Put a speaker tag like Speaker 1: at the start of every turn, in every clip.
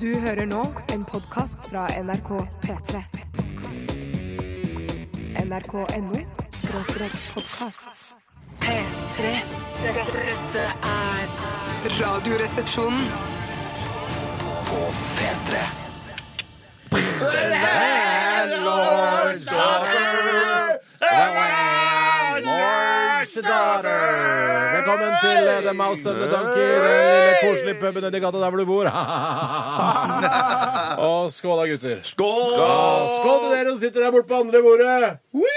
Speaker 1: Du hører nå en podkast fra NRK P3. NRK.no skråstrek podkast. P3. Dette, dette er Radioresepsjonen.
Speaker 2: Velkommen til eh, The Mouse and the Donkey, den lille koselige puben nedi gata der hvor du bor. Og skål da, gutter.
Speaker 3: Skål!
Speaker 2: Ja, skål til dere som sitter der borte på andre bordet.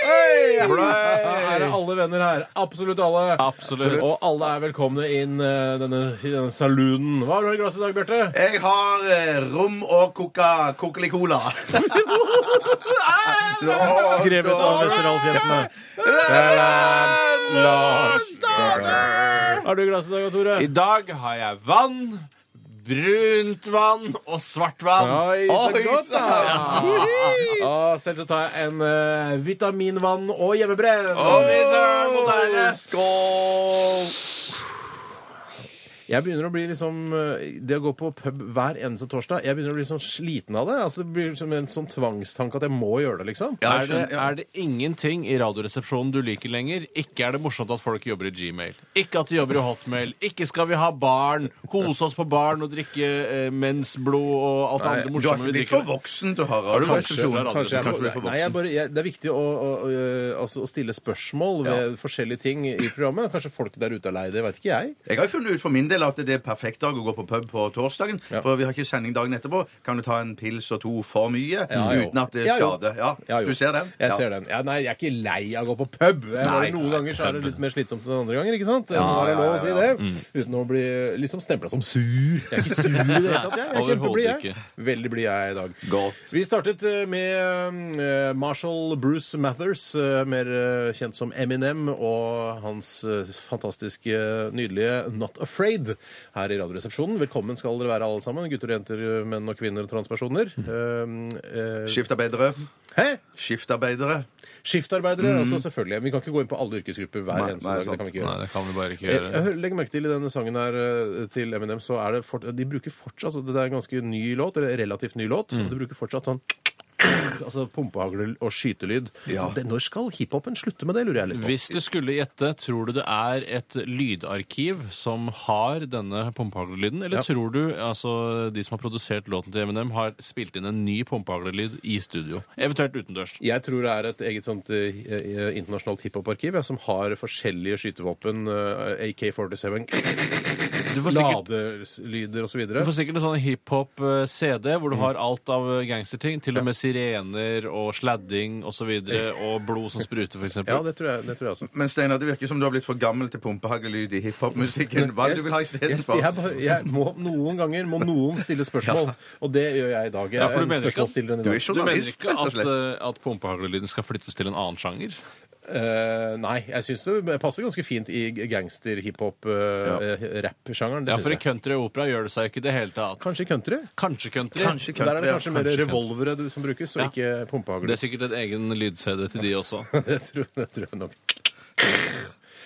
Speaker 2: Hei! Her er alle venner her. Absolutt alle.
Speaker 4: Absolutt.
Speaker 2: Og alle er velkomne inn eh, denne, i denne saloonen. Hva har du i glasset i dag, Bjarte?
Speaker 3: Jeg har eh, rom og coca cola cola
Speaker 2: Skrevet av Westerdalsjentene. Har du i glasset i dag, Tore?
Speaker 4: I dag har jeg vann, brunt vann og svart vann.
Speaker 2: Oi, så
Speaker 3: Oi,
Speaker 2: godt, da!
Speaker 3: så-
Speaker 2: Ja, selv så tar jeg en eh, vitaminvann og hjemmebrent.
Speaker 4: Oi, søren, moderne.
Speaker 3: Skål!
Speaker 2: Jeg begynner å bli liksom eh, Det å gå på pub hver eneste torsdag Jeg begynner å bli sånn sliten av det. Altså, det blir som en sånn tvangstanke at jeg må gjøre det, liksom.
Speaker 3: Ja,
Speaker 4: Er
Speaker 3: jeg
Speaker 4: det,
Speaker 3: skjønner, ja.
Speaker 4: er det ingenting i Radioresepsjonen du liker lenger? Ikke er det morsomt at folk jobber i Gmail. Ikke at de jobber i Hotmail. Ikke skal vi ha barn, kose oss på barn og drikke eh, mensblod og alt det
Speaker 2: Nei,
Speaker 4: andre
Speaker 3: Du har
Speaker 4: morsomme
Speaker 3: ikke
Speaker 4: vi
Speaker 3: blitt for
Speaker 4: drikker.
Speaker 3: voksen, du har.
Speaker 4: du voksen,
Speaker 3: Kanskje-
Speaker 4: tror jeg,
Speaker 3: kanskje jeg
Speaker 2: Kanskje
Speaker 3: må-
Speaker 2: jeg, må- nei, jeg bare, jeg, det er viktig å, å, å, eh, altså, å stille spørsmål ved forskjellige ting i programmet. Kanskje folk der ute er lei det, vet ikke jeg.
Speaker 3: Jeg har jo funnet ut for min del at det er perfekt dag å gå på pub på torsdagen.
Speaker 2: Ja.
Speaker 3: For vi har ikke sending dagen etterpå. Kan du ta en pils og to for mye
Speaker 2: Ja, jo.
Speaker 3: uten at det
Speaker 2: Ja, jo.
Speaker 3: skader? Ja,
Speaker 2: Ja, jo.
Speaker 3: Du ser den?
Speaker 2: Jeg
Speaker 3: Ja.
Speaker 2: ser den. Ja, nei, jeg er ikke lei av å gå på pub. Jeg bare
Speaker 3: Nei,
Speaker 2: noen
Speaker 3: nei,
Speaker 2: ganger så er det
Speaker 4: pub.
Speaker 2: litt mer slitsomt enn andre ganger, ikke sant? Det må være
Speaker 3: ja,
Speaker 2: lov å
Speaker 3: ja, Mm.
Speaker 2: si det.
Speaker 3: ja.
Speaker 2: Uten å bli liksom stempla som sur. Jeg er ikke sur i det hele tatt, jeg. jeg er kjempeblid,
Speaker 4: Overhodet
Speaker 2: jeg.
Speaker 4: ikke.
Speaker 2: Veldig blid jeg er i dag.
Speaker 3: Godt.
Speaker 2: Vi startet eh, med eh, Marshall Bruce Mathers, eh, mer eh, kjent som Eminem, og hans eh, fantastiske, nydelige Not Afraid her i Radioresepsjonen. Velkommen skal dere være, alle sammen. Gutter og jenter, eh, menn og kvinner og transpersoner.
Speaker 3: Mm.
Speaker 2: Eh, eh,
Speaker 3: Skiftarbeidere.
Speaker 2: Hæ?
Speaker 3: Skiftarbeidere.
Speaker 2: Skiftarbeidere, altså selvfølgelig. Vi kan ikke gå inn på alle yrkesgrupper hver
Speaker 3: Mm. Nei,
Speaker 2: eneste
Speaker 3: nei,
Speaker 2: dag. Det
Speaker 3: sant.
Speaker 2: kan vi ikke
Speaker 4: Nei,
Speaker 2: gjøre.
Speaker 4: det kan vi bare ikke
Speaker 2: Jeg,
Speaker 3: Eh,
Speaker 4: gjøre.
Speaker 2: jeg legger merke til I denne sangen her eh, til Eminem så er det fort, De bruker fortsatt altså, Det er en ganske ny låt, eller relativt ny låt. og De bruker fortsatt sånn Altså pumpehagle og skytelyd.
Speaker 3: Ja.
Speaker 2: Det, når skal hiphopen slutte med det, lurer jeg litt på.
Speaker 4: Hvis du skulle gjette, tror du det er et lydarkiv som har denne pumpehaglelyden? Eller
Speaker 2: Ja.
Speaker 4: tror du altså, de som har produsert låten til Eminem, har spilt inn en ny pumpehaglelyd i studio? Eventuelt utendørs.
Speaker 2: Jeg tror det er et eget sånt eh, eh, internasjonalt hiphoparkiv ja, som har forskjellige skytevåpen, eh, AK-47,
Speaker 4: Du får sikkert,
Speaker 2: ladelyder osv.
Speaker 4: du får sikkert en sånn hiphop-CD hvor du har alt av gangsterting. Til og med sirener og sladding osv. Og, så videre, og blod som spruter, f.eks.
Speaker 2: Ja, det tror jeg, det tror jeg også.
Speaker 3: Men Steinar, det virker som du har blitt for gammel til pumpehagelyd i hiphopmusikken. Hva er det du vil ha
Speaker 2: Jeg, jeg,
Speaker 3: istedenfor?
Speaker 2: bare- jeg må, noen ganger må noen stille spørsmål, og det gjør jeg i dag. Jeg
Speaker 4: Ja, for du
Speaker 2: er en
Speaker 4: mener ikke at-
Speaker 2: spørsmålsstiller i
Speaker 3: Du er
Speaker 2: dag.
Speaker 4: Du mener
Speaker 3: journalist,
Speaker 4: ikke
Speaker 3: rett og
Speaker 4: at,
Speaker 3: slett.
Speaker 4: eh, at pumpehaglelyden skal flyttes til en annen sjanger?
Speaker 2: Eh, nei, jeg syns det passer ganske fint i gangster, hiphop, uh, rap-sjangeren. Det
Speaker 4: Ja, for i
Speaker 2: synes jeg.
Speaker 4: country og opera gjør det seg jo ikke i det hele tatt.
Speaker 2: Kanskje i country?
Speaker 4: Kanskje country.
Speaker 3: Kanskje
Speaker 2: Der er det
Speaker 3: country, ja.
Speaker 2: kanskje mer
Speaker 4: Kanskje
Speaker 2: revolvere du- som brukes, og
Speaker 4: Ja.
Speaker 2: ikke pumpehagle.
Speaker 4: Det
Speaker 2: Det,
Speaker 4: er sikkert et egen lyd-CD til de også.
Speaker 2: tror- det tror jeg nok.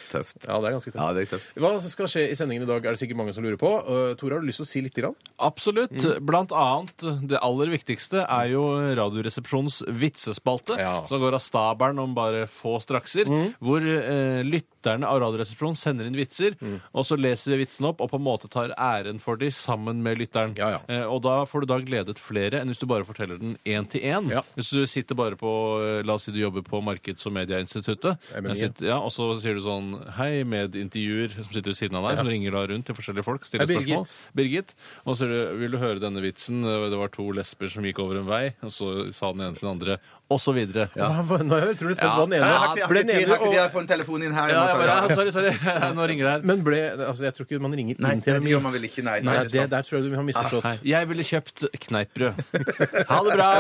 Speaker 3: Tøft.
Speaker 2: Ja, det er ganske
Speaker 3: Ja,
Speaker 2: tøft.
Speaker 3: det er tøft.
Speaker 2: Hva skal skje i sendingen i dag, er det sikkert mange som lurer på. Eh, Tore, har du lyst til å si lite grann?
Speaker 4: Absolutt.
Speaker 2: Mm.
Speaker 4: Blant annet, det aller viktigste er jo Radioresepsjonens vitsespalte,
Speaker 2: Ja. Mm.
Speaker 4: som går av stabelen om bare få strakser, hvor eh, lytterne av Radioresepsjonen sender inn vitser,
Speaker 2: Mm.
Speaker 4: og så leser vi vitsene opp, og på en måte tar æren for de sammen med lytteren.
Speaker 2: Ja, ja.
Speaker 4: Eh, og da får du da gledet flere enn hvis du bare forteller den én til én.
Speaker 2: Ja.
Speaker 4: Hvis du sitter bare på eh, La oss si du jobber på Markeds- og medieinstituttet,
Speaker 2: MMI.
Speaker 4: sitter- ja, og så sier du sånn Hei, medintervjuer som sitter ved siden av deg, som ringer da rundt til forskjellige folk. stiller
Speaker 2: Hei, Birgit.
Speaker 4: spørsmål. Birgit, og så er det- vil du høre denne vitsen? Det var to lesber som gikk over en vei, og så sa den ene til den andre, og så videre.
Speaker 2: Hva- hva- Nå er jeg utrolig spent på hva den
Speaker 3: Jeg
Speaker 2: ene
Speaker 3: har
Speaker 2: ble.
Speaker 3: ikke- jeg har ikke-
Speaker 2: Den
Speaker 3: jeg har ikke- jeg
Speaker 2: ene, og,
Speaker 3: har fått en telefon inn her. Jeg
Speaker 4: Ja,
Speaker 3: må
Speaker 4: jeg
Speaker 3: ta
Speaker 4: bare,
Speaker 3: den.
Speaker 4: ja, sorry, sorry. Nå ringer det her.
Speaker 2: men ble altså, Jeg tror ikke man ringer
Speaker 3: Nei,
Speaker 2: inn til
Speaker 3: det
Speaker 2: en
Speaker 3: gjør man vel ikke. Nei,
Speaker 2: Nei,
Speaker 3: det er
Speaker 2: det
Speaker 3: sant.
Speaker 2: der tror jeg du har misforstått.
Speaker 4: Hei. Jeg ville kjøpt kneippbrød. Ha det bra!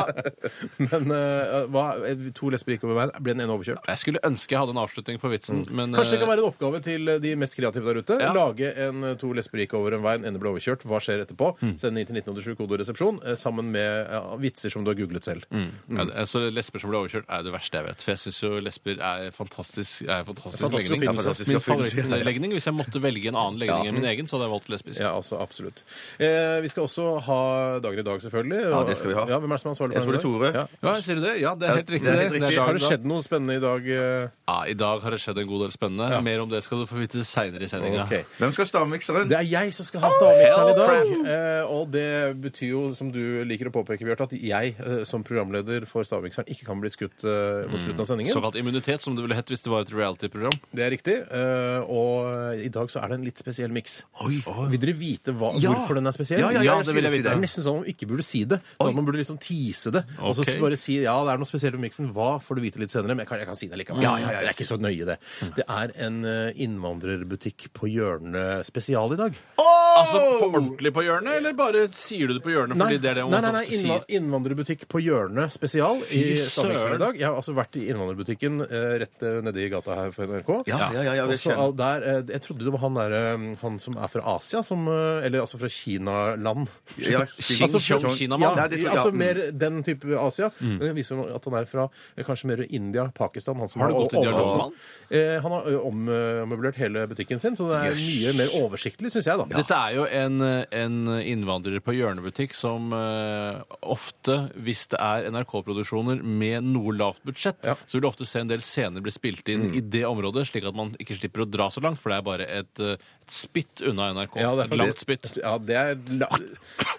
Speaker 2: Men eh, hva, to lesber gikk over veien. Ble den ene overkjørt?
Speaker 4: Jeg skulle ønske jeg hadde en avslutning på vitsen, men
Speaker 2: Kanskje det
Speaker 4: eh,
Speaker 2: kan være en oppgave til de mest kreative der ute.
Speaker 4: Ja.
Speaker 2: Lage en eh, to lesber gikk over en vei, en ene ble overkjørt. Hva skjer etterpå?
Speaker 3: Mm.
Speaker 2: Send det inn til 1987 kodoresepsjon eh, sammen med ja, vitser som du har googlet selv.
Speaker 3: Mm.
Speaker 4: Ja, det- altså, lesber som blir overkjørt, er det verste jeg vet. For jeg syns jo lesber er fantastisk, er fantastisk,
Speaker 2: Fantastisk
Speaker 4: legning.
Speaker 2: oppfinnelse.
Speaker 3: Fantastisk
Speaker 4: Min
Speaker 3: oppfinnelse.
Speaker 4: favorittlegning. Hvis jeg måtte velge en annen legning enn min egen, så hadde jeg valgt lesbisk.
Speaker 2: Ja, altså, absolutt. Eh, vi skal også ha dagen i dag, selvfølgelig.
Speaker 3: Ja, det skal vi ha.
Speaker 2: Ja, hvem er det som er ansvarlig
Speaker 3: Jeg
Speaker 2: for
Speaker 3: tror det
Speaker 2: dagen
Speaker 3: er
Speaker 2: i dag?
Speaker 3: Tore.
Speaker 2: Ja.
Speaker 4: Ja, sier du det? Ja, det er helt riktig.
Speaker 3: det er helt
Speaker 4: det. Det er
Speaker 3: riktig.
Speaker 4: dagen
Speaker 2: Har det
Speaker 4: i dag.
Speaker 2: skjedd noe spennende i dag? eh?
Speaker 4: Ja, I dag har det skjedd en god del spennende.
Speaker 2: Ja.
Speaker 4: Mer om det skal du få vite seinere i sendinga.
Speaker 2: Ok.
Speaker 3: Hvem skal ha stavmikseren?
Speaker 2: Det er jeg som skal ha stavmikseren i dag.
Speaker 4: hell
Speaker 2: Eh, og det betyr jo, som du liker å påpeke, Bjarte, at jeg eh, som programleder for stavmikseren ikke kan bli skutt eh, mot slutten av sendingen.
Speaker 4: Såkalt immunitet, som det ville hett hvis det var et reality-program.
Speaker 2: Det er riktig. eh, og i dag så er det en litt spesiell miks.
Speaker 4: Oi.
Speaker 2: Vil dere vite hva,
Speaker 4: Ja.
Speaker 2: hvorfor den er spesiell?
Speaker 4: Ja, ja, ja, det vil jeg
Speaker 2: Det
Speaker 4: vite.
Speaker 2: er nesten sånn at man ikke burde si det. Sånn at man burde liksom tease det. Og så
Speaker 4: Ok.
Speaker 2: bare si ja, det er noe spesielt med miksen. Hva får du vite litt senere? Men jeg kan, jeg kan si det likevel. Ja, ja, ja, det er ikke så nøye, det.
Speaker 4: Mm.
Speaker 2: Det er en eh, innvandrerbutikk på hjørnet spesial i dag.
Speaker 4: Altså på ordentlig på hjørnet, eller bare sier du det på hjørnet fordi det er det
Speaker 2: nei,
Speaker 4: man
Speaker 2: nei, nei
Speaker 4: ofte
Speaker 2: innva
Speaker 4: sier?
Speaker 2: innvandrerbutikk på hjørnet spesial i Stavanger
Speaker 4: søren.
Speaker 2: i dag. Jeg har altså vært i innvandrerbutikken eh, rett eh, nede i gata her for NRK.
Speaker 3: Ja, ja, ja, ja,
Speaker 2: Også,
Speaker 3: jeg kjenner.
Speaker 2: all- der, eh, jeg trodde det var han, der, eh, han som er fra Asia, som, eh, eller altså fra Kinaland.
Speaker 3: Ja,
Speaker 4: Xing
Speaker 3: altså,
Speaker 4: Chong
Speaker 3: sånn-
Speaker 4: Kinamann.
Speaker 2: Ja,
Speaker 3: Nei, det tror jeg-
Speaker 2: altså
Speaker 3: ja, mm.
Speaker 2: mer den type Asia. Men det viser jo at han er fra eh, kanskje mer India, Pakistan. Han som
Speaker 4: Har du gått i
Speaker 2: om-
Speaker 4: dialog med han?
Speaker 2: Eh, han har ø, om- eh, ommøblert hele butikken sin, så det er mye mer oversiktlig, syns jeg, da.
Speaker 4: Dette er jo en, en innvandrer på hjørnebutikk som eh, ofte, hvis det er NRK-produksjoner med noe lavt budsjett,
Speaker 2: Ja. Mm.
Speaker 4: så vil du ofte se en del scener bli spilt inn i det området, slik at man ikke slipper å dra så langt, for det er bare et, eh, et spytt unna NRK.
Speaker 2: Ja, det er
Speaker 4: et
Speaker 2: faktisk-
Speaker 4: langt spytt.
Speaker 2: Ja, det er la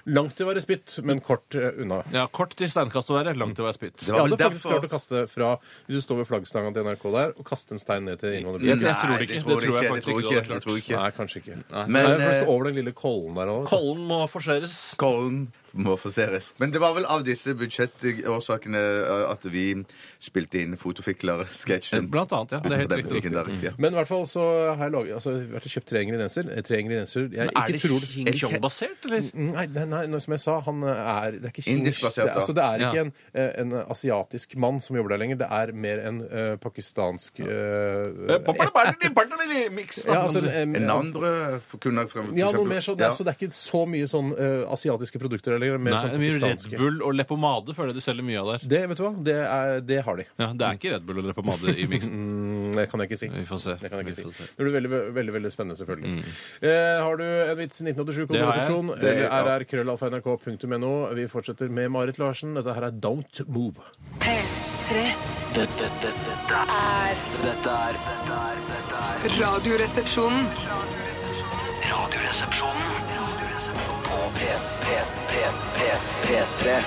Speaker 2: langt til å være spytt, men kort eh, unna.
Speaker 4: Ja, kort til steinkast å være, langt til å være spytt.
Speaker 3: Det
Speaker 2: Jeg
Speaker 3: var
Speaker 2: hadde
Speaker 3: vel
Speaker 2: faktisk
Speaker 3: derfor-
Speaker 2: klart å kaste fra Hvis du står ved flaggstanga til NRK der og kaste en stein ned til
Speaker 4: Jeg,
Speaker 2: innvandrerbyen.
Speaker 4: jeg
Speaker 3: Nei,
Speaker 4: tror det
Speaker 3: det
Speaker 4: ikke.
Speaker 3: tror
Speaker 4: Det tror jeg
Speaker 3: jeg
Speaker 4: faktisk
Speaker 3: ikke,
Speaker 4: ikke. du
Speaker 3: det
Speaker 4: hadde
Speaker 3: tror jeg
Speaker 4: klart.
Speaker 3: ikke.
Speaker 2: Nei, kanskje ikke.
Speaker 3: Men,
Speaker 2: Nei, for jeg
Speaker 3: eh,
Speaker 2: skal over den lille kollen der òg.
Speaker 4: Kollen må forseres.
Speaker 3: Kollen må forseres. Men det var vel av disse budsjettårsakene eh, at vi spilte inn Fotofikler-sketsjen.
Speaker 4: Blant annet, ja. Det er helt
Speaker 3: På den
Speaker 4: riktig.
Speaker 3: butikken der, ja.
Speaker 2: Men i hvert fall så har jeg, laget, altså, jeg har vært og kjøpt tre ingredienser. Eh, Tre ingredienser jeg
Speaker 4: Er det
Speaker 2: ikke tror
Speaker 4: Xing Chong-basert, eller?
Speaker 2: Nei, nei, nei, nei, som jeg sa, han eh, er Det er ikke Xing-
Speaker 3: Indisk basert,
Speaker 2: det, er-
Speaker 3: da.
Speaker 2: altså, det er ikke
Speaker 4: Ja.
Speaker 2: en, eh, en asiatisk mann som jobber der lenger. Det er mer en eh, pakistansk eh,
Speaker 4: altså,
Speaker 2: ja, altså,
Speaker 4: Ja,
Speaker 2: en,
Speaker 3: En
Speaker 2: en,
Speaker 3: andre for- kunne jeg frem- for
Speaker 2: Ja, noe
Speaker 3: eksempel-
Speaker 2: mer sånn. Det er,
Speaker 3: Ja.
Speaker 2: så det er ikke så mye sånn eh, asiatiske produkter der lenger. Mer
Speaker 4: Nei,
Speaker 2: sånn
Speaker 4: mye Red
Speaker 2: pakistanske.
Speaker 4: Bull og leppepomade føler jeg de selger mye av der.
Speaker 2: Det vet du hva, det, er, det har de.
Speaker 4: Ja, Det er ikke Red Bull og leppepomade i miksen.
Speaker 2: Mm, Det kan jeg ikke si.
Speaker 4: Vi får se.
Speaker 2: Det kan jeg
Speaker 4: Vi
Speaker 2: ikke
Speaker 4: får
Speaker 2: si.
Speaker 4: se. Mm.
Speaker 2: Det blir veldig, veldig veldig spennende, selvfølgelig. Eh, har du en vits 1987
Speaker 4: Det har jeg.
Speaker 2: koderesepsjon?
Speaker 3: Det- ja.
Speaker 2: rrkrøllalfa.nrk.no. Vi fortsetter med Marit Larsen. Dette her er Don't Move.
Speaker 1: P3.
Speaker 5: Dette, dette, dette er Dette er dette er
Speaker 1: Radioresepsjonen.
Speaker 5: Radioresepsjonen På P, P, P, P, P3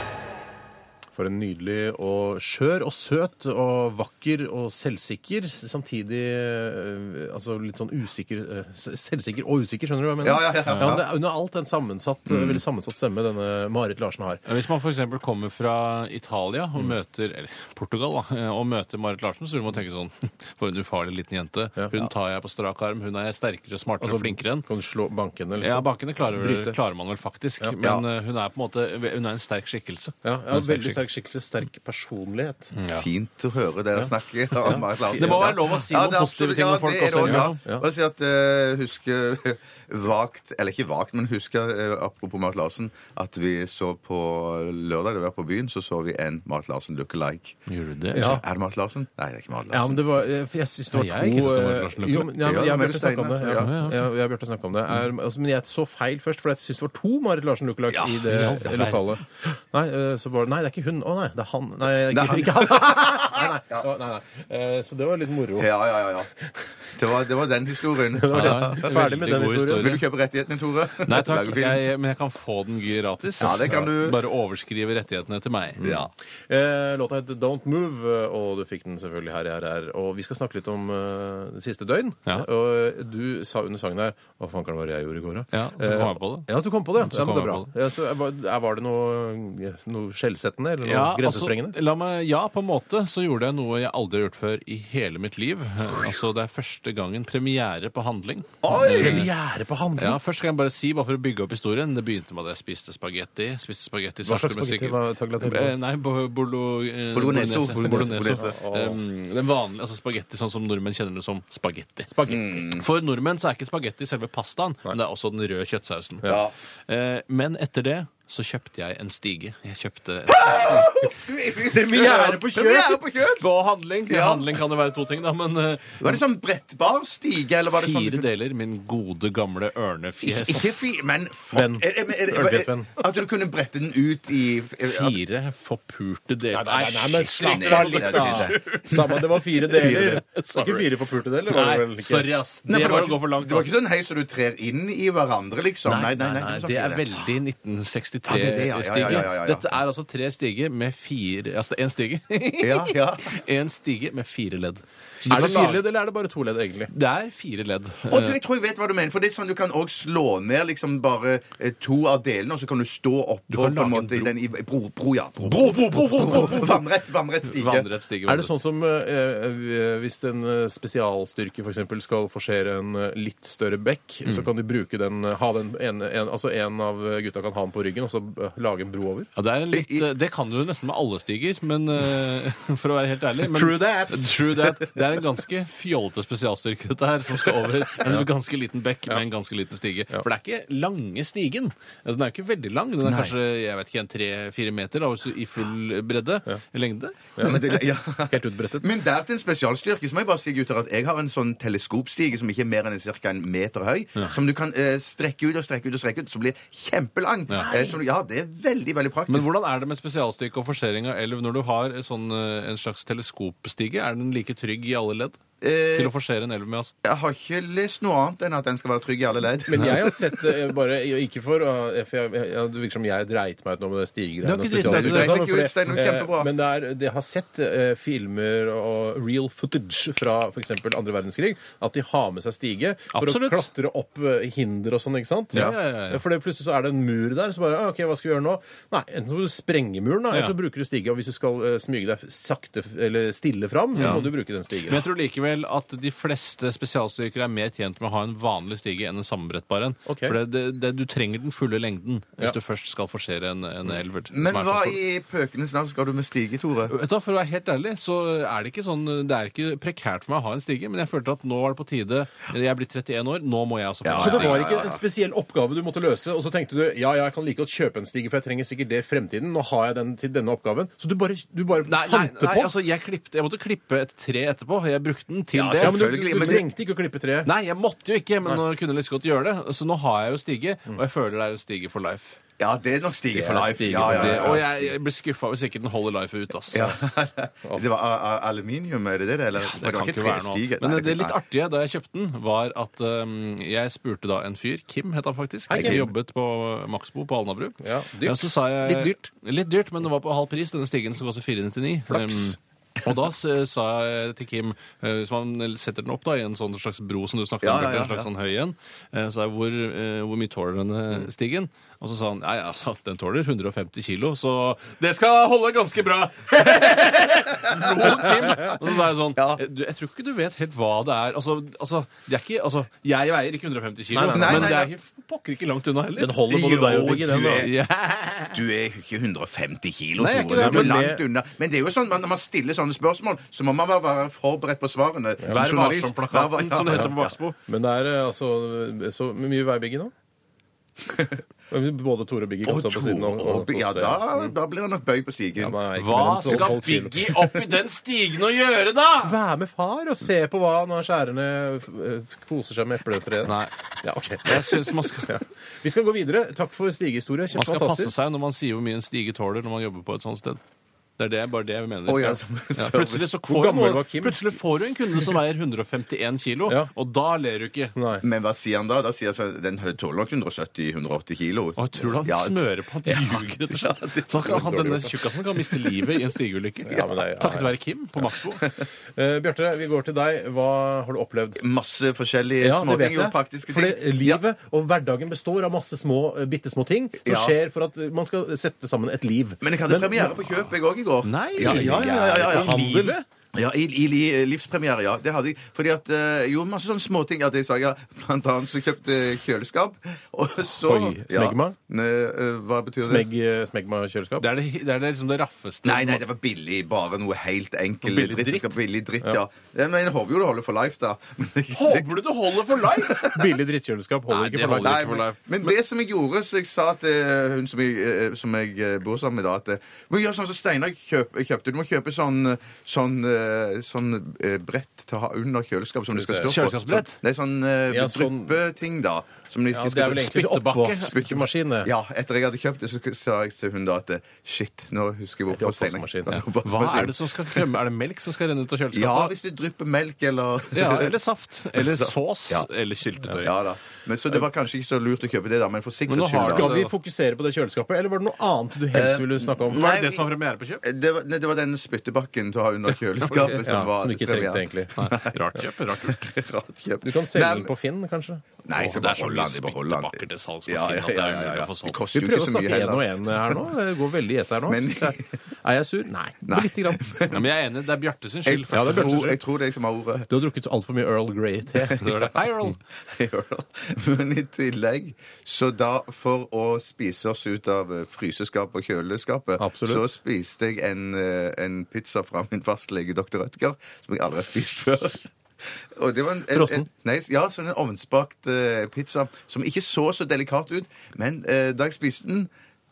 Speaker 2: For en nydelig og skjør og søt og vakker og selvsikker, s- samtidig eh, altså litt sånn usikker eh, s- Selvsikker og usikker, skjønner du hva jeg mener?
Speaker 3: Ja, ja, Mm. ja, ja.
Speaker 2: det er under alt en sammensatt, eh, veldig sammensatt stemme denne Marit Larsen har.
Speaker 4: Ja, Hvis man f.eks. kommer fra Italia
Speaker 2: Mm.
Speaker 4: og møter eller Portugal da, eh, og møter Marit Larsen, så vil man tenke sånn For en ufarlig liten jente. Hun tar jeg på strak arm. Hun er jeg sterkere,
Speaker 2: Altså,
Speaker 4: smartere og flinkere enn.
Speaker 2: Kan du slå banken liksom? eller
Speaker 4: Ja, Bankene klarer,
Speaker 2: Bryte.
Speaker 4: vel, klarer man vel faktisk, men
Speaker 2: Ja.
Speaker 4: eh, hun er på en måte Hun er en sterk skikkelse.
Speaker 2: Ja,
Speaker 4: Hun er Mm,
Speaker 2: ja,
Speaker 4: en
Speaker 2: veldig
Speaker 4: skikkelse.
Speaker 2: sterk skikkelse, sterk personlighet.
Speaker 3: Fint å høre dere snakke. om Marit Larsen.
Speaker 4: Det må være lov å si noen
Speaker 3: det er
Speaker 4: positive
Speaker 3: absolutt-
Speaker 4: ting om
Speaker 3: ja,
Speaker 4: folk
Speaker 3: det er
Speaker 4: også,
Speaker 3: det
Speaker 4: ja.
Speaker 3: Ja. Og si at eh, husker vagt Eller ikke vagt, men husker, eh, apropos Marit Larsen, at vi så på lørdag, det var på byen, så så vi en Marit Larsen look-alike.
Speaker 4: Gjør du det?
Speaker 2: Ja.
Speaker 3: Er det Marit Larsen? Nei, det er ikke Marit
Speaker 2: Ja, men
Speaker 3: Larsen.
Speaker 2: det var, eh, for jeg syns det var
Speaker 4: Nei, jeg har ikke
Speaker 2: to
Speaker 4: sett noe
Speaker 2: eh,
Speaker 4: Lars Løkke.
Speaker 2: jo, men- ja, men
Speaker 3: Ja,
Speaker 2: Jeg og
Speaker 3: men
Speaker 2: Bjarte snakka om det.
Speaker 3: Steiner,
Speaker 2: Ja.
Speaker 4: ja.
Speaker 2: Jeg, jeg, og Bjarte snakket om det. Er, altså, men jeg så feil først, for jeg syns det var to Marit Larsen Lookalakes i det
Speaker 4: Ja, vel.
Speaker 2: lokalet. Nei, eh, så var det Nei, det er ikke hun. Å nei, det er han. Nei, ikke,
Speaker 3: han.
Speaker 2: ikke han. Nei, nei. Så, nei, nei. Eh, så det var litt moro.
Speaker 3: Ja, ja, ja. ja. Det, var, det var den historien.
Speaker 4: Ja, det er en
Speaker 2: Ferdig med
Speaker 4: veldig
Speaker 2: den
Speaker 4: god
Speaker 2: historien.
Speaker 3: Vil du kjøpe rettighetene, Tore?
Speaker 4: Nei takk,
Speaker 3: Lage film?
Speaker 4: jeg, men jeg kan få den gratis.
Speaker 3: Ja, det kan du.
Speaker 4: Bare overskrive rettighetene til meg.
Speaker 2: Mm.
Speaker 3: Ja.
Speaker 2: Eh, låta het Don't Move, eh, og du fikk den selvfølgelig her, her, her. Og vi skal snakke litt om eh, det siste døgn.
Speaker 4: Ja.
Speaker 2: Og eh, du sa under sangen her Hva faen kan det være jeg gjorde i går, da? Eh,
Speaker 4: Ja, så kom jeg på det.
Speaker 2: Ja, at du kom på det. Ja,
Speaker 4: Så
Speaker 2: eh, men
Speaker 4: kom
Speaker 2: det er
Speaker 4: jeg
Speaker 2: bra.
Speaker 4: på
Speaker 2: Ja, så, er- var det noe, noe skjellsettende, Eller noe
Speaker 4: Ja,
Speaker 2: grensesprengende?
Speaker 4: Altså, la meg, ja, på en måte så gjorde jeg noe jeg aldri har gjort før i hele mitt liv. Altså, Det er første gangen premiere på handling.
Speaker 2: Oi! Premiere på handling!
Speaker 4: Ja, Først kan jeg bare si, bare for å bygge opp historien Det begynte med at jeg spiste spagetti. Spiste spagetti
Speaker 2: Hva slags
Speaker 4: sakte, men
Speaker 2: spagetti
Speaker 4: sikkert.
Speaker 2: var tagliatelle?
Speaker 4: Eh, Nei, bo- bolo, eh,
Speaker 3: Bolognese.
Speaker 4: bolognese.
Speaker 3: Bolognese.
Speaker 4: Bolognese.
Speaker 3: Bolognese.
Speaker 4: Um, Den vanlige altså spagetti sånn som nordmenn kjenner det som spagetti.
Speaker 2: Spagetti.
Speaker 3: Mm.
Speaker 4: For nordmenn så er ikke spagetti selve pastaen, men det er også den røde kjøttsausen.
Speaker 3: Ja.
Speaker 4: Eh, Men etter det så kjøpte jeg en stige. Jeg kjøpte
Speaker 2: Premiere på kjøp!
Speaker 3: Premiere på kjøp!
Speaker 4: På handling. Ja.
Speaker 3: Ja.
Speaker 4: Handling kan det være to ting, da, men eh,
Speaker 3: Var det sånn brettbar stige, eller var det sånn
Speaker 4: fire deler min gode, gamle ørnefjes.
Speaker 3: Ikke fire, men fuck.
Speaker 2: Venn.
Speaker 3: Er- er- er- er-
Speaker 2: Ørnfjesvenn.
Speaker 3: At du kunne brette den ut i
Speaker 4: Fire forpurte deler.
Speaker 2: Nei, nei, nei, men slapp
Speaker 3: Nei,
Speaker 2: av
Speaker 3: nei,
Speaker 2: litt,
Speaker 3: nei,
Speaker 2: da!
Speaker 3: nei,
Speaker 2: Samme, det var fire deler.
Speaker 4: deler.
Speaker 2: Ikke fire forpulte deler, var det vel
Speaker 4: Nei,
Speaker 2: ikke?
Speaker 4: sorry, ass. Det
Speaker 3: Nei, for
Speaker 4: var å
Speaker 3: ikke-
Speaker 4: gå for langt. altså.
Speaker 3: det var
Speaker 4: ass.
Speaker 3: ikke sånn hei, så du trer inn i hverandre, liksom. Nei, nei, nei.
Speaker 4: det er veldig 1963-stige.
Speaker 3: Ja, det er det, ja, ja, ja, ja, ja, ja.
Speaker 4: Dette er altså tre stiger med fire Altså én stige.
Speaker 3: Ja, ja.
Speaker 4: Én stige med fire ledd.
Speaker 2: Er det fire ledd, eller er det bare to ledd, egentlig?
Speaker 4: Det er fire ledd.
Speaker 3: Og du, jeg tror jeg vet hva du mener, for det er sånn du kan også slå ned liksom bare eh, to av delene, og så kan du stå oppå
Speaker 4: kan
Speaker 3: på en
Speaker 4: lage en
Speaker 3: måte i
Speaker 4: bro.
Speaker 3: den i bro, bro, ja. Bro,
Speaker 4: Bro, bro, bro, bro, bro, bro.
Speaker 3: Vannrett, vannrett stige.
Speaker 4: Vannrett stige.
Speaker 2: Er det sånn som eh, eh, hvis en eh, spesialstyrke for eksempel, skal forsere en eh, litt større bekk, så kan de bruke den, eh, ha den en, en, altså en av gutta kan ha den på ryggen og så eh, lage en bro over?
Speaker 4: Ja, det, er litt, eh, det kan du jo nesten med alle stiger, men eh, for å være helt ærlig men,
Speaker 2: True that.
Speaker 4: True that. Det er en ganske fjollete spesialstyrke dette her, som skal over en ganske liten bekk med en ganske liten stige. For det er ikke lange stigen. Altså, den er jo ikke veldig lang. Den er kanskje jeg vet ikke, en tre-fire meter da, hvis du- i full bredde. Lengde.
Speaker 3: Ja, men det- ja.
Speaker 2: Helt utbrettet.
Speaker 3: Men der til en spesialstyrke så må jeg bare si gutter, at jeg har en sånn teleskopstige som ikke er mer enn ca. en meter høy, som du kan eh, strekke ut og strekke ut og strekke ut, som blir kjempelang.
Speaker 4: Ja.
Speaker 3: Eh, så, ja, det er veldig, veldig praktisk.
Speaker 4: Men hvordan er det med spesialstyrke og forsering av elv når du har en sånn, eh, en slags teleskopstige? Er den like trygg i alle ledd
Speaker 3: Eh,
Speaker 4: til å forsere en elv med? Altså?
Speaker 3: Jeg har ikke lest noe annet enn at den skal være trygg i alle ledd.
Speaker 2: Men jeg har sett det eh, bare Ikke for eh, for jeg, jeg, Det virker som jeg dreit meg ut nå med det
Speaker 4: Du har
Speaker 2: stigegreiene. og
Speaker 4: ikke dreit deg ut,
Speaker 2: spesialstyrker
Speaker 3: du
Speaker 2: og sånn,
Speaker 3: dreit deg ikke
Speaker 2: for
Speaker 3: ut,
Speaker 2: det-
Speaker 3: Stein, det var
Speaker 2: eh,
Speaker 3: kjempebra.
Speaker 2: Men det er, det jeg har sett eh, filmer og real footage fra f.eks. andre verdenskrig, at de har med seg stige for
Speaker 4: Absolutt.
Speaker 2: å klatre opp eh, hinder og sånn, ikke sant?
Speaker 4: Ja, ja, ja, ja.
Speaker 2: For det, plutselig så er det en mur der, så bare ah, OK, hva skal vi gjøre nå? Nei, enten så må du sprenge muren, da, eller
Speaker 4: Ja.
Speaker 2: så bruker du stige. Og hvis du skal eh, smyge deg sakte f- eller stille fram, så
Speaker 4: Ja.
Speaker 2: må du bruke den stigen.
Speaker 4: Men jeg tror likevel at de fleste spesialstyrker er mer tjent med å ha en vanlig stige enn en sammenbrettbar en.
Speaker 2: Ok.
Speaker 4: For det, det, det, du trenger den fulle lengden hvis
Speaker 2: Ja.
Speaker 4: du først skal forsere en, en elver.
Speaker 3: Men hva i pøkenes navn skal du med stige, Tore?
Speaker 4: Vet du hva, For å være helt ærlig, så er det ikke sånn Det er ikke prekært for meg å ha en stige, men jeg følte at nå var det på tide. Jeg er blitt 31 år, nå må jeg altså få
Speaker 2: Så
Speaker 4: en
Speaker 2: det
Speaker 4: stige.
Speaker 2: var ikke en spesiell oppgave du måtte løse, og så tenkte du ja, ja, jeg kan like godt kjøpe en stige, for jeg trenger sikkert det i fremtiden. Nå har jeg den til denne oppgaven. Så du bare, du bare
Speaker 4: Nei, nei,
Speaker 2: fant det
Speaker 4: nei
Speaker 2: på?
Speaker 4: altså jeg, klippte, jeg måtte klippe et tre etterpå. Jeg brukte den til
Speaker 2: ja,
Speaker 4: det.
Speaker 2: ja, men du, du,
Speaker 3: selvfølgelig,
Speaker 2: du
Speaker 3: men det-
Speaker 2: trengte ikke å klippe treet.
Speaker 4: Nei, jeg måtte jo ikke, men nå kunne jeg like så godt gjøre det. Så nå har jeg jo stige, og jeg føler det er en stige for life.
Speaker 3: Ja, det er nok stige for life.
Speaker 2: Stige
Speaker 3: Ja,
Speaker 2: for
Speaker 3: ja,
Speaker 4: Det,
Speaker 3: ja.
Speaker 4: og jeg, jeg blir skuffa hvis ikke den holder life ut. ass.
Speaker 3: Ja. Det var a- a- aluminium, er det det? Eller? For
Speaker 4: Det
Speaker 3: var
Speaker 4: kan ikke være noe
Speaker 3: trestige.
Speaker 4: annet. Men
Speaker 3: Nei,
Speaker 4: det, det
Speaker 3: kan-
Speaker 4: litt artige da jeg kjøpte den, var at øhm, jeg spurte da en fyr, Kim het han faktisk,
Speaker 2: Hei,
Speaker 4: Kim
Speaker 2: Kim.
Speaker 4: jobbet på Maxbo på Alnabru.
Speaker 2: Ja, dyrt.
Speaker 4: så sa jeg,
Speaker 2: Litt dyrt.
Speaker 4: Litt dyrt, men det var på halv pris, denne stigen som koster 499.
Speaker 2: Flaks.
Speaker 4: Øhm, og da s- sa jeg til Kim, øh, hvis man setter den opp da, i en sånn slags bro som du snakket om,
Speaker 3: Ja, ja,
Speaker 4: Bjarte, en
Speaker 3: ja,
Speaker 4: slags sånn høy en, eh, sa jeg, hvor, eh, hvor mye tåler denne stigen? Og så sa han, nei, altså, den tåler 150 kilo, så det skal holde ganske bra. Lo Kim. Og så sa jeg sånn,
Speaker 3: Ja.
Speaker 4: du, jeg tror ikke du vet helt hva det er. Altså, altså, det er ikke, altså jeg veier ikke 150 kilo,
Speaker 2: Nei, nei, nei,
Speaker 4: men
Speaker 3: nei,
Speaker 4: det
Speaker 3: nei.
Speaker 4: er ikke, pokker ikke langt unna heller.
Speaker 2: Den holder både
Speaker 3: Jo,
Speaker 2: deg og begge, den.
Speaker 3: du
Speaker 2: da.
Speaker 3: er-
Speaker 4: Ja.
Speaker 3: Du er jo ikke 150 kilo,
Speaker 4: Nei, jeg er ikke
Speaker 3: Tore.
Speaker 4: det,
Speaker 3: Du er
Speaker 2: men
Speaker 3: langt
Speaker 2: det-
Speaker 3: unna. Men det er jo sånn, når man stiller sånne spørsmål, så må man være- være forberedt på svarene. Som
Speaker 4: Vær
Speaker 3: journalist. Vær var-
Speaker 4: varsom-plakaten,
Speaker 3: ja,
Speaker 4: som det
Speaker 3: ja.
Speaker 4: heter på Baksbo.
Speaker 2: Men det er eh, altså så mye veibygge nå. Både Tore og Biggie kan
Speaker 3: Og
Speaker 2: stå på
Speaker 3: Tore
Speaker 2: siden og, og,
Speaker 3: og Biggie, Ja,
Speaker 2: kose.
Speaker 3: da, da blir det nok bøy på stigen.
Speaker 2: Ja, men det er ikke
Speaker 4: Hva
Speaker 2: mer enn tolv-
Speaker 4: skal
Speaker 2: tolv kilo.
Speaker 4: Biggie opp i den stigen og gjøre, da?
Speaker 2: Vær med far og se på hva når skjærerne eh, koser seg med epletreet.
Speaker 4: Nei.
Speaker 2: Ja, ok.
Speaker 4: Jeg synes man skal...
Speaker 2: Ja. Vi skal gå videre. Takk for stigehistorie.
Speaker 4: Man skal passe
Speaker 2: Kjempefantastisk.
Speaker 4: seg når man sier hvor mye en stige tåler når man jobber på et sånt sted. Det er det, bare det jeg mener.
Speaker 3: Å, ja,
Speaker 4: Ja.
Speaker 3: som-
Speaker 4: Ja, plutselig, så får
Speaker 2: Hvor gammel
Speaker 4: noen-
Speaker 2: var Kim?
Speaker 4: plutselig får du en kunde som veier 151 kilo,
Speaker 2: Ja.
Speaker 4: og da ler du ikke.
Speaker 2: Nei.
Speaker 3: Men hva sier han da? Da sier han at Den tåler nok 170-180 kilo.
Speaker 4: Og jeg tror han
Speaker 3: Ja,
Speaker 4: smører på at de ljuger. rett og slett.
Speaker 3: ja, det-
Speaker 4: Så han, han, denne
Speaker 3: dårlig
Speaker 4: tjukkasen kan miste livet i en stigeulykke.
Speaker 2: Ja, men det er- ja,
Speaker 4: Takket
Speaker 2: ja.
Speaker 4: være Kim på Maxbo.
Speaker 2: Eh, Bjarte, vi går til deg. Hva har du opplevd?
Speaker 3: Masse forskjellige småting og praktiske ting.
Speaker 2: Fordi livet og hverdagen består av masse små, eh, bittesmå ting som
Speaker 3: Ja.
Speaker 2: skjer for at eh, man skal sette sammen et liv.
Speaker 3: Men jeg hadde premiere på kjøp, jeg òg, i går.
Speaker 4: Nei,
Speaker 3: ja, ja, ja, ja, ja, ja.
Speaker 4: I livet?
Speaker 3: Ja, i, i li, livspremiere, ja. Det hadde jeg. Fordi at eh, Jo, masse sånne småting. At jeg sa ja, blant annet så kjøpte jeg kjøleskap, og så
Speaker 2: Oi, smegma?
Speaker 3: Ja. Ne, eh, hva betyr det?
Speaker 2: Smeg, eh, smegma-kjøleskap.
Speaker 4: Det er, det, det, er det, liksom det raffeste.
Speaker 3: Nei, nei, det var billig. Bare noe helt enkel
Speaker 4: Billig
Speaker 3: dritt.
Speaker 4: dritt?
Speaker 3: Det skal Billig dritt, ja. ja. Men jeg håper jo det holder for life, da. Men jeg-
Speaker 4: Håper du det holder for life?!
Speaker 2: Billig drittkjøleskap holder
Speaker 4: Nei, det
Speaker 2: ikke for
Speaker 4: holder
Speaker 2: langt.
Speaker 4: ikke. for life.
Speaker 3: Men, men det som jeg gjorde, så jeg sa til eh, hun som jeg, eh, som jeg eh, bor sammen med da, at eh, må gjøre sånn som Steinar kjøp, kjøpte. Du må kjøpe sånn, eh, sånn, eh, sånn eh, brett til å ha under kjøleskapet som du skal stå på.
Speaker 4: Kjøleskapsbrett?
Speaker 3: Sånn- Det er sånn eh,
Speaker 2: Ja, sånn-
Speaker 3: dryppeting, da. Som du
Speaker 2: Ja, det
Speaker 3: ikke
Speaker 2: er
Speaker 3: skal
Speaker 2: vel egentlig sånn-
Speaker 4: Spyttebakke.
Speaker 2: oppvaskmaskin. det.
Speaker 3: ja, etter jeg hadde kjøpt det, så sa jeg til hun da at eh, shit, nå husker jeg
Speaker 2: Det er
Speaker 3: hvorfor Steinar
Speaker 2: oppvaskmaskin, ja.
Speaker 3: Ja, det
Speaker 4: Hva
Speaker 3: er oppvaskmaskin.
Speaker 4: er det som skal komme? Er det melk som skal renne ut av
Speaker 3: Ja,
Speaker 4: kjøleskapet?
Speaker 3: hvis det drypper melk eller
Speaker 4: Ja, eller saft. Eller
Speaker 3: saft.
Speaker 4: sås.
Speaker 3: Ja.
Speaker 4: Eller syltetøy.
Speaker 3: Ja da. Men, så det var kanskje ikke så lurt å kjøpe det, da, men for
Speaker 4: Men nå
Speaker 3: sikkerhets
Speaker 4: har
Speaker 3: skyld.
Speaker 4: du
Speaker 3: da.
Speaker 2: Skal vi fokusere på det kjøleskapet, eller var det noe annet du helst ville snakke om?
Speaker 4: Var
Speaker 3: Nei,
Speaker 4: det det
Speaker 3: vi-
Speaker 4: som var premiere på kjøp?
Speaker 3: Det var, nei, det var den spyttebakken til å ha under kjøleskapet som
Speaker 2: Ja,
Speaker 3: var
Speaker 2: som du ikke
Speaker 3: premieren.
Speaker 2: trengte, egentlig.
Speaker 4: Nei, Rart kjøp. Rart gjort.
Speaker 3: Rart kjøp.
Speaker 2: Du kan selge
Speaker 3: Nei,
Speaker 2: den på Finn, kanskje?
Speaker 3: Nei,
Speaker 4: Åh,
Speaker 3: jeg skal
Speaker 4: det er
Speaker 3: bare
Speaker 4: så mye
Speaker 3: holde den. Jeg bare holder den.
Speaker 4: spyttebakker til salgs på
Speaker 3: Ja,
Speaker 4: Finn
Speaker 3: ja,
Speaker 4: at det er
Speaker 3: ja,
Speaker 4: umulig
Speaker 3: ja, ja.
Speaker 4: å få solgt.
Speaker 2: Vi
Speaker 3: Det koster jo
Speaker 2: prøver
Speaker 3: ikke
Speaker 2: å
Speaker 3: så mye
Speaker 2: snakke én og
Speaker 3: heller.
Speaker 2: én her nå. Det går veldig i ett her nå.
Speaker 3: Men-
Speaker 2: Så jeg- Er jeg sur? Nei,
Speaker 3: Nei.
Speaker 2: lite grann.
Speaker 4: Ja, men jeg er enig. Det er Bjarte sin
Speaker 3: Jeg,
Speaker 4: skyld. først og fremst.
Speaker 3: tror, jeg tror det er jeg som har ordet.
Speaker 2: Du har drukket altfor mye Earl Grey-te.
Speaker 4: Det var det. Hei, Earl.
Speaker 3: Men i tillegg, så da for å spise oss ut av eh, fryseskapet og kjøleskapet,
Speaker 2: Absolutt.
Speaker 3: så spiste jeg en, eh, en pizza fra min fastlege dr. Rødger, som jeg aldri har spist før. Og det var en, en,
Speaker 2: Frossen?
Speaker 3: en, nei, ja, sånn en ovnsbakt eh, pizza som ikke så så delikat ut, men eh, da jeg spiste den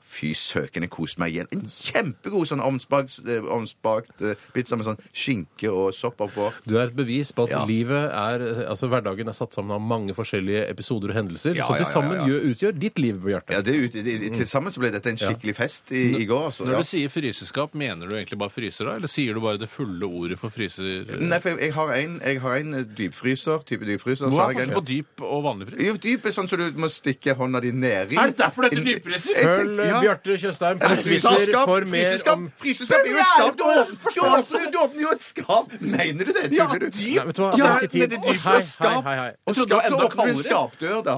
Speaker 3: Fy søken, jeg koste meg igjen. En kjempegod sånn ovnsbakt, eh, ovnsbakt eh, pizza med sånn skinke og sopp oppå.
Speaker 2: Du er et bevis på at
Speaker 3: Ja.
Speaker 2: livet er, altså hverdagen er satt sammen av mange forskjellige episoder og hendelser
Speaker 3: Ja,
Speaker 2: som til
Speaker 3: ja, ja,
Speaker 2: sammen
Speaker 3: ja.
Speaker 2: gjør- utgjør ditt liv, Bjarte.
Speaker 3: Ja, det er ut, det, det- Til sammen så ble dette en skikkelig fest i, i går. Altså,
Speaker 4: Når
Speaker 3: ja.
Speaker 4: du sier fryseskap, mener du egentlig bare fryser da? Eller sier du bare det fulle ordet for fryser?
Speaker 3: Nei, for jeg, jeg har en, jeg har en eh, dypfryser. Type dypfryser. så
Speaker 4: Hva er
Speaker 3: har jeg
Speaker 4: forskjellen
Speaker 3: en-
Speaker 4: på dyp og vanlig frys?
Speaker 3: Jo, dyp er sånn som du må stikke hånda di nedi.
Speaker 4: Er det derfor dette er dypfryser?
Speaker 3: Jeg tenker-
Speaker 2: Følg
Speaker 3: ja.
Speaker 2: Bjarte Tjøstheim på
Speaker 3: Er det
Speaker 2: Twitter
Speaker 3: fryseskap?
Speaker 2: for mer
Speaker 3: Fryseskap?
Speaker 2: om
Speaker 3: Fryseskap er jo et skap! Du åpner- Du åpner- du åpner jo et skap! Mener du det? Tuller du?
Speaker 2: Nei, vet du hva?
Speaker 3: Ja,
Speaker 2: det er ikke
Speaker 3: men
Speaker 2: tid.
Speaker 3: det er dypt.
Speaker 2: Hei, hei,
Speaker 3: Skap.
Speaker 2: hei, hei.
Speaker 3: Og
Speaker 4: Jeg trodde det var
Speaker 3: skap, så
Speaker 4: enda
Speaker 3: åpner du en
Speaker 4: kaldere.
Speaker 3: skapdør, da.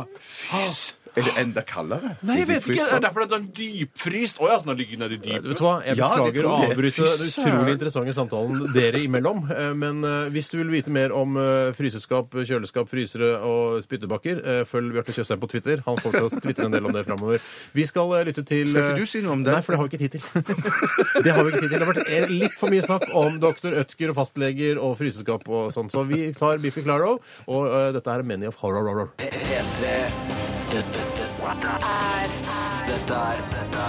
Speaker 3: Er det enda kaldere?
Speaker 4: Nei, jeg vet ikke. Det
Speaker 3: Dypfryser.
Speaker 4: er derfor det er sånn dypfryst. Å ja, så den ligger nedi
Speaker 2: Vet
Speaker 4: dypet.
Speaker 2: du hva, Jeg
Speaker 3: Ja, det
Speaker 2: beklager å
Speaker 3: tror jeg.
Speaker 2: avbryte
Speaker 4: Fy
Speaker 2: den utrolig
Speaker 4: søren.
Speaker 2: interessante samtalen dere imellom. eh, Men eh, hvis du vil vite mer om eh, fryseskap, kjøleskap, frysere og spyttebakker, eh, følg Bjarte Tjøstheim på Twitter. Han kommer til å tvitre en del om det framover. Vi skal eh, lytte til
Speaker 3: Skal ikke
Speaker 2: eh,
Speaker 3: du si noe om det?
Speaker 2: Nei, for det har vi ikke tid til. Det har vi ikke tid til. Det har vært eh, litt for mye snakk om doktor Ødker og fastleger og fryseskap og sånn. Så vi tar Biffy Claro, og eh, dette er Many of Horror Horror.
Speaker 5: P- P3 Dette er Dette er Dette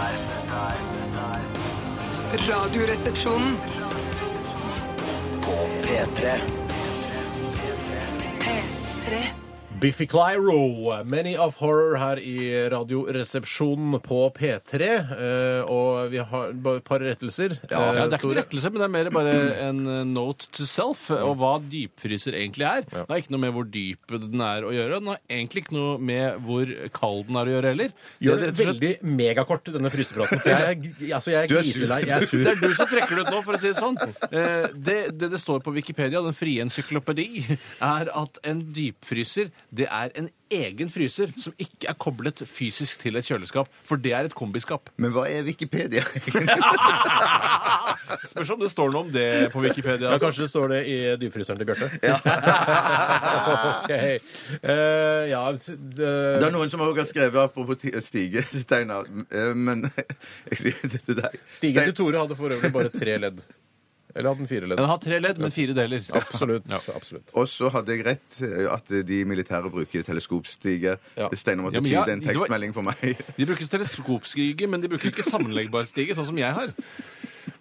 Speaker 5: er
Speaker 1: Radioresepsjonen.
Speaker 5: På P3
Speaker 1: P3.
Speaker 2: Biffy Clyro, Many of Horror her i Radioresepsjonen på P3. eh, og vi har bare et par rettelser. Eh,
Speaker 4: Ja, det er ikke en
Speaker 2: Tore.
Speaker 4: rettelse, men det er mer bare en eh, note to self eh, og hva dypfryser egentlig er. Det har ikke noe med hvor dyp den er å gjøre. Den har egentlig ikke noe med hvor kald den er å gjøre heller.
Speaker 2: Gjør det
Speaker 4: Det er rett og slett-
Speaker 2: veldig megakort, denne frysepraten. For jeg, er- altså, jeg er
Speaker 3: Du er sur.
Speaker 2: griselei. Jeg er sur.
Speaker 4: Det er du som trekker det ut nå, for å si det sånn. Eh, Det, det det står på Wikipedia, den frie encyklopedi, er at en dypfryser det er en egen fryser som ikke er koblet fysisk til et kjøleskap, for det er et kombiskap.
Speaker 3: Men hva er Wikipedia?
Speaker 4: Spørs om det står noe om det på Wikipedia.
Speaker 2: Ja,
Speaker 4: altså.
Speaker 2: kanskje det står det i dypfryseren til Bjarte. ok. Eh, ja, det,
Speaker 3: Det
Speaker 4: Eh,
Speaker 3: er noen som også har skrevet apropos ti- Stige, Steinar, eh, men jeg sier det til deg.
Speaker 2: Stigen til
Speaker 3: Stein-
Speaker 2: Tore hadde for øvrig bare tre ledd. Eller hadde den fire ledd?
Speaker 4: Den har tre ledd, men fire deler.
Speaker 2: Absolutt. absolutt.
Speaker 3: Og så hadde jeg rett eh, at de militære bruker teleskopstige.
Speaker 2: Ja.
Speaker 3: Steinar måtte
Speaker 4: Ja, men
Speaker 3: tyde
Speaker 4: ja,
Speaker 3: en
Speaker 4: det var-
Speaker 3: tekstmelding for meg.
Speaker 4: De bruker teleskopstige, men de bruker ikke sammenleggbar stige, sånn som jeg har.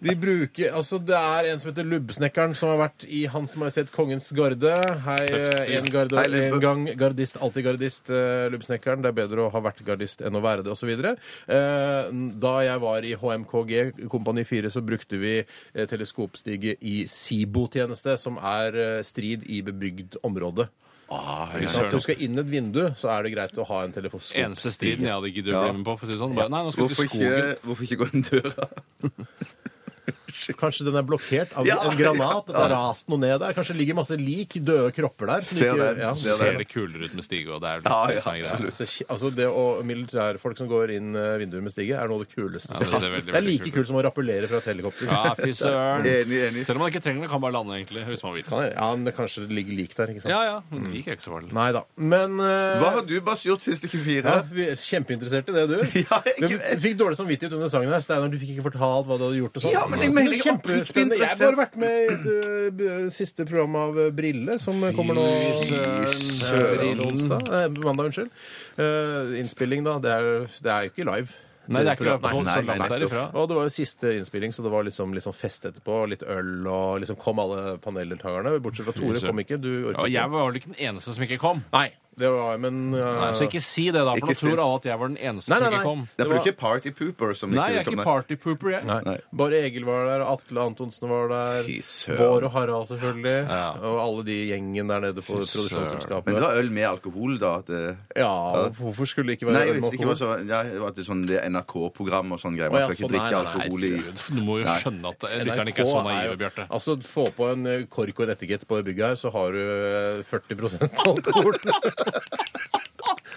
Speaker 2: De bruker, altså Det er en som heter Lubbesnekkeren, som har vært i Hans Majestet Kongens Garde. Hei, eh,
Speaker 4: Tøft, sier.
Speaker 2: en, garde,
Speaker 3: Hei, Lubbe.
Speaker 2: en gang gardist, alltid gardist, eh, Lubbesnekkeren. Det er bedre å ha vært gardist enn å være det, osv. Eh, da jeg var i HMKG, Kompani 4, så brukte vi eh, teleskopstige i SIBO-tjeneste, som er eh, strid i bebygd område. Så at du skal inn et vindu, så er det greit å ha en teleskopstige.
Speaker 4: Eneste striden jeg hadde giddet å bli med på. for å si det sånn. Bare, nei, nå skal vi
Speaker 3: Hvorfor
Speaker 4: til skogen. Eh,
Speaker 3: ikke, hvorfor ikke gå inn døra?
Speaker 2: Kanskje den er blokkert av
Speaker 3: Ja,
Speaker 2: en granat. Det har rast noe ned der. Kanskje det ligger masse lik, døde kropper der. som
Speaker 3: Ser
Speaker 2: ikke-
Speaker 3: den,
Speaker 2: ja.
Speaker 3: ser
Speaker 4: Ser det kulere ut med stige, og det er
Speaker 3: Ja,
Speaker 4: det
Speaker 3: ja,
Speaker 4: som er greia.
Speaker 3: absolutt.
Speaker 2: Så, ki- altså det å Militærfolk som går inn eh, vinduer med stige, er noe av det kuleste.
Speaker 4: Ja,
Speaker 2: som
Speaker 4: det ser
Speaker 2: finnes.
Speaker 4: veldig,
Speaker 2: det er
Speaker 4: veldig
Speaker 2: like
Speaker 4: kult ut.
Speaker 2: kult som å rappellere fra et helikopter.
Speaker 4: Ja, fy søren.
Speaker 3: Enig, enig.
Speaker 4: Selv om man ikke trenger det, kan man bare lande, egentlig. Hvis man vil.
Speaker 2: Kan jeg- ja, men det kanskje det ligger lik der. ikke sant?
Speaker 4: Ja, ja. Men det gikk jo ikke så farlig.
Speaker 2: Nei da. Men eh,
Speaker 3: Hva har du, Bass, gjort siste 24?
Speaker 2: ja, vi er kjempeinteressert i det, du.
Speaker 3: Ja, jeg-
Speaker 2: Men du fikk dårlig samvittighet under sangen her. Steinar, du fikk ikke fortalt hva du hadde gjort. og sånt.
Speaker 3: Ja, men jeg mener,
Speaker 2: det er
Speaker 3: jeg var oppriktig
Speaker 2: kjempespennende. Jeg har bare
Speaker 3: interessert.
Speaker 2: vært med i et, eh, b- siste program av eh, Brille, som eh, kommer nå
Speaker 4: Fy søren.
Speaker 2: Søren. Onsdag, eh, mandag, unnskyld. Eh, innspilling, da. Det er, det er jo ikke live.
Speaker 4: Nei, det er ikke lov
Speaker 2: Nei,
Speaker 4: på
Speaker 3: nei,
Speaker 4: så
Speaker 3: nei,
Speaker 4: langt
Speaker 3: nettopp.
Speaker 4: derifra.
Speaker 2: Og det var jo siste innspilling, så det var liksom, liksom fest etterpå. og Litt øl og liksom kom alle paneldeltakerne. Bortsett fra Tore
Speaker 4: søren.
Speaker 2: kom ikke. Du
Speaker 4: Og
Speaker 2: orket
Speaker 4: jeg
Speaker 2: ikke.
Speaker 4: var vel ikke den eneste som ikke kom.
Speaker 2: Nei, det var men
Speaker 4: Nei,
Speaker 2: uh,
Speaker 4: så ikke si det, da, for nå
Speaker 3: Ikke si-
Speaker 4: tror alle at jeg var den eneste
Speaker 2: Nei, nei,
Speaker 4: som ikke
Speaker 2: nei.
Speaker 4: kom.
Speaker 3: Det er for du
Speaker 2: var-
Speaker 3: er ikke party pooper som
Speaker 4: Nei, jeg er
Speaker 3: vil
Speaker 4: ikke
Speaker 3: komme.
Speaker 4: partypooper, jeg.
Speaker 2: Nei.
Speaker 3: Nei.
Speaker 2: Bare Egil var der, Atle Antonsen var der,
Speaker 3: Fy søren.
Speaker 2: Bård og Harald selvfølgelig,
Speaker 4: Ja.
Speaker 2: og alle de gjengen der nede på
Speaker 4: søren.
Speaker 3: Men
Speaker 2: produksjonsselskapet.
Speaker 3: det var øl med alkohol, da? At det...
Speaker 2: Ja, og hvorfor skulle det ikke
Speaker 3: Nei,
Speaker 2: være
Speaker 3: jeg visste ikke hva
Speaker 2: alkohol?
Speaker 3: så, ja, at det er sånn, det er NRK-program og sånn greier.
Speaker 2: Å, ja,
Speaker 3: Man
Speaker 2: sånn,
Speaker 3: skal ikke
Speaker 2: nei,
Speaker 3: drikke
Speaker 2: nei, nei,
Speaker 3: alkohol i
Speaker 4: Gud, Du må jo
Speaker 3: Nei.
Speaker 4: skjønne at eh, lytterne ikke er så naive, Bjarte.
Speaker 2: Altså, Få på en eh, kork og en etikett på det bygget her, så har du eh, 40 alkohol. det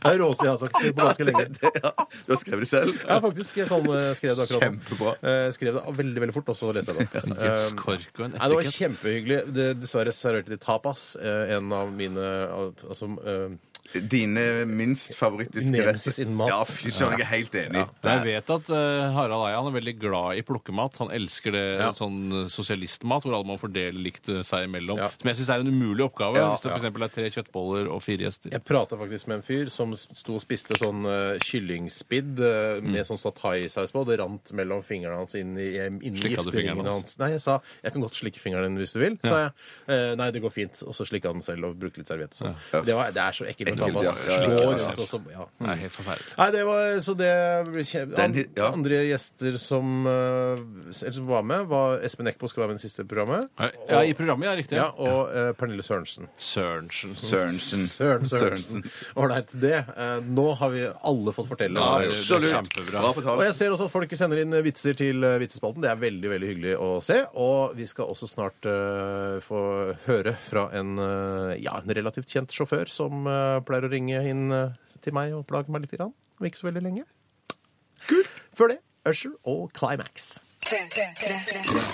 Speaker 2: er råeste jeg har sagt på ganske lenge.
Speaker 3: Ja, du har skrevet det selv?
Speaker 2: Ja, faktisk. Jeg kan, eh, skrev det akkurat nå.
Speaker 3: Kjempebra.
Speaker 2: Eh, Skrev det veldig veldig fort, og så leste jeg det.
Speaker 4: Jøss,
Speaker 2: Um,
Speaker 4: kork og en
Speaker 2: Nei, det var
Speaker 4: etikett.
Speaker 2: kjempehyggelig. Det, dessverre serverte de tapas. Eh, en av mine al- altså, eh,
Speaker 3: Dine minst favorittiske
Speaker 2: Nemesis innen mat.
Speaker 3: Ja, fy søren, jeg er helt enig.
Speaker 4: Jeg vet at eh, Harald Eia han er veldig glad i plukkemat. Han elsker det sånn sosialistmat hvor alle må fordele likt eh, seg imellom.
Speaker 2: Ja.
Speaker 4: Som jeg syns er en umulig oppgave
Speaker 3: Ja,
Speaker 4: hvis det f.eks. er tre kjøttboller og fire gjester.
Speaker 2: jeg prata faktisk med en fyr som sto og spiste sånn eh, kyllingspidd eh, med
Speaker 3: Mm.
Speaker 2: sånn satai-saus på, og det rant mellom fingrene hans inn i, eh, inn i
Speaker 4: Slikket du fingeren
Speaker 2: gifteringene
Speaker 4: hans?
Speaker 2: hans. Nei, jeg sa 'jeg kan godt slikke fingeren din hvis du vil', sa jeg. Eh, nei, det går fint. Og så slikka han den selv og brukte litt serviett og sånn. Det, var- det er så ekkelt med
Speaker 3: Ekkelt,
Speaker 2: tapas.
Speaker 3: ja, ja,
Speaker 2: Gå
Speaker 3: ja, ja, ja. Mm.
Speaker 2: rundt og så Ja.
Speaker 4: Det er helt forferdelig.
Speaker 2: Nei, det var så det ble kje-
Speaker 3: Den-
Speaker 2: an-
Speaker 3: ja.
Speaker 2: Andre gjester som, eh, s- eller som var med, var Espen Eckbo skal være med i det siste programmet.
Speaker 4: Ja, I programmet, ja. Riktig.
Speaker 2: Ja, og eh, Pernille Sørensen.
Speaker 4: Sørensen.
Speaker 3: Sørensen.
Speaker 2: Søren Sørensen. Ålreit, det. eh, nå har vi alle fått fortelle. hva
Speaker 4: Ja,
Speaker 2: vi-
Speaker 4: det- det er
Speaker 3: Bra
Speaker 4: kjempebra.
Speaker 2: og
Speaker 3: fortalt.
Speaker 2: jeg ser også at folk sender inn eh, vitser til eh, vitsespalten. Det er veldig veldig hyggelig å se. Og vi skal også snart eh, få høre fra en, eh, ja, en relativt kjent sjåfør som eh, pleier å ringe inn eh, til meg og plage meg litt. Grann, om ikke så veldig lenge. Kult. Før det Usher og Climax.
Speaker 1: P3.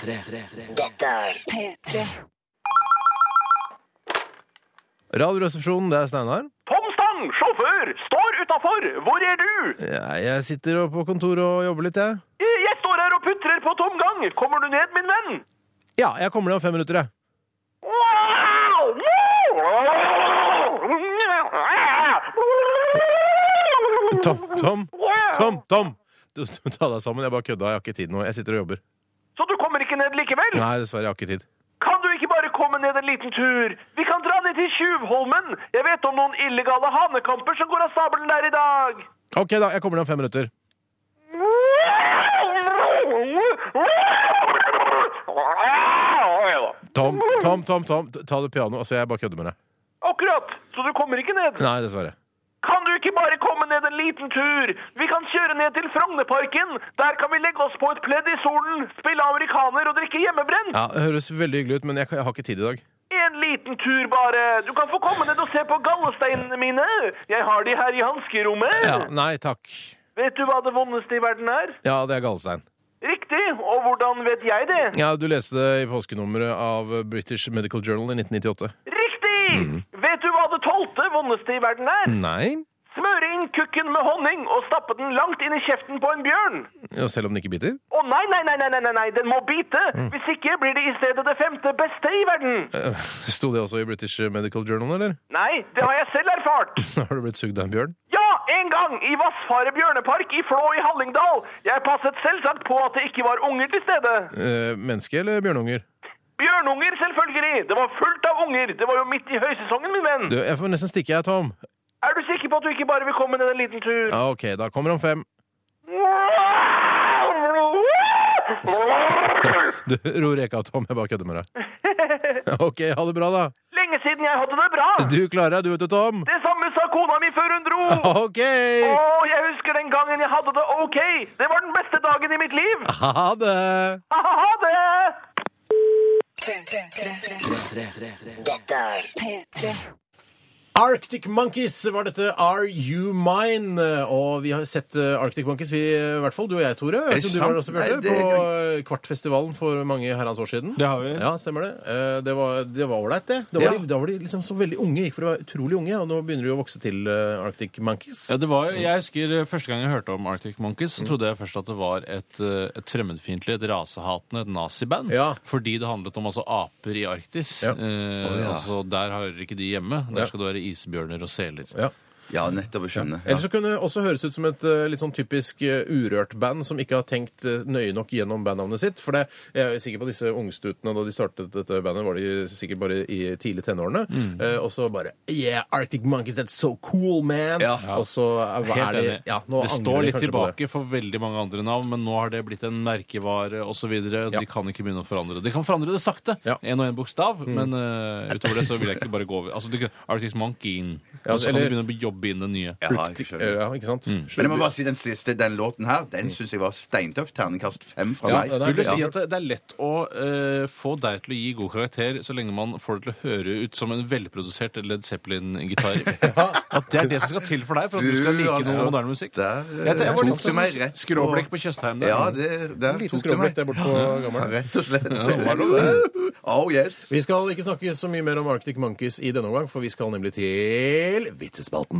Speaker 1: Dette er P3.
Speaker 2: Radioresepsjonen, det er Steinar.
Speaker 6: Tom Stang, sjåfør, står utafor! Hvor er du?
Speaker 2: Jeg sitter på kontoret og jobber litt, jeg.
Speaker 6: Eh, Jeg står her og putrer på tomgang. Kommer du ned, min venn?
Speaker 2: Ja, jeg kommer ned om fem minutter, jeg. Tom, Tom, Tom, Tom! Du, du, ta deg sammen. Jeg bare kødda. Jeg har ikke tid nå. Jeg sitter og jobber.
Speaker 6: Så du kommer ikke ned likevel?
Speaker 2: Nei, dessverre. Jeg har ikke tid.
Speaker 6: Kan du ikke bare komme ned en liten tur? Vi kan dra ned til Tjuvholmen. Jeg vet om noen illegale hanekamper som går av stabelen der i dag.
Speaker 2: OK, da. Jeg kommer ned om fem minutter. Tom, Tom, Tom, Tom, t- ta det piano. Altså, jeg bare kødder med deg.
Speaker 6: Akkurat. Så du kommer ikke ned?
Speaker 2: Nei, dessverre.
Speaker 6: Kan du ikke bare komme ned en liten tur? Vi kan kjøre ned til Frognerparken. Der kan vi legge oss på et pledd i solen, spille amerikaner og drikke hjemmebrent.
Speaker 2: Ja, Det høres veldig hyggelig ut, men jeg, kan- jeg har ikke tid i dag.
Speaker 6: En liten tur bare. Du kan få komme ned og se på gallesteinene mine. Jeg har de her i hanskerommet.
Speaker 2: Ja, Nei takk.
Speaker 6: Vet du hva det vondeste i verden er?
Speaker 2: Ja, det er gallestein.
Speaker 6: Riktig. Og hvordan vet jeg det?
Speaker 2: Ja, Du leste det i påskenummeret av British Medical Journal i 1998.
Speaker 6: Riktig!
Speaker 2: Mhm.
Speaker 6: Vet du hva det tolvte vondeste i verden er?
Speaker 2: Nei.
Speaker 6: Smøre inn kukken med honning og stappe den langt inn i kjeften på en bjørn.
Speaker 2: Ja, selv om den ikke biter?
Speaker 6: Å nei, nei, nei, nei, nei, nei, nei, den må bite! Hvis ikke blir det i stedet det femte beste i verden.
Speaker 2: Eh, Sto det også i British Medical Journal, eller?
Speaker 6: Nei, det har jeg selv erfart.
Speaker 2: Har du blitt sugd av en bjørn?
Speaker 6: Ja, en gang i Vassfaret bjørnepark i Flå i Hallingdal. Jeg passet selvsagt på at det ikke var unger til stede.
Speaker 2: Eh, menneske eller bjørnunger?
Speaker 6: Bjørnunger, selvfølgelig! Det var fullt av unger! Det var jo midt i høysesongen, min venn!
Speaker 2: Du, jeg får nesten stikke, jeg, Tom.
Speaker 6: Er du sikker på at du ikke bare vil komme ned en liten tur?
Speaker 2: Ja, OK, da kommer om fem. Du, ro reka, Tom. Jeg bare kødder med deg. OK, ha det bra, da.
Speaker 6: Lenge siden jeg hadde det bra!
Speaker 2: Du klarer deg, du, vet du, Tom.
Speaker 6: Det samme sa kona mi før hun dro!
Speaker 2: OK!
Speaker 6: Å, jeg husker den gangen jeg hadde det ok! Det var den beste dagen i mitt liv!
Speaker 2: Ha det!
Speaker 6: Ha det!
Speaker 2: Arctic Monkeys var dette Are You Mine? Og vi har sett eh, Arctic Monkeys, vi, i hvert fall du og jeg, Tore. Jeg vet ikke om du var
Speaker 3: sant?
Speaker 2: der også, Bjarte,
Speaker 3: Nei, det-
Speaker 2: på eh, Kvartfestivalen for mange herrens år siden.
Speaker 4: Det har vi.
Speaker 2: Ja, stemmer det. Eh, Det var det var ålreit, det. Da var,
Speaker 3: Ja.
Speaker 2: de, da var de liksom så veldig unge, gikk for å være utrolig unge, og nå begynner de å vokse til eh, Arctic Monkeys.
Speaker 4: Ja, det var, jo- jeg husker eh, Første gang jeg hørte om Arctic
Speaker 2: Mm.
Speaker 4: Monkeys, så trodde jeg først at det var et, eh, et fremmedfiendtlig, et rasehatende, et naziband.
Speaker 2: Ja.
Speaker 4: Fordi det handlet om altså, aper i Arktis.
Speaker 2: Ja.
Speaker 4: Eh, altså, der hører ikke de hjemme. Der skal det være isbjørner og seler.
Speaker 2: Ja.
Speaker 3: Ja, nettopp. Jeg skjønner.
Speaker 2: Eller så kunne det også høres ut som et eh, litt sånn typisk eh, urørt band som ikke har tenkt eh, nøye nok gjennom bandnavnet sitt. For det, jeg er sikker på at disse ungstutene da de startet dette bandet, var de sikkert bare i tidlig tenårene.
Speaker 3: Mm.
Speaker 2: Eh, og så bare Yeah, Arctic Monkeys, that's so cool, man!
Speaker 3: Ja.
Speaker 2: Og så er, hva
Speaker 4: Helt
Speaker 2: er de
Speaker 4: enig.
Speaker 2: ja, nå
Speaker 4: det
Speaker 2: angrer
Speaker 4: står
Speaker 2: de kanskje
Speaker 4: litt
Speaker 2: på det.
Speaker 4: tilbake for veldig mange andre navn, men nå har det blitt en merkevare osv.
Speaker 2: Ja.
Speaker 4: De kan ikke begynne å forandre det. De kan forandre det sakte,
Speaker 2: Ja. Mm.
Speaker 4: en og en bokstav, men eh, utover det så vil jeg ikke bare gå over. Altså, du kan- Arctic Monkeyen.
Speaker 2: Ja,
Speaker 4: og så kan
Speaker 2: eller-
Speaker 4: du begynne å jobbe inn det nye.
Speaker 3: Ja, jeg skjønner.
Speaker 2: Ja, ikke sant?
Speaker 3: Men jeg må bare si den siste, den låten her, den syns jeg var steintøff. Terningkast fem fra
Speaker 2: Ja,
Speaker 3: meg.
Speaker 2: den er
Speaker 4: Vil du
Speaker 2: Ja.
Speaker 4: si at det, det er lett å eh, få deg til å gi god karakter så lenge man får det til å høre ut som en velprodusert Led Zeppelin-gitar? At det er det som skal til for deg for at du skal
Speaker 3: Du,
Speaker 4: like
Speaker 3: altså,
Speaker 4: noe moderne musikk?
Speaker 3: der, eh,
Speaker 4: jeg, jeg var
Speaker 3: tok
Speaker 4: litt
Speaker 3: du
Speaker 4: sånn
Speaker 3: meg rett på-
Speaker 4: skråblikk på Tjøstheim der.
Speaker 3: Ja, det, der
Speaker 2: Lite
Speaker 3: tok du meg.
Speaker 2: skråblikk der borte på
Speaker 3: Ja,
Speaker 2: gammelen.
Speaker 3: Rett og slett.
Speaker 2: var lov,
Speaker 3: oh yes.
Speaker 2: Vi skal ikke snakke så mye mer om Arctic Monkeys i denne omgang, for vi skal nemlig til Vitsespalten.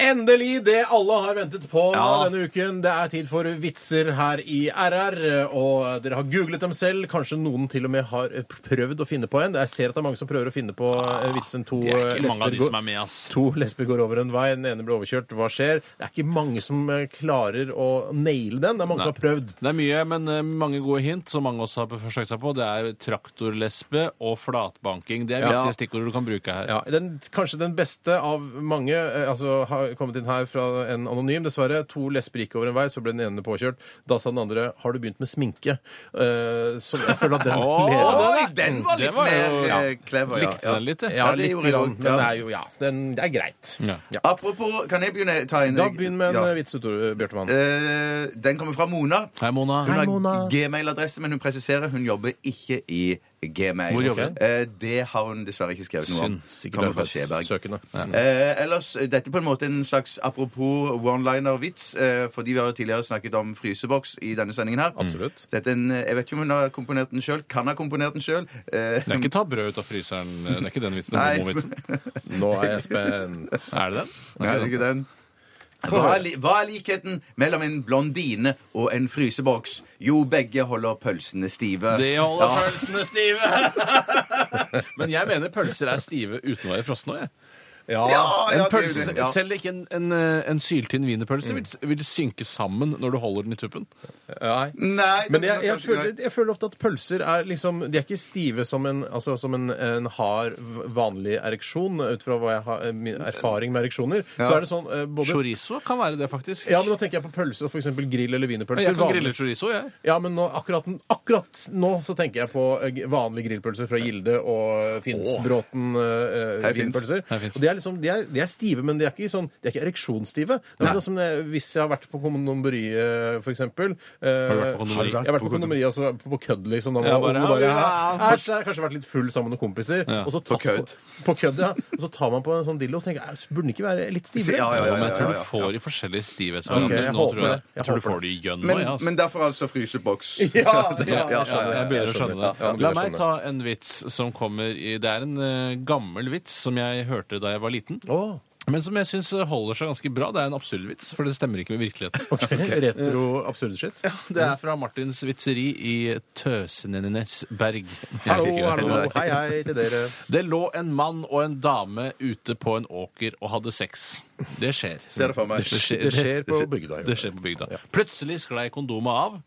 Speaker 2: Endelig det alle har ventet på
Speaker 3: Ja.
Speaker 2: denne uken. Det er tid for vitser her i RR. Og dere har googlet dem selv. Kanskje noen til og med har eh, prøvd å finne på en. Jeg ser at det er mange som prøver å finne på eh, vitsen to
Speaker 4: Ah, Det er
Speaker 2: eh,
Speaker 4: ikke mange av
Speaker 2: lesber
Speaker 4: de som
Speaker 2: går,
Speaker 4: er med, ass.
Speaker 2: to lesber går over en vei, den ene blir overkjørt. Hva skjer? Det er ikke mange som eh, klarer å naile den. Det er mange som har prøvd.
Speaker 4: Det er mye, men eh, mange gode hint som mange også har forsøkt seg på. Det er traktorlesbe og flatbanking. Det er
Speaker 2: Ja.
Speaker 4: viktige stikkord du kan bruke her.
Speaker 2: Ja, den, kanskje den beste av mange eh, altså, har kommet inn her fra en anonym, dessverre. To lesber gikk over en vei, så ble den ene påkjørt. Da sa den andre 'Har du begynt med sminke?' Eh, så jeg føler at den
Speaker 4: Åh,
Speaker 2: leder.
Speaker 3: Oi, den var
Speaker 4: Det
Speaker 3: litt
Speaker 4: var jo-
Speaker 3: mer eh, clever, ja.
Speaker 4: Likte den litt, jeg.
Speaker 2: Ja,
Speaker 3: det
Speaker 2: litt
Speaker 3: gjorde
Speaker 2: grann,
Speaker 3: jeg også,
Speaker 2: men
Speaker 3: ja.
Speaker 2: det er jo ja, den, det er greit.
Speaker 4: Ja.
Speaker 3: Apropos, kan jeg begynne ta en
Speaker 2: Da begynn med en
Speaker 3: Ja.
Speaker 2: eh, vits, du, Tore Bjørtemann.
Speaker 3: Eh, Den kommer fra Mona.
Speaker 4: Hei, Mona.
Speaker 2: Hei,
Speaker 3: Hun
Speaker 2: Mona.
Speaker 3: har Gmail-adresse, men hun presiserer hun jobber ikke i Gmail.
Speaker 4: Hvor jobber hun?
Speaker 3: Eh, Det har hun dessverre ikke skrevet noe om.
Speaker 4: Synd.
Speaker 3: Kommer fra Skjeberg.
Speaker 2: Søkende.
Speaker 3: Eh, ellers, Dette er på en måte en slags apropos one-liner-vits. Eh, fordi vi har jo tidligere snakket om fryseboks i denne sendingen her.
Speaker 2: Absolutt.
Speaker 3: Dette er en, eh, jeg vet ikke om hun har komponert den sjøl. Kan ha komponert den sjøl. Eh,
Speaker 4: Det er ikke ta brød ut av fryseren. eh, Det er ikke den vitsen.
Speaker 3: Nei.
Speaker 4: Det er homo-vitsen.
Speaker 2: Nå er jeg spent.
Speaker 4: Er det den?
Speaker 3: nei, det er ikke den. Hva er, li hva er likheten mellom en blondine og en fryseboks? Jo, begge holder pølsene stive.
Speaker 4: Det holder pølsene stive! Men jeg mener pølser er stive uten å være frosne. jeg.
Speaker 3: Ja,
Speaker 4: En
Speaker 3: Ah, ja, det er jo
Speaker 4: pølse,
Speaker 3: det, ja.
Speaker 4: Selv ikke en, en, eh, en syltynn wienerpølse vil, vil synke sammen når du holder den i tuppen.
Speaker 2: Nei.
Speaker 3: Nei,
Speaker 2: Men
Speaker 3: det-
Speaker 2: jeg, jeg,
Speaker 3: kanskje
Speaker 2: føler,
Speaker 3: ikke.
Speaker 2: jeg føler ofte at pølser er liksom De er ikke stive som en, altså, som en, en hard, v- vanlig ereksjon, ut fra hva jeg har, eh, min erfaring med ereksjoner. Så er det sånn eh, både
Speaker 4: Chorizo kan være det, faktisk.
Speaker 2: ja, men Nå tenker jeg på pølser, f.eks. grill- eller wienerpølser.
Speaker 4: jeg kan
Speaker 2: Vanlig-
Speaker 4: grille chorizo, jeg.
Speaker 2: Ja, men nå, akkurat, akkurat nå så tenker jeg på eh, g- vanlige grillpølser fra Gilde og Finnsbråten eh,
Speaker 3: Hei, Finns.
Speaker 2: wienerpølser.
Speaker 4: Hei, Finns.
Speaker 2: Og de er, liksom, de, er, de er stive, men de er ikke, sånn, de er ikke ereksjonsstive. Det er akkurat som det- hvis jeg har vært på kondomeriet, for eksempel. eh,
Speaker 4: Har du vært på kondomeriet?
Speaker 2: Jeg har vært på kondomeriet, altså på kødd, liksom. Da man
Speaker 4: Ja,
Speaker 2: var
Speaker 4: bare,
Speaker 2: ung og bare,
Speaker 4: ja, ja, ja.
Speaker 2: Æsj, jeg har kanskje vært litt full sammen med noen kompiser.
Speaker 4: Ja,
Speaker 2: og så
Speaker 3: på
Speaker 2: tatt
Speaker 3: kødd.
Speaker 2: På, på kødd, ja. Og så tar man på en sånn dildo og så tenker jeg, "Æsj, burde den ikke være litt stivere?
Speaker 3: Ja, ja, ja,
Speaker 4: men jeg
Speaker 3: ja,
Speaker 4: tror
Speaker 3: ja, ja.
Speaker 4: du får i forskjellige
Speaker 2: Ok,
Speaker 4: stivhetsvarianter.
Speaker 2: jeg
Speaker 4: Nå
Speaker 2: håper
Speaker 4: tror jeg,
Speaker 2: det. Jeg
Speaker 4: jeg tror du
Speaker 2: håper
Speaker 4: får det i gjønn
Speaker 3: Men,
Speaker 4: nå, jeg, altså.
Speaker 3: men derfor altså fryseboks.
Speaker 2: Ja, det- ja,
Speaker 4: Ja, ja,
Speaker 2: jeg skjønner,
Speaker 4: jeg begynner å
Speaker 2: jeg skjønner.
Speaker 4: skjønne
Speaker 2: Ja,
Speaker 4: det.
Speaker 2: ja,
Speaker 4: La
Speaker 2: jeg
Speaker 4: meg
Speaker 2: skjønner.
Speaker 4: ta en vits som kommer i Det er en eh, gammel vits som jeg hørte da jeg var liten.
Speaker 2: Å,
Speaker 4: Men som jeg syns holder seg ganske bra. Det er en absurdvits, for det stemmer ikke med virkeligheten.
Speaker 2: Retro absurd shit.
Speaker 4: Ja, det er fra Martins vitseri i Tøsenenesberg.
Speaker 2: Hallo, hallo, hei, hei til dere.
Speaker 4: Det lå en mann og en dame ute på en åker og hadde sex. Det skjer.
Speaker 3: Ser det for meg.
Speaker 2: Det skjer på bygda.
Speaker 4: Det skjer på bygda. Plutselig sklei kondomet av.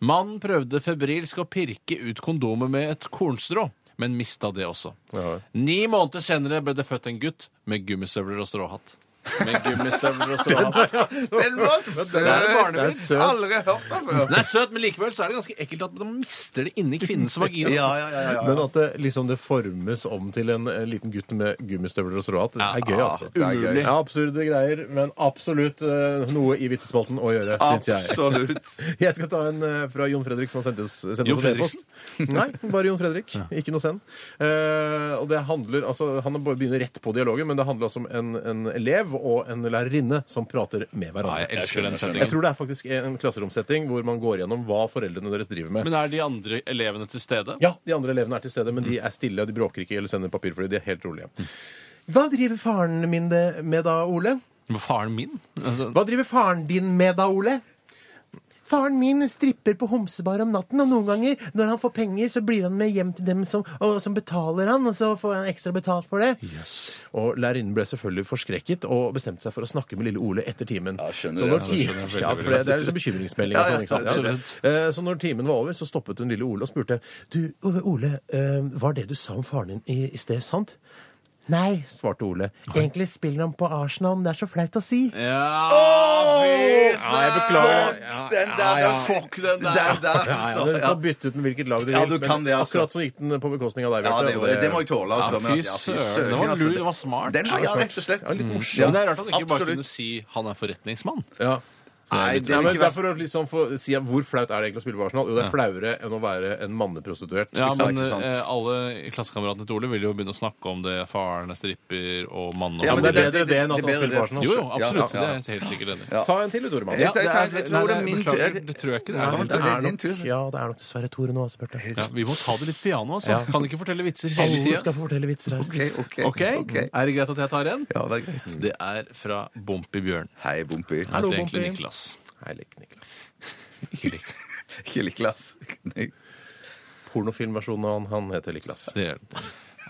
Speaker 4: Mannen prøvde febrilsk å pirke ut kondomet med et kornstrå, men mista det også.
Speaker 2: Ja.
Speaker 4: Ni måneder senere ble det født en gutt med gummistøvler og stråhatt. Med gummistøvler og stråhatt.
Speaker 3: Den var søt!
Speaker 2: er barnevits.
Speaker 3: Det er søt. Aldri hørt den før.
Speaker 4: Den er søt, men likevel så er det ganske ekkelt at man mister det inni kvinnens vagina.
Speaker 3: Ja, ja, ja, ja, ja.
Speaker 2: Men at det liksom det formes om til en, en liten gutt med gummistøvler og stråhatt, det er gøy, altså.
Speaker 3: det er gøy.
Speaker 2: Ja, absurde greier, men absolutt eh, noe i vitsespalten å gjøre, syns jeg.
Speaker 3: Absolutt.
Speaker 2: Jeg skal ta en eh, fra Jon Fredrik, som har sendt oss, sendt
Speaker 4: Jon
Speaker 2: oss en e-post. Nei, bare Jon Fredrik. Ikke noe send. Eh, og det handler, altså, Han bare begynner rett på dialogen, men det handler altså om en, en elev og en lærerinne som prater med
Speaker 4: Nei,
Speaker 2: hverandre.
Speaker 4: jeg elsker den
Speaker 2: Jeg
Speaker 4: settingen.
Speaker 2: tror det er faktisk en klasseromsetting hvor man går gjennom hva foreldrene deres driver med.
Speaker 4: Men er de andre elevene til stede?
Speaker 2: Ja, de andre elevene er til stede, men de er stille, og de bråker ikke eller sender papir fordi de er helt rolige. Hva driver faren min det- med da, Ole?
Speaker 4: Faren min? Altså,
Speaker 2: Hva driver faren din med da, Ole? Faren min stripper på homsebar om natten, og noen ganger når han får penger, så blir han med hjem til dem som, og, som betaler han, og så får han ekstra betalt for det. Og lærerinnen ble selvfølgelig forskrekket og bestemte seg for å snakke med lille Ole etter timen.
Speaker 3: Ja, skjønner
Speaker 2: så
Speaker 3: det.
Speaker 2: når
Speaker 3: Ja,
Speaker 2: ti-
Speaker 4: det skjønner jeg veldig,
Speaker 2: ja, for det, det er liksom bekymringsmelding og
Speaker 3: Ja, ja,
Speaker 2: sånn. ikke sant? Ja,
Speaker 4: absolutt.
Speaker 2: Eh, Så når timen var over, så stoppet hun lille Ole og spurte Du, Ole, eh, var det du sa om faren din i, i sted sant? Nei, svarte Ole. Egentlig spiller han på Arsenal, men det er så flaut å si.
Speaker 4: Ja,
Speaker 2: Ja, jeg beklager.
Speaker 3: Den der, fuck den der. Den
Speaker 2: Ja,
Speaker 3: der
Speaker 2: ja, du
Speaker 3: altså.
Speaker 2: kan bytte ut den hvilket lag du vil,
Speaker 3: Ja, du kan
Speaker 2: men
Speaker 3: det, altså.
Speaker 2: akkurat så gikk den på bekostning av deg.
Speaker 3: Ja,
Speaker 2: Bjarte,
Speaker 3: det,
Speaker 2: og
Speaker 3: det, det må jeg
Speaker 4: Sånn,
Speaker 3: tåle.
Speaker 4: Ja,
Speaker 3: Altså. men-
Speaker 4: fy søren. Det var
Speaker 3: altså.
Speaker 4: lur, det var smart.
Speaker 3: Den var ja, rett og slett.
Speaker 4: Ja,
Speaker 3: Ja.
Speaker 4: Men det er rart at han ikke bare
Speaker 3: Absolutt.
Speaker 4: kunne si 'han er forretningsmann'.
Speaker 2: Ja.
Speaker 3: Nei, det
Speaker 2: Nei,
Speaker 3: vil
Speaker 2: men det
Speaker 3: ikke
Speaker 2: er
Speaker 3: være
Speaker 2: for å liksom få si at Hvor flaut er det egentlig å spille på Arsenal? Jo, det er flauere enn å være en manneprostituert.
Speaker 4: Ja,
Speaker 2: liksom.
Speaker 4: men
Speaker 3: ikke sant.
Speaker 4: eh, alle klassekameratene til Ole vil jo begynne å snakke om det. Faren er stripper, og mannen og
Speaker 2: Ja, men det er
Speaker 4: mannen.
Speaker 2: bedre det enn at han
Speaker 3: det er
Speaker 2: spiller
Speaker 3: bedre
Speaker 2: på Arsenal.
Speaker 4: Jo, jo, absolutt.
Speaker 3: Ja, ja, ja.
Speaker 4: Det er jeg helt sikkert enig i.
Speaker 3: Ja.
Speaker 2: Ta en til, du, Tormann.
Speaker 3: eh, Ja,
Speaker 4: det,
Speaker 3: jeg- jeg- jeg
Speaker 4: er-
Speaker 3: tror det er
Speaker 4: nei,
Speaker 3: min
Speaker 4: beklager,
Speaker 3: tur.
Speaker 4: det tror jeg ikke.
Speaker 3: Ja,
Speaker 4: Det er.
Speaker 3: men det er din tur.
Speaker 2: Ja, det er nok dessverre Tore nå, altså, Bjarte.
Speaker 4: Ja, vi må ta det litt piano, altså.
Speaker 2: Ja.
Speaker 4: Kan ikke fortelle vitser hele
Speaker 2: Alle skal
Speaker 4: tida.
Speaker 2: få fortelle vitser her.
Speaker 3: Ok, ok.
Speaker 4: Ok,
Speaker 3: ok.
Speaker 4: Er det greit at jeg tar en?
Speaker 3: Ja, det er greit.
Speaker 4: Det er fra Bompi Bjørn.
Speaker 3: Hei, Bompi.
Speaker 4: Han
Speaker 2: Hallo,
Speaker 4: heter egentlig
Speaker 2: Bompi.
Speaker 4: Niklas.
Speaker 2: Hei, Lek Niklas.
Speaker 4: Ikke likt.
Speaker 3: Ikke Niklas. Nei.
Speaker 2: Pornofilmversjonen av han, han heter Niklas.
Speaker 4: Det gjør den.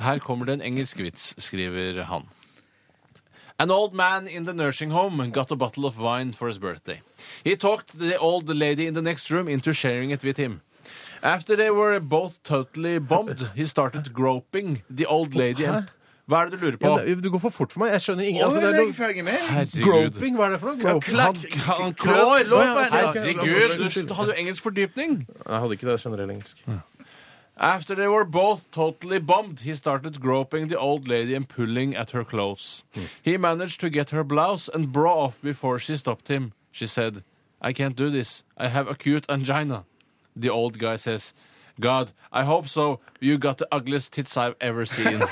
Speaker 4: Her kommer det en engelsk vits, skriver han. An old man in the nursing home got a bottle of wine for his birthday. He talked the old lady in the next room into sharing it with him. After they were both totally bombed, he started groping the old lady and Hva er det du lurer på?
Speaker 2: Ja, det- du går for fort for meg. Jeg skjønner ingen
Speaker 3: Altså,
Speaker 2: altså, det er noe-
Speaker 3: følger med.
Speaker 4: uh, Herregud.
Speaker 2: Groping, hva er det for noe? Groping.
Speaker 4: Han, han klår!
Speaker 3: Lår, lår,
Speaker 2: ja, ok.
Speaker 4: Herregud, du hadde jo engelsk
Speaker 2: Nei,
Speaker 4: fordypning.
Speaker 2: Jeg hadde ikke det generell engelsk.
Speaker 4: After they were both totally bombed, he started groping the old lady and pulling at her clothes.
Speaker 2: Hmm.
Speaker 4: He managed to get her blouse and bra off before she stopped him. She said, I can't do this. I have acute angina. The old guy says, God, I hope so. You got the ugliest tits I've ever seen.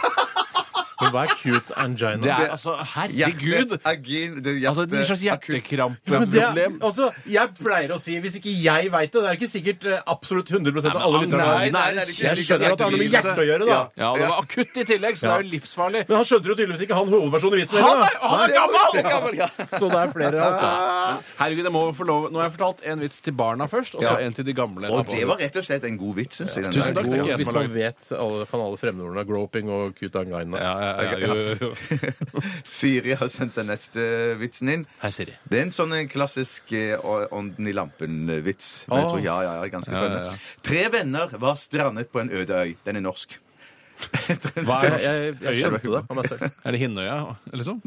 Speaker 2: Men hva er cute angina?
Speaker 4: Det er altså Herregud!
Speaker 3: Hjerte, agil, det er hjerte,
Speaker 4: Altså, det er en slags
Speaker 3: akutt.
Speaker 2: Ja, men det er,
Speaker 4: hjertekrampeproblem.
Speaker 2: altså, jeg pleier å si, hvis ikke jeg veit det Det er ikke sikkert eh, absolutt 100 av
Speaker 4: Nei,
Speaker 2: alle
Speaker 4: men
Speaker 2: lytterne.
Speaker 4: angina er
Speaker 2: Nei,
Speaker 4: ikke-
Speaker 2: Jeg skjønner at det har noe med hjertet å gjøre, da.
Speaker 4: Ja, og det var akutt i tillegg, så det er jo livsfarlig.
Speaker 2: Men han skjønte jo tydeligvis ikke han hovedpersonen i vitsen.
Speaker 4: Han
Speaker 2: heller,
Speaker 4: er, han er gammel!
Speaker 2: da. Så det er flere av oss,
Speaker 4: altså.
Speaker 2: da.
Speaker 4: Herregud, jeg må få lov Nå har jeg fortalt en vits til barna først, og så
Speaker 2: Ja.
Speaker 4: en til de gamle.
Speaker 3: Og det var rett og slett en god vits, syns jeg. den
Speaker 4: Tusen
Speaker 3: der.
Speaker 4: takk.
Speaker 3: God-
Speaker 4: ikke jeg
Speaker 2: Hvis
Speaker 4: som har
Speaker 2: man vet alle, kan alle fremmedordene groping og cute angina.
Speaker 4: ja, ja, ja, jo, jo, jo.
Speaker 3: Siri har sendt den neste vitsen inn.
Speaker 4: Hei, Siri.
Speaker 3: Det er en sånn en klassisk eh, å- ånden i lampen-vits. Men jeg
Speaker 2: Åh.
Speaker 3: tror, ja, ja, ja, ganske
Speaker 4: Ja, ja,
Speaker 3: spennende.
Speaker 4: ja.
Speaker 3: Tre venner var strandet på en øde øy. Den er norsk.
Speaker 4: Hva
Speaker 2: Jeg,
Speaker 4: er,
Speaker 2: jeg, jeg skjønte det av meg selv.
Speaker 4: er det Hinnøya, liksom?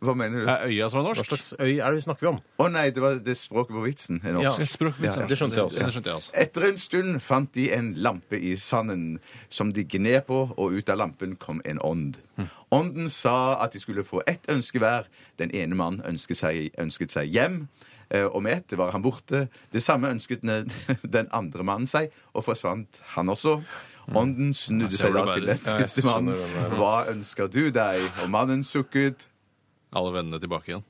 Speaker 3: Hva mener du? Å
Speaker 4: Er øya som er
Speaker 2: Hva
Speaker 4: norsk?
Speaker 2: slags øy er det vi snakker om?
Speaker 3: nei, det var det språket på vitsen. er norsk.
Speaker 2: Ja.
Speaker 4: Språkvits,
Speaker 2: Ja, ja. Det skjønte jeg også.
Speaker 4: Ja, det skjønte jeg også.
Speaker 3: Etter en stund fant de en lampe i sanden som de gned på, og ut av lampen kom en ånd.
Speaker 4: Hm.
Speaker 3: Ånden sa at de skulle få ett ønske hver. Den ene mannen ønsket seg, ønsket seg hjem. eh, Og med ett var han borte. Det samme ønsket ne- den andre mannen seg, og forsvant han også. Ånden
Speaker 4: Hm.
Speaker 3: snudde
Speaker 4: Jeg ser
Speaker 3: seg da
Speaker 4: det
Speaker 3: til
Speaker 4: bare.
Speaker 3: den siste mannen. Hva ønsker du deg? Og mannen sukket.
Speaker 4: Alle vennene tilbake igjen.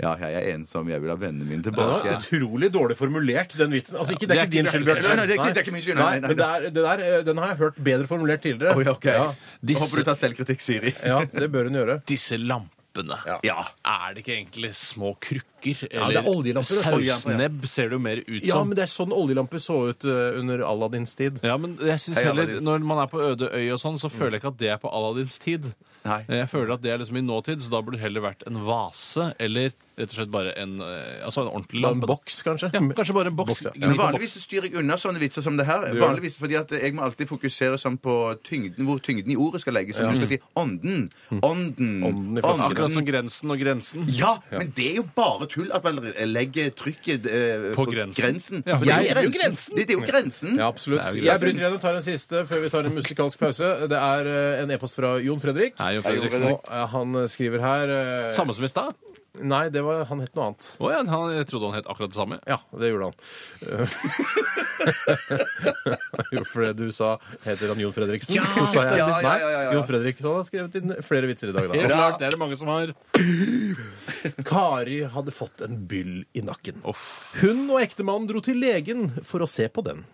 Speaker 3: Ja, jeg er ensom, jeg vil ha vennene mine
Speaker 2: Det var
Speaker 3: tilbake.
Speaker 2: utrolig dårlig formulert, den vitsen. Altså, ikke, det er ikke din skyld, Bjørte.
Speaker 3: Nei, nei, det er ikke- det er ikke min skyld, nei,
Speaker 2: Nei,
Speaker 3: nei,
Speaker 2: men det er, det der, eh, den har jeg hørt bedre formulert tidligere.
Speaker 3: Oi, ok.
Speaker 2: Ja.
Speaker 3: Jeg Håper du tar selvkritikk, Siri.
Speaker 2: ja, det bør hun gjøre.
Speaker 4: Disse lampene lampene.
Speaker 3: Ja.
Speaker 4: Er det ikke egentlig små krukker?
Speaker 2: det er oljelamper, vet du.
Speaker 4: Sausnebb ser det jo mer ut som.
Speaker 2: Ja, men det er sånn oljelamper så ut eh, under Aladdins tid.
Speaker 4: Ja, men jeg synes
Speaker 3: Hei,
Speaker 4: heller
Speaker 3: Aladdin.
Speaker 4: Når
Speaker 3: Mm.
Speaker 4: man er på øde øy og sånn, så føler jeg ikke at det er på Aladdins tid.
Speaker 3: Nei.
Speaker 4: Jeg føler at det er liksom i nåtid, så da burde det heller vært en vase eller rett og slett bare en, eh, altså en ordentlig
Speaker 2: En
Speaker 4: lampe.
Speaker 2: boks, kanskje?
Speaker 4: Ja, kanskje bare en boks.
Speaker 2: Boks, ja.
Speaker 4: Ligger
Speaker 3: Men
Speaker 4: på en
Speaker 3: vanligvis så styrer jeg unna sånne vitser som det her.
Speaker 2: gjør det.
Speaker 3: Vanligvis fordi at Jeg må alltid fokusere sånn på tyngden, hvor tyngden i ordet skal legges. Som du skal si ånden. Ånden.
Speaker 2: Ånden i
Speaker 4: boks.
Speaker 2: flasken.
Speaker 4: Akkurat som grensen og grensen.
Speaker 3: Ja, men det er jo bare tull at man legger trykket eh,
Speaker 4: På grensen.
Speaker 3: Ja,
Speaker 4: for
Speaker 3: det,
Speaker 2: jeg
Speaker 3: er jo grensen. Det, det er jo grensen.
Speaker 2: Ja, absolutt.
Speaker 4: Det er jo
Speaker 2: Jeg
Speaker 4: greit.
Speaker 2: bryter igjen og tar en siste før vi tar en musikalsk pause. Det er eh, en e-post fra Jon Fredrik.
Speaker 4: Nei, Jon Fredriksen.
Speaker 2: Og, eh, han skriver her eh,
Speaker 4: Samme som i stad?
Speaker 2: Nei, det var, han het noe annet.
Speaker 4: Å ja, han, jeg trodde han het akkurat det samme.
Speaker 2: Ja, det gjorde han. Eh, jo, for det du sa heter han Jon Fredriksen.
Speaker 3: Ja,
Speaker 2: Så sa jeg,
Speaker 3: ja, ja, ja, ja, ja.
Speaker 2: Nei, Jon Fredrik. Så han har skrevet inn flere vitser i dag,
Speaker 4: Helt
Speaker 2: da. Altså,
Speaker 4: klart, det er det mange som har.
Speaker 2: Kari hadde fått en byll i nakken.
Speaker 4: Uff.
Speaker 2: Hun og ektemannen dro til legen for å se på den.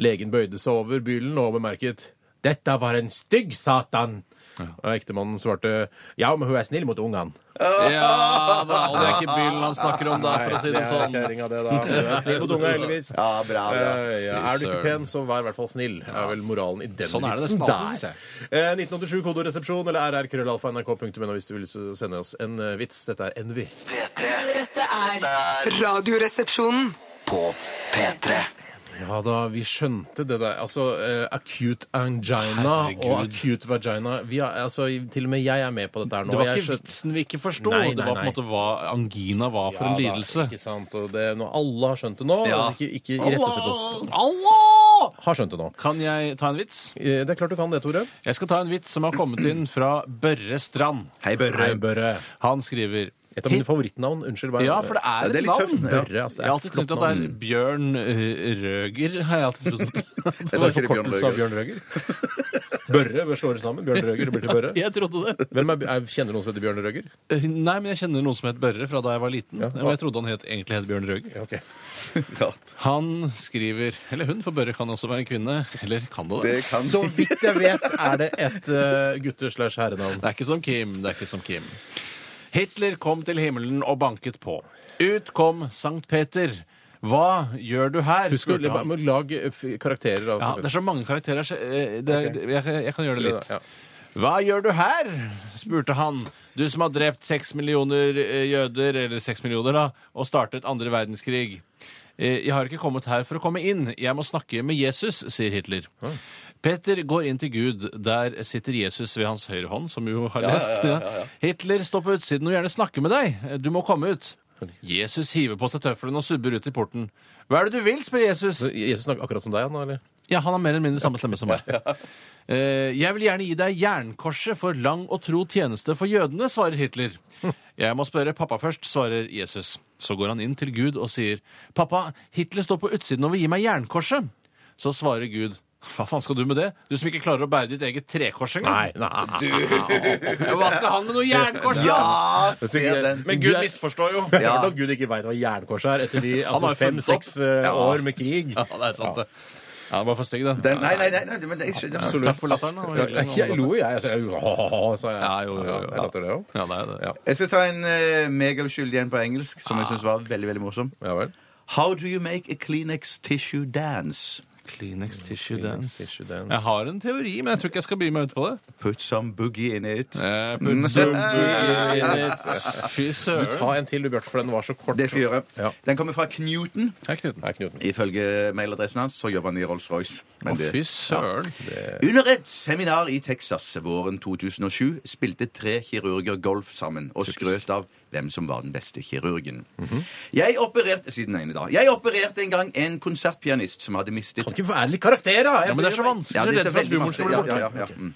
Speaker 2: Legen bøyde seg over byllen og bemerket 'Dette var en stygg satan'. Og ektemannen svarte 'Ja, men hun er snill mot ungene'.
Speaker 4: Ja da, og det er ikke byllen han snakker om da, for å si det sånn.
Speaker 2: kjerringa, det, da. Hun er snill mot unga, heldigvis.
Speaker 3: Ja, bra, bra.
Speaker 2: Eh, ja. Er du ikke pen, så vær i hvert fall snill. er vel moralen i den
Speaker 4: Sånn er det
Speaker 2: vitsen
Speaker 4: nesten alltid,
Speaker 2: der. Eh, 1987 kodoresepsjon eller rrkrøllalfa.nrk.no hvis du vil så sende oss en eh, vits. Dette er Envy.
Speaker 7: Dette er Radioresepsjonen.
Speaker 5: På P3
Speaker 2: Ja da, vi skjønte det der. Altså, eh, acute angina
Speaker 4: Herregud.
Speaker 2: og acute vagina vi er, altså, Til og med jeg er med på dette her nå.
Speaker 4: Det var
Speaker 2: Jeg
Speaker 4: ikke
Speaker 2: skjøn-
Speaker 4: vitsen vi ikke forsto.
Speaker 2: Nei,
Speaker 4: Det
Speaker 2: nei,
Speaker 4: var på en
Speaker 2: nei.
Speaker 4: måte hva angina var for
Speaker 2: Ja
Speaker 4: en
Speaker 2: da,
Speaker 4: lidelse.
Speaker 2: Ikke sant, og det, nå, Alle har skjønt det nå.
Speaker 4: Ja.
Speaker 2: og Ikke, ikke irettesett oss.
Speaker 4: Allah!
Speaker 2: Har skjønt det nå.
Speaker 4: Kan jeg ta en vits?
Speaker 2: Eh, Det er klart du kan det, Tore.
Speaker 4: Jeg skal ta en vits som har kommet inn fra Børre Strand.
Speaker 3: Hei, Børre.
Speaker 2: Nei, Børre.
Speaker 4: Han skriver
Speaker 2: Et av mine favorittnavn. Unnskyld. hva er-
Speaker 4: ja, for det
Speaker 3: Ja,
Speaker 4: er
Speaker 3: det er
Speaker 4: et
Speaker 3: litt tøft,
Speaker 4: navn.
Speaker 3: det.
Speaker 2: Børre, altså, det
Speaker 4: Jeg
Speaker 2: er et
Speaker 4: har alltid sånn
Speaker 2: flott
Speaker 4: trodd at det er
Speaker 2: navn.
Speaker 4: Bjørn eh, Røger. Har jeg alltid trodd at
Speaker 3: Jeg
Speaker 2: Det var
Speaker 3: tror ikke det er Bjørn
Speaker 2: forkortelse av
Speaker 3: Løger.
Speaker 2: Bjørn Røger. Børre vi slår det sammen. Bjørn Røger det blir til Børre.
Speaker 4: Jeg trodde det.
Speaker 2: Hvem er, er, kjenner du noen som heter Bjørn Røger?
Speaker 4: Eh, Nei, men jeg kjenner noen som het Børre fra da jeg var liten.
Speaker 2: Ja.
Speaker 4: Og jeg trodde han het, egentlig het Bjørn Røger.
Speaker 2: Ja, ok.
Speaker 3: Klart.
Speaker 4: Han skriver Eller hun, for Børre kan også være en kvinne. Eller kan det
Speaker 3: Det
Speaker 4: det?
Speaker 3: kan
Speaker 2: Så vidt jeg vet, er det et
Speaker 4: eh,
Speaker 2: uh, gutter-slash-herrenavn.
Speaker 4: Det er ikke som Kim. Det er ikke som Kim. Hitler kom til himmelen og banket på. Ut kom Sankt Peter. Hva gjør du her?
Speaker 2: Husk å
Speaker 4: spurte han.
Speaker 2: lage eh, karakterer. altså. av
Speaker 4: Ja, det er så mange karakterer. Så eh, det, er- jeg, jeg kan gjøre det litt.
Speaker 2: Ja.
Speaker 4: Hva gjør du her? spurte han. Du som har drept seks millioner eh, jøder, eller seks millioner, da, og startet andre verdenskrig. Eh, Jeg har ikke kommet her for å komme inn. Jeg må snakke med Jesus, sier Hitler. Peter går inn til Gud. Der sitter Jesus ved hans høyre hånd, som vi jo har lest. Hitler, stopp på utsiden og gjerne snakke med deg. Du må komme ut. Jesus hiver på seg tøflene og subber ut i porten. Hva er det du vil? spør Jesus.
Speaker 2: Jesus snakker akkurat som deg, han, eller?
Speaker 4: Ja, han har mer eller mindre samme stemme som meg. Eh, jeg vil gjerne gi deg jernkorset for lang og tro tjeneste for jødene, svarer Hitler. Jeg må spørre pappa først, svarer Jesus. Så går han inn til Gud og sier, pappa, Hitler står på utsiden og vil gi meg jernkorset. Så svarer Gud, hva faen skal du med det? Du som ikke klarer å bære ditt eget trekors engang. Ja, Hva skal han med noe jernkors? da?
Speaker 3: Ja, se den.
Speaker 4: Men Gud misforstår jo.
Speaker 2: Det er klart at Gud ikke veit hva jernkorset er etter de altså,
Speaker 4: har jo funnet
Speaker 2: fem-seks
Speaker 4: opp. Ja.
Speaker 2: år med krig.
Speaker 4: Ja, det er sant det. Ja, det var for stygg, det.
Speaker 3: Den, nei, nei, nei, nei, men jeg skjønner.
Speaker 4: Takk for latteren. da. Det var hyggelig.
Speaker 2: Jeg lo, jeg. Altså, jeg «Åh», sa jeg.
Speaker 4: Ja, jo, jo, jo.
Speaker 2: Ja, jeg latter det òg.
Speaker 4: Ja, det er det.
Speaker 3: Jeg skal ta en uh, megauskyldig en på engelsk, som jeg syns var veldig veldig morsom.
Speaker 2: Ja vel.
Speaker 3: How do you make a Kleenex tissue dance?
Speaker 4: Kleenex tissue
Speaker 2: dance.
Speaker 4: Jeg har en teori, men jeg tror ikke jeg skal bry meg ut på det.
Speaker 3: Put some boogie in it.
Speaker 4: Eh, Fy søren.
Speaker 2: Ta en til, du, Bjarte, for den var så kort.
Speaker 3: Det skal jeg gjøre.
Speaker 2: Ja.
Speaker 3: Den kommer fra Knuten.
Speaker 2: Hei, Knuten. Hei, Knuten.
Speaker 3: Ifølge mailadressen hans så jobber han i Rolls-Royce. Men det-
Speaker 4: Fy søren.
Speaker 3: Under et seminar i Texas våren 2007 spilte tre kirurger golf sammen og skrøt av hvem som var den beste kirurgen.
Speaker 4: Mhm.
Speaker 3: Jeg opererte siden den ene dag. Jeg opererte en gang en konsertpianist som hadde mistet
Speaker 2: Kan ikke være litt karakter, da! Jeg
Speaker 4: Ja, men det er så vanskelig.
Speaker 3: Ja,
Speaker 4: Jeg er
Speaker 3: disse
Speaker 4: redd for at
Speaker 3: veldig
Speaker 4: humoren
Speaker 3: masse-
Speaker 4: skal bli
Speaker 3: ja,
Speaker 4: borte.
Speaker 3: ja, ja, ja. Mm.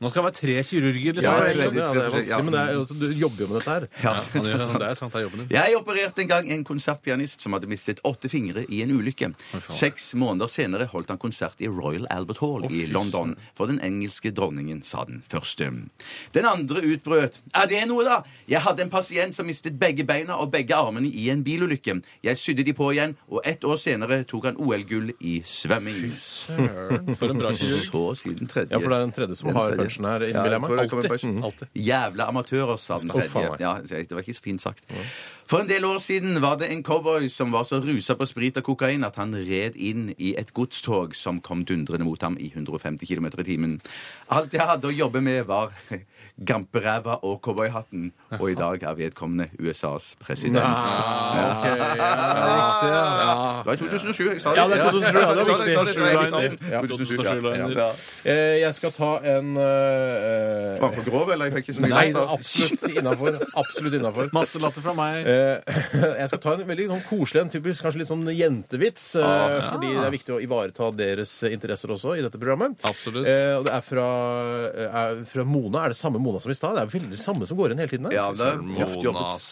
Speaker 4: Nå skal det være tre kirurger,
Speaker 2: Ja,
Speaker 4: liksom.
Speaker 2: jeg skjønner, ja, det er
Speaker 3: Ja.
Speaker 2: vanskelig, men det er, altså, du jobber jo med dette her.
Speaker 4: Ja, han gjør det. Det er sant, det er jobben din.
Speaker 3: Jeg opererte en gang en konsertpianist som hadde mistet åtte fingre i en ulykke. Seks måneder senere holdt han konsert i Royal Albert Hall i London for den engelske dronningen, sa den første. Den andre utbrøt. Er det noe, da? Jeg hadde en pasient som mistet begge beina og begge armene i en bilulykke. Jeg sydde de på igjen, og ett år senere tok han OL-gull i svømming.
Speaker 4: For en bra kirurg.
Speaker 3: Så siden tredje.
Speaker 2: Ja, for det er den tredje som
Speaker 3: Den
Speaker 2: har
Speaker 3: tredje.
Speaker 2: børsen her,
Speaker 3: Ja,
Speaker 2: innbiller
Speaker 3: jeg
Speaker 2: jeg
Speaker 3: tror det
Speaker 2: meg.
Speaker 3: kommer
Speaker 2: Alltid.
Speaker 3: først.
Speaker 2: Mm, alltid.
Speaker 3: Jævla amatører, sa den
Speaker 2: Å, faen
Speaker 3: tredje.
Speaker 2: meg.
Speaker 3: Ja, det var ikke så fint sagt. For en del år siden var det en cowboy som var så rusa på sprit og kokain at han red inn i et godstog som kom dundrende mot ham i 150 km i timen. Alt jeg hadde å jobbe med, var gamperæva og cowboyhatten. Og i dag er vedkommende USAs president.
Speaker 2: Ah, Ok, ja, det er riktig, ja.
Speaker 3: Det var i 2007, jeg sa det.
Speaker 2: Ja, det er 2007, ja, det var
Speaker 3: Jeg sa det, jeg sa det, jeg sa det.
Speaker 2: viktig. Ja,
Speaker 4: 2007,
Speaker 3: Ja.
Speaker 2: Eh, Jeg skal ta en eh,
Speaker 3: Var han for grov, eller? Jeg fikk ikke så mye
Speaker 2: Nei,
Speaker 3: mat da.
Speaker 2: absolutt innafor. Absolutt innafor.
Speaker 4: Masse latter fra meg.
Speaker 2: Eh, Jeg skal ta en veldig sånn koselig en, typisk kanskje litt sånn jentevits. eh, Fordi det er viktig å ivareta deres interesser også i dette programmet.
Speaker 4: Absolutt.
Speaker 2: Eh, Og det er fra, eh, er fra Mona. Er det samme Mona som i stad? Det er veldig samme som går igjen hele tiden. her.
Speaker 3: Ja, det er tøft jobbet.
Speaker 4: Monas.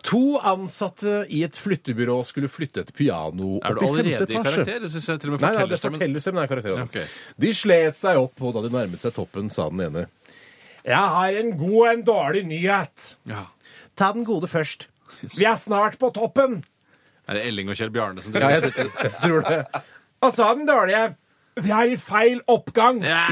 Speaker 2: To ansatte i et flyttebyrå skulle flytte et piano
Speaker 4: Er
Speaker 2: opp
Speaker 4: du
Speaker 2: i
Speaker 4: allerede
Speaker 2: femte
Speaker 4: i
Speaker 2: etasje.
Speaker 4: karakter? Det synes jeg til og med
Speaker 2: Nei, nei, det
Speaker 4: fortellerstemmen-
Speaker 2: fortelles dem, det er karakterer.
Speaker 4: Ja, ok.
Speaker 2: De slet seg opp, og da de nærmet seg toppen, sa den ene. Jeg har en god og en dårlig nyhet.
Speaker 4: Ja.
Speaker 2: Ta den gode først. Vi er snart på toppen.
Speaker 4: Er det Elling og Kjell Bjarne som
Speaker 2: Ja,
Speaker 4: driver
Speaker 2: jeg tror det. Og så den dårlige. Vi er i feil oppgang.
Speaker 4: Ja!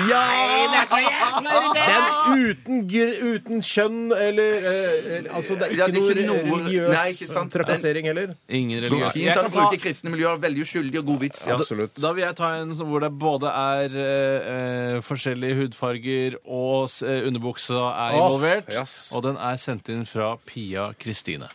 Speaker 2: Den uten, gr uten kjønn eller eh, eller- Altså, det er ikke,
Speaker 3: Ja, det er ikke
Speaker 2: noe
Speaker 3: noe-
Speaker 2: religiøs
Speaker 3: Nei, ikke sant.
Speaker 2: trakassering heller.
Speaker 4: Ingen
Speaker 3: Så
Speaker 4: religiøs
Speaker 3: Fint at han bruker kristne miljøer. Veldig uskyldig og god vits. Ja.
Speaker 2: Absolutt.
Speaker 4: Da vil jeg ta en som- hvor det både er eh, eh, forskjellige hudfarger og s- eh, underbuksa er
Speaker 2: Åh,
Speaker 4: involvert.
Speaker 2: yes.
Speaker 4: Og den er sendt inn fra Pia Kristine.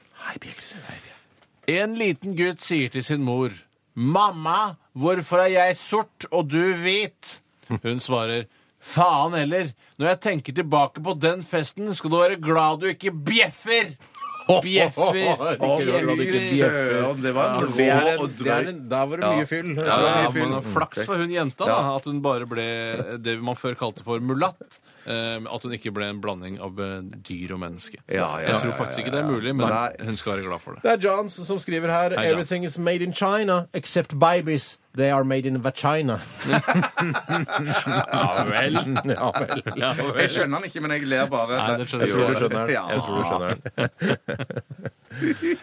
Speaker 4: En liten gutt sier til sin mor Mamma, hvorfor er jeg sort og du hvit? Hun svarer Faen heller, når jeg tenker tilbake på den festen, skal du være glad du ikke bjeffer! Bjeffer!
Speaker 2: Å, fy
Speaker 3: Søren, det var en
Speaker 2: Det er
Speaker 3: rå
Speaker 2: en,
Speaker 3: og
Speaker 2: det er
Speaker 3: drøy
Speaker 2: en, der var det mye fyll. Det
Speaker 4: Ja,
Speaker 2: var
Speaker 4: ja,
Speaker 2: mye fyll.
Speaker 4: men Flaks for hun jenta, da, at hun bare ble det man før kalte for mulatt. eh, At hun ikke ble en blanding av eh, dyr og menneske.
Speaker 3: Ja, ja,
Speaker 4: Jeg tror
Speaker 3: ja,
Speaker 4: faktisk
Speaker 3: ja,
Speaker 4: ikke det er mulig, men
Speaker 3: Nei.
Speaker 4: hun skal være glad for det.
Speaker 2: Det er Johns som skriver her
Speaker 4: John.
Speaker 2: Everything is made in China except babies. They are made in vagina.
Speaker 4: Ja vel.
Speaker 2: ja vel.
Speaker 3: Jeg skjønner han ikke, men jeg ler bare.
Speaker 4: Nei, det skjønner
Speaker 2: Jeg tror du
Speaker 4: jeg.
Speaker 2: skjønner den.
Speaker 3: Ja.
Speaker 2: Jeg tror du skjønner den.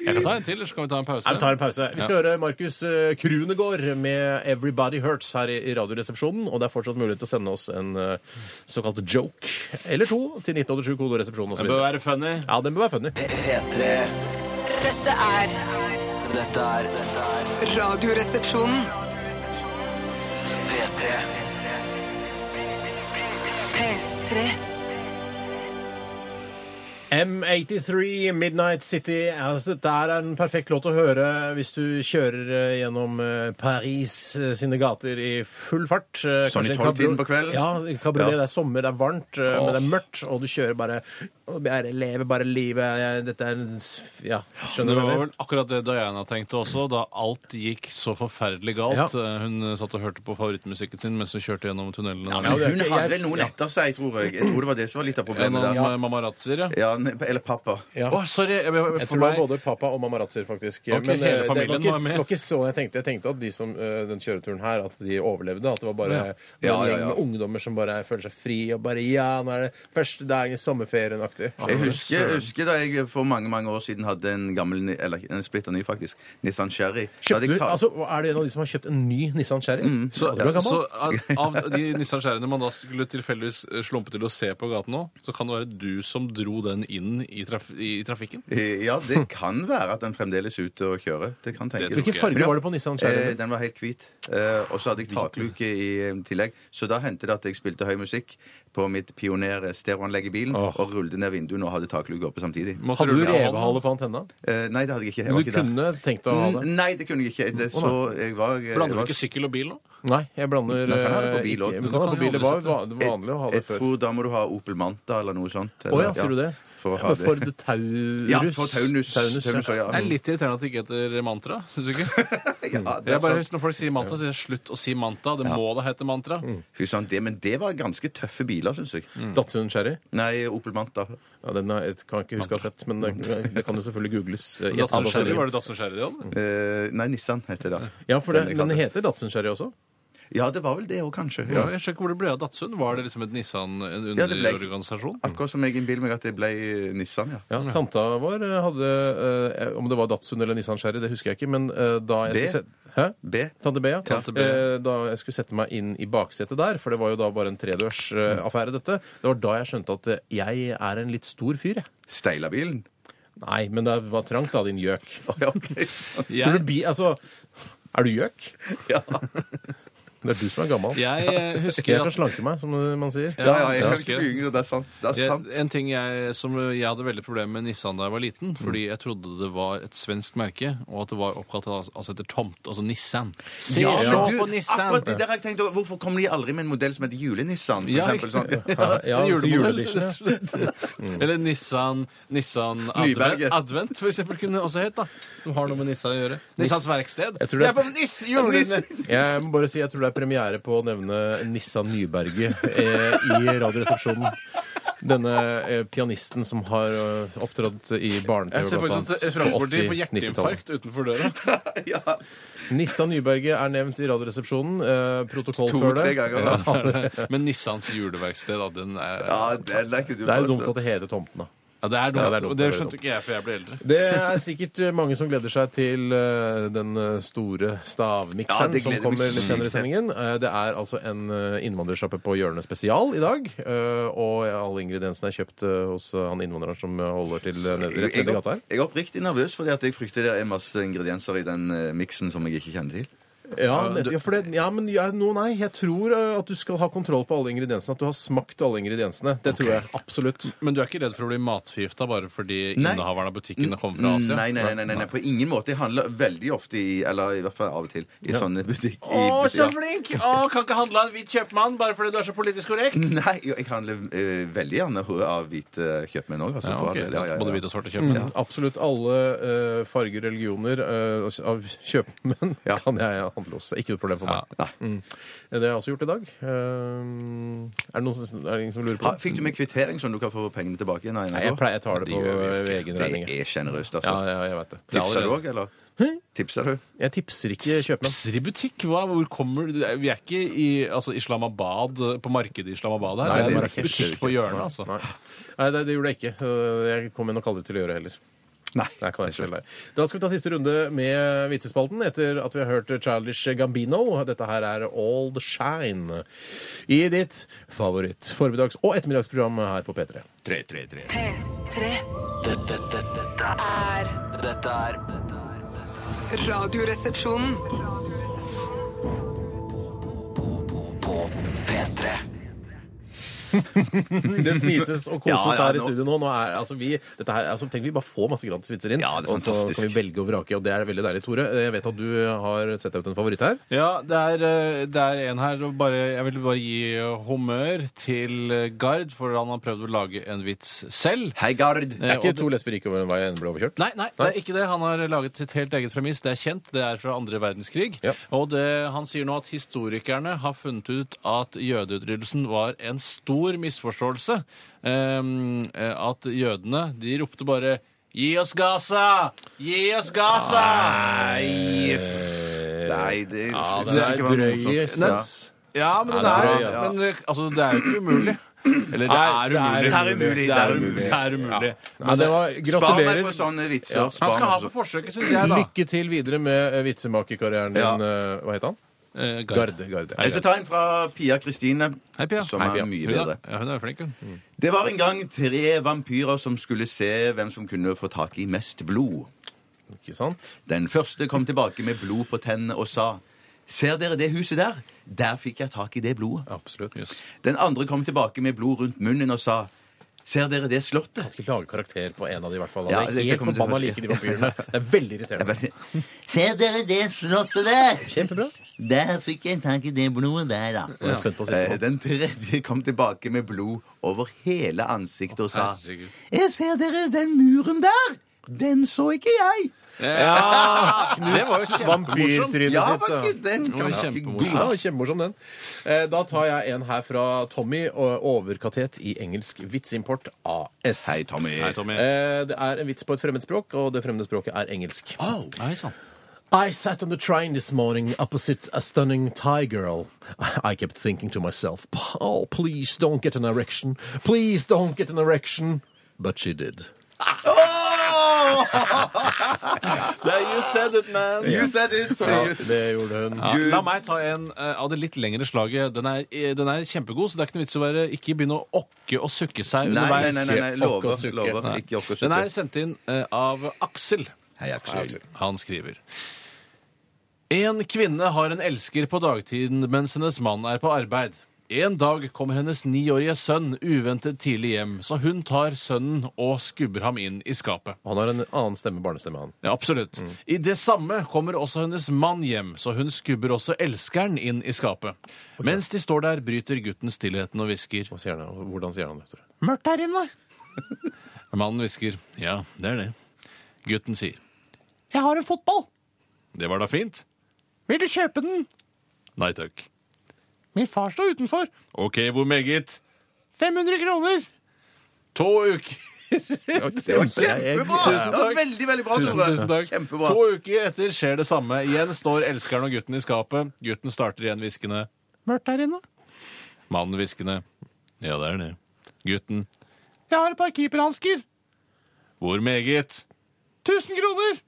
Speaker 4: Jeg kan ta en til, eller så kan vi ta en pause.
Speaker 2: Ja, Vi tar en pause. Vi skal høre Markus eh, Krunegård med 'Everybody Hurts' her i i Radioresepsjonen. Og det er fortsatt mulighet til å sende oss en eh, såkalt joke eller to til 1987 kodoresepsjonen
Speaker 4: Det bør
Speaker 2: osv.
Speaker 4: være funny.
Speaker 2: Ja, den bør være funny.
Speaker 5: P3
Speaker 7: Dette er
Speaker 5: Dette er dette er
Speaker 7: Radioresepsjonen.
Speaker 5: P3
Speaker 7: P3.
Speaker 2: M83 Midnight City. Altså, det der er en perfekt låt å høre hvis du kjører eh, gjennom eh, Paris eh, sine gater i full fart. Eh,
Speaker 3: Sånn
Speaker 2: kanskje
Speaker 3: i
Speaker 2: en
Speaker 3: tolvtiden
Speaker 2: kabriol-
Speaker 3: på kvelden?
Speaker 2: Ja, kabriolet.
Speaker 3: Ja.
Speaker 2: Det er sommer, det er varmt, eh, men det er mørkt, og du kjører bare og Jeg lever bare livet. Jeg, dette er en s- Ja,
Speaker 4: Det
Speaker 2: skjønner du hva
Speaker 4: var
Speaker 2: jeg
Speaker 4: vel
Speaker 2: mener?
Speaker 4: akkurat det Diana tenkte også, da alt gikk så forferdelig galt. Eh, Hun satt og hørte på favorittmusikken sin mens hun kjørte gjennom tunnelene.
Speaker 3: Men
Speaker 2: det er
Speaker 3: hun
Speaker 2: ikke-
Speaker 3: hadde
Speaker 2: jeg-
Speaker 3: vel noen etter seg, tror jeg. Jeg tror det var det som var litt av problemet
Speaker 4: Gjennom
Speaker 3: der.
Speaker 4: eh, Mamarazzier, ja.
Speaker 3: Ja, ne- eller pappa.
Speaker 2: Ja.
Speaker 4: Å, sorry! Jeg, jeg,
Speaker 2: Jeg
Speaker 4: for
Speaker 2: tror det var
Speaker 4: meg-
Speaker 2: både pappa og mamarazzoer, faktisk.
Speaker 4: Ok,
Speaker 2: Men eh,
Speaker 4: hele
Speaker 2: det var
Speaker 4: familien
Speaker 2: ikke,
Speaker 4: var med.
Speaker 2: det var ikke sånn jeg tenkte. Jeg tenkte at de som eh, den kjøreturen her, at de overlevde. At det var bare
Speaker 4: Ja.
Speaker 2: det var en
Speaker 3: Ja, ja,
Speaker 2: gjeng
Speaker 3: ja.
Speaker 2: med ungdommer som bare føler seg fri og bare Ja, nå er det første dagen i sommerferien-aktig.
Speaker 3: Jeg
Speaker 4: for Ah,
Speaker 3: husker,
Speaker 4: søren.
Speaker 3: jeg husker da jeg for mange mange år siden hadde en gammel, ni- eller en splitter ny, faktisk, Nissan Sherry. Da hadde
Speaker 2: Kjøpte
Speaker 3: jeg
Speaker 2: du,
Speaker 3: ta-
Speaker 2: altså, Er du en av de som har kjøpt en ny Nissan Cherry?
Speaker 3: Mm,
Speaker 4: Så,
Speaker 2: Ja, du er gammel.
Speaker 4: så av, av de Nissan Cherryene man da skulle tilfeldigvis eh, slumpe til å se på gaten nå, så kan det være du som dro den inn i, traf i trafikken?
Speaker 3: Ja, det kan være at den fremdeles er ute og kjører. Det kan tenkes.
Speaker 4: tror
Speaker 2: Hvilken
Speaker 4: ikke.
Speaker 2: farge var det på Nissan
Speaker 3: Eh,
Speaker 2: Cherry?
Speaker 3: den var helt hvit. Eh, og så hadde jeg takluke i eh, tillegg. Så da hendte det at jeg spilte høy musikk på mitt pioner-stereoanlegg i bilen og rullet ned vinduene og hadde takluke oppe samtidig.
Speaker 4: Måtte
Speaker 2: Hadde du
Speaker 4: rulle av hånden?
Speaker 2: revehale på antenna?
Speaker 3: Eh, nei, det Mm, hadde jeg ikke. Jeg
Speaker 2: Du
Speaker 3: var ikke der.
Speaker 2: kunne tenkt deg å ha det.
Speaker 3: N- Nei, det kunne jeg ikke. Det, så jeg var eh, jeg
Speaker 4: Blander
Speaker 3: var-
Speaker 4: du ikke sykkel og bil nå?
Speaker 2: Nei, jeg blander
Speaker 3: Man kan ha det på
Speaker 2: eh,
Speaker 3: bil
Speaker 2: ikke-
Speaker 3: også.
Speaker 2: Man kan ha det på bil. Det var
Speaker 4: Jeg-
Speaker 2: van- vanlig å ha det
Speaker 3: Jeg
Speaker 2: før.
Speaker 3: tror da må du ha Opel Manta eller noe sånt.
Speaker 2: Å ja, sier du det?
Speaker 3: For å
Speaker 2: Ja,
Speaker 3: ha
Speaker 2: men
Speaker 3: det.
Speaker 2: Ford Taurus.
Speaker 3: Ja, for Taunus.
Speaker 2: Taunus, ja.
Speaker 3: Taunus, ja.
Speaker 4: Det er litt irriterende at det ikke heter mantra, syns du ikke?
Speaker 3: Ja,
Speaker 2: Mm.
Speaker 4: Jeg
Speaker 3: det er
Speaker 4: bare
Speaker 3: sant.
Speaker 4: husker Når folk sier mantra, sier jeg slutt å si mantra. Det må da hete mantra.
Speaker 3: Fy søren, det, men det var ganske tøffe biler, syns jeg.
Speaker 4: Mm.
Speaker 2: Datsun Cherry.
Speaker 3: Nei, Opel Manta.
Speaker 2: Ja, den er, jeg kan ikke huske å ha sett, men det, det kan jo selvfølgelig googles. eh, i et
Speaker 4: Datsun Cherry,
Speaker 2: annet
Speaker 4: var
Speaker 2: segment.
Speaker 4: det Datsun Cherry de hadde?
Speaker 3: Eh, nei, Nissan heter det.
Speaker 2: Ja, for det,
Speaker 3: Den jeg
Speaker 2: men
Speaker 3: hadde.
Speaker 2: den heter Datsun Cherry også.
Speaker 3: Ja, det var vel det òg, kanskje.
Speaker 4: Ja, jeg skjønner ikke hvor det ble av Datsun. Var det liksom et Nissan, en
Speaker 3: Ja, det ble-
Speaker 4: underorganisasjon?
Speaker 3: Akkurat som jeg innbiller meg at det ble eh, Nissan, ja.
Speaker 2: Ja, Tanta vår hadde eh, Om det var Datsun eller Nissan Sherry, det husker jeg ikke. Men eh, da jeg
Speaker 3: B.
Speaker 2: skulle sette Hæ?
Speaker 3: B.
Speaker 2: Tante B, ja.
Speaker 4: Tante B.
Speaker 2: Eh, da jeg skulle sette meg inn i baksetet der, for det var jo da bare en tredørs
Speaker 4: Mm.
Speaker 2: eh, affære, dette, det var da jeg skjønte at eh, jeg er en litt stor fyr, jeg.
Speaker 3: Steilabilen.
Speaker 2: Nei, men det var trangt, da, din gjøk.
Speaker 3: Ja, ok, sånn.
Speaker 2: Tror
Speaker 4: Jeg,
Speaker 2: du bi... Altså, er du gjøk?
Speaker 3: Ja.
Speaker 2: Det er du som er gammel.
Speaker 4: jeg eh,
Speaker 2: Jeg
Speaker 4: husker
Speaker 2: kan
Speaker 4: at
Speaker 2: slanke meg, som man sier.
Speaker 3: ja, ja, jeg
Speaker 4: Ja,
Speaker 3: hører
Speaker 4: husker
Speaker 3: ikke
Speaker 4: jeg.
Speaker 3: på yngre, det er sant. Det er
Speaker 4: jeg,
Speaker 3: sant.
Speaker 4: en ting jeg, som jeg hadde veldig problemer med Nissan da jeg var liten, fordi jeg trodde det var et svensk merke, og at det var oppkalt al- altså etter tomt, altså Nissan. Se,
Speaker 3: Ja,
Speaker 4: se
Speaker 3: men
Speaker 4: på
Speaker 3: du,
Speaker 4: Nissan!
Speaker 3: akkurat det der har jeg tenkt over. Hvorfor kommer de aldri med en modell som heter Jule-Nissan? for
Speaker 4: Ja,
Speaker 3: eksempel, sånn?
Speaker 2: Ja,
Speaker 4: En
Speaker 2: altså,
Speaker 4: julemodell,
Speaker 2: juleedition, ja.
Speaker 4: rett og slett. Mm. Eller Nissan, Nissan Advent,
Speaker 3: Nyberget.
Speaker 4: Advent for eksempel, kunne det også hett. da. Som har noe med Nissan å gjøre. Nissans verksted.
Speaker 2: Jeg tror
Speaker 4: det
Speaker 2: det-
Speaker 4: er på Niss, julene.
Speaker 2: Jeg må bare si, jeg tror det er premiere på å nevne Nissa Nyberget eh, i Radioresepsjonen. Denne eh, pianisten som har eh, opptrådt i
Speaker 4: Jeg
Speaker 2: barne-TV
Speaker 4: ser
Speaker 2: blant
Speaker 4: faktisk at
Speaker 2: annet på
Speaker 4: Fremskrittspartiet får
Speaker 2: 80-90-tallet.
Speaker 4: hjerteinfarkt utenfor døra.
Speaker 3: Ja.
Speaker 2: Nissa Nyberget er nevnt i Radioresepsjonen. Eh, protokoll før
Speaker 3: To-tre
Speaker 2: det.
Speaker 3: ganger.
Speaker 2: Ja.
Speaker 3: da.
Speaker 4: Men Nissans juleverksted, da, den er
Speaker 3: Ja, det leker du
Speaker 2: Det er jo dumt at det heter Tomten, da.
Speaker 4: Ja, det er dumt.
Speaker 2: Ja, det er dumt,
Speaker 4: og
Speaker 2: det
Speaker 4: det
Speaker 2: er
Speaker 4: skjønte
Speaker 2: dumt.
Speaker 4: ikke jeg før jeg ble eldre.
Speaker 2: Det er sikkert eh, mange som gleder seg til eh, den eh, store
Speaker 3: Ja,
Speaker 2: stavmikseren
Speaker 3: det
Speaker 2: som
Speaker 3: gleder vi
Speaker 2: kommer
Speaker 3: oss
Speaker 2: litt senere i
Speaker 3: til.
Speaker 2: sendingen. Eh, Det er altså en eh, innvandrersjappe på hjørnet spesial i dag. eh, Og alle ingrediensene er kjøpt eh, hos eh, han innvandreren som eh, holder til eh, ned- rett
Speaker 3: Jeg
Speaker 2: nedi
Speaker 3: er
Speaker 2: gata her.
Speaker 3: opp- jeg er oppriktig nervøs fordi at jeg frykter det er masse ingredienser i den eh, miksen som jeg ikke kjenner til.
Speaker 2: Ja, nett- ja, for det, ja men ja, no, nei, jeg tror eh, at du skal ha kontroll på alle ingrediensene. At du har smakt alle ingrediensene. Det tror jeg absolutt.
Speaker 4: Men du er ikke redd for å bli matforgifta bare fordi
Speaker 3: Nei.
Speaker 4: innehaveren av butikken kommer fra Asia?
Speaker 3: Mm, Nei, nei, nei, nei, nei, på ingen måte. Jeg handler veldig ofte i Eller i hvert fall av og til i sånne butikk. i butikk- ja.
Speaker 4: flink! Å, kan ikke handle av en hvit kjøpmann bare fordi du er så politisk korrekt.
Speaker 3: Nei, jo, jeg handler eh, veldig gjerne av hvite kjøpmenn òg. Altså,
Speaker 4: Ja,
Speaker 3: for all
Speaker 4: ok.
Speaker 3: del. Ja, ja, ja.
Speaker 4: Både hvite og svarte kjøpmenn.
Speaker 2: Absolutt alle eh, farger, religioner eh, av kjøpmenn kan jeg handle hos. Ikke noe problem for meg. Mm. Eh,
Speaker 3: Nei.
Speaker 2: Det har jeg også gjort i dag. Ehm, er det noen som, er det ingen som lurer på
Speaker 3: Ha,
Speaker 2: det?
Speaker 3: fikk du med kvittering sånn du kan få pengene tilbake igjen?
Speaker 2: Nei, jeg, pleier, jeg tar det
Speaker 4: Det
Speaker 2: på
Speaker 4: gjør vi jo
Speaker 2: ved egen regning.
Speaker 3: Det er sjenerøst,
Speaker 2: Ja,
Speaker 3: altså.
Speaker 2: ja, jeg vet det.
Speaker 3: Tipser du òg, eller? Tipser du?
Speaker 2: Jeg tipser ikke kjøpmenn.
Speaker 4: Pepser i butikk? Hva? Hvor kommer du? Vi er ikke i altså, Islamabad, på markedet i Islamabad her.
Speaker 2: Nei,
Speaker 4: det er
Speaker 2: det er
Speaker 4: en
Speaker 2: Marrakesh.
Speaker 4: butikk på hjørnet, altså.
Speaker 2: Nei, Nei det, det gjorde jeg ikke. Eh, Jeg kommer nok aldri til å gjøre det heller.
Speaker 3: Nei.
Speaker 2: Det kan jeg fortelle deg. Da skal vi ta siste runde med vitsespalten etter at vi har hørt Childish Gambino. Dette her er All the Shine i ditt favoritt formiddags- og ettermiddagsprogram her på P3.
Speaker 7: P3
Speaker 5: Dette, dette, dette,
Speaker 7: er
Speaker 5: er- dette er
Speaker 7: Radioresepsjonen.
Speaker 5: på P3.
Speaker 2: Det fnises og koses
Speaker 3: Ja, ja,
Speaker 2: her i
Speaker 3: nå-
Speaker 2: studio nå. nå er, altså, vi, dette her, altså, tenk, vi bare får masse gratis vitser inn,
Speaker 3: Ja, det er
Speaker 2: og så
Speaker 3: fantastisk.
Speaker 2: kan vi velge og vrake, og det er veldig deilig. Tore, jeg vet at du har sett deg ut en favoritt her.
Speaker 4: Ja, det er, eh, det er en her. Og bare, jeg vil bare gi eh, honnør til eh, Gard, for han har prøvd å lage en vits selv.
Speaker 3: Hei, Gard.
Speaker 2: Det
Speaker 4: Eh,
Speaker 2: er
Speaker 4: og
Speaker 2: ikke to lesber gikk over en vei og en ble overkjørt.
Speaker 4: Nei, nei, det er ikke det. Han har laget sitt helt eget premiss. Det er kjent. Det er fra andre verdenskrig.
Speaker 2: Ja.
Speaker 4: Og det, han sier nå at historikerne har funnet ut at jødeutryddelsen var en stor misforståelse. Ehm, eh, at jødene, de ropte bare Gi oss Gaza! Gi oss Gaza!
Speaker 3: Nei, det,
Speaker 2: eh, Ja,
Speaker 3: det,
Speaker 2: det er drøy
Speaker 3: morsomt. Ja.
Speaker 2: sens.
Speaker 4: Ja, men den
Speaker 2: det er
Speaker 4: er,
Speaker 2: drøy, ja.
Speaker 4: men eh, altså, det er jo ikke umulig. Eller det
Speaker 2: Nei,
Speaker 4: er umulig.
Speaker 2: det er umulig.
Speaker 4: Det er umulig. Det er umulig.
Speaker 2: Nei, det var,
Speaker 3: Spar meg
Speaker 2: gratulerer.
Speaker 3: for sånne vitser.
Speaker 2: Ja.
Speaker 3: Spar
Speaker 4: Han skal
Speaker 3: meg
Speaker 4: ha for
Speaker 3: for sånne-
Speaker 4: forsøket, syns jeg, da.
Speaker 2: Lykke til videre med eh, vitsemakerkarrieren din.
Speaker 3: Ja.
Speaker 2: eh, Hva het han?
Speaker 4: Eh, Gard.
Speaker 2: Garde. Garde.
Speaker 3: Jeg skal ta en fra Pia Kristine.
Speaker 4: Hei, Pia.
Speaker 3: Som
Speaker 4: Hei,
Speaker 3: er
Speaker 4: Pia.
Speaker 3: mye
Speaker 4: Hun er-
Speaker 3: bedre.
Speaker 4: Ja, hun er flink, hun.
Speaker 3: Det var en gang tre vampyrer som skulle se hvem som kunne få tak i mest blod.
Speaker 2: Ikke sant?
Speaker 3: Den første kom tilbake med blod på tennene og sa Ser dere det huset der? Der fikk jeg tak i det blodet.
Speaker 2: Absolutt. Jeg
Speaker 3: Den andre kom tilbake med blod rundt munnen og sa Ser dere det slottet?
Speaker 2: skal ikke lage karakter på en av de i hvert fall.
Speaker 3: Ja,
Speaker 2: det
Speaker 3: det
Speaker 2: er helt
Speaker 3: kommer til å
Speaker 2: forbanna
Speaker 3: bli-
Speaker 2: like de vampyrene. Det er veldig irriterende.
Speaker 8: Ser dere det slottet der?
Speaker 2: Kjempebra.
Speaker 8: Der fikk jeg tak i det blodet der, da.
Speaker 2: Jeg er spent på
Speaker 3: Eh,
Speaker 2: siste. nå.
Speaker 3: Den tredje kom tilbake med blod over hele ansiktet og sa
Speaker 4: Herregud.
Speaker 8: Jeg ser dere den muren der? Den så ikke jeg.
Speaker 2: Ja!
Speaker 4: Det var jo
Speaker 2: Knust vampyrtrynet sitt. da.
Speaker 3: Ja, var ikke den
Speaker 4: var
Speaker 3: ganske
Speaker 4: kjempemorsom.
Speaker 3: god?
Speaker 2: Ja, det var kjempemorsom den. Eh, Da tar jeg en her fra Tommy, og overkatet i engelsk vitsimport Eh, AS.
Speaker 3: Hei, Tommy.
Speaker 4: Hei, Tommy.
Speaker 2: Eh, Det er en vits på et fremmedspråk, og det fremmede språket er engelsk.
Speaker 4: Nei sann.
Speaker 2: I sat on the train this morning opposite a stunning Thai girl. I kept thinking to myself, oh, please don't get an erection. Please don't get an erection. But she did.
Speaker 4: you said it, man.
Speaker 3: You said it! sier du.
Speaker 2: Det gjorde hun.
Speaker 4: Ja, la meg ta en eh, av det litt lengre slaget. Den er, eh, den er kjempegod, så det er ikke noe vits å være Ikke begynne å okke og sukke seg
Speaker 3: Nei, nei,
Speaker 4: underveis.
Speaker 3: nei, nei, nei.
Speaker 2: Ikke
Speaker 3: lover.
Speaker 2: orke å
Speaker 3: lover.
Speaker 2: sukke.
Speaker 3: Ikke orke å
Speaker 4: Den er
Speaker 3: sukke.
Speaker 4: sendt inn eh, av Aksel.
Speaker 3: Hei, Aksel.
Speaker 4: Han skriver En kvinne har en elsker på dagtiden mens hennes mann er på arbeid. En dag kommer hennes niårige sønn uventet tidlig hjem, så hun tar sønnen og skubber ham inn i skapet.
Speaker 2: Han har en annen stemme, barnestemme, han.
Speaker 4: Ja, absolutt. I det samme kommer også hennes mann hjem, så hun skubber også elskeren inn i skapet. Mens de står der, bryter gutten stillheten og hvisker.
Speaker 2: Hva sier han? Hvordan sier han det? tror du?
Speaker 4: Mørkt her inne! Mannen hvisker. Ja, det er det. Gutten sier. Jeg har en fotball. Det var da fint. Vil du kjøpe den? Nei takk. Min far står utenfor. Ok, hvor meget? 500 kroner. To uker.
Speaker 3: Det var
Speaker 2: kjempebra!
Speaker 3: kjempebra!
Speaker 4: Tusen
Speaker 3: Det var
Speaker 4: takk.
Speaker 3: veldig, veldig bra,
Speaker 4: Tusen,
Speaker 3: Tore.
Speaker 4: tusen takk.
Speaker 3: Kjempebra.
Speaker 4: To uker etter skjer det samme. Igjen står elskeren og gutten i skapet. Gutten starter igjen hviskende. Mørkt der inne. Mannen hviskende. Ja, det er det. Gutten. Jeg har et par keeperhansker. Hvor meget? 1000 kroner!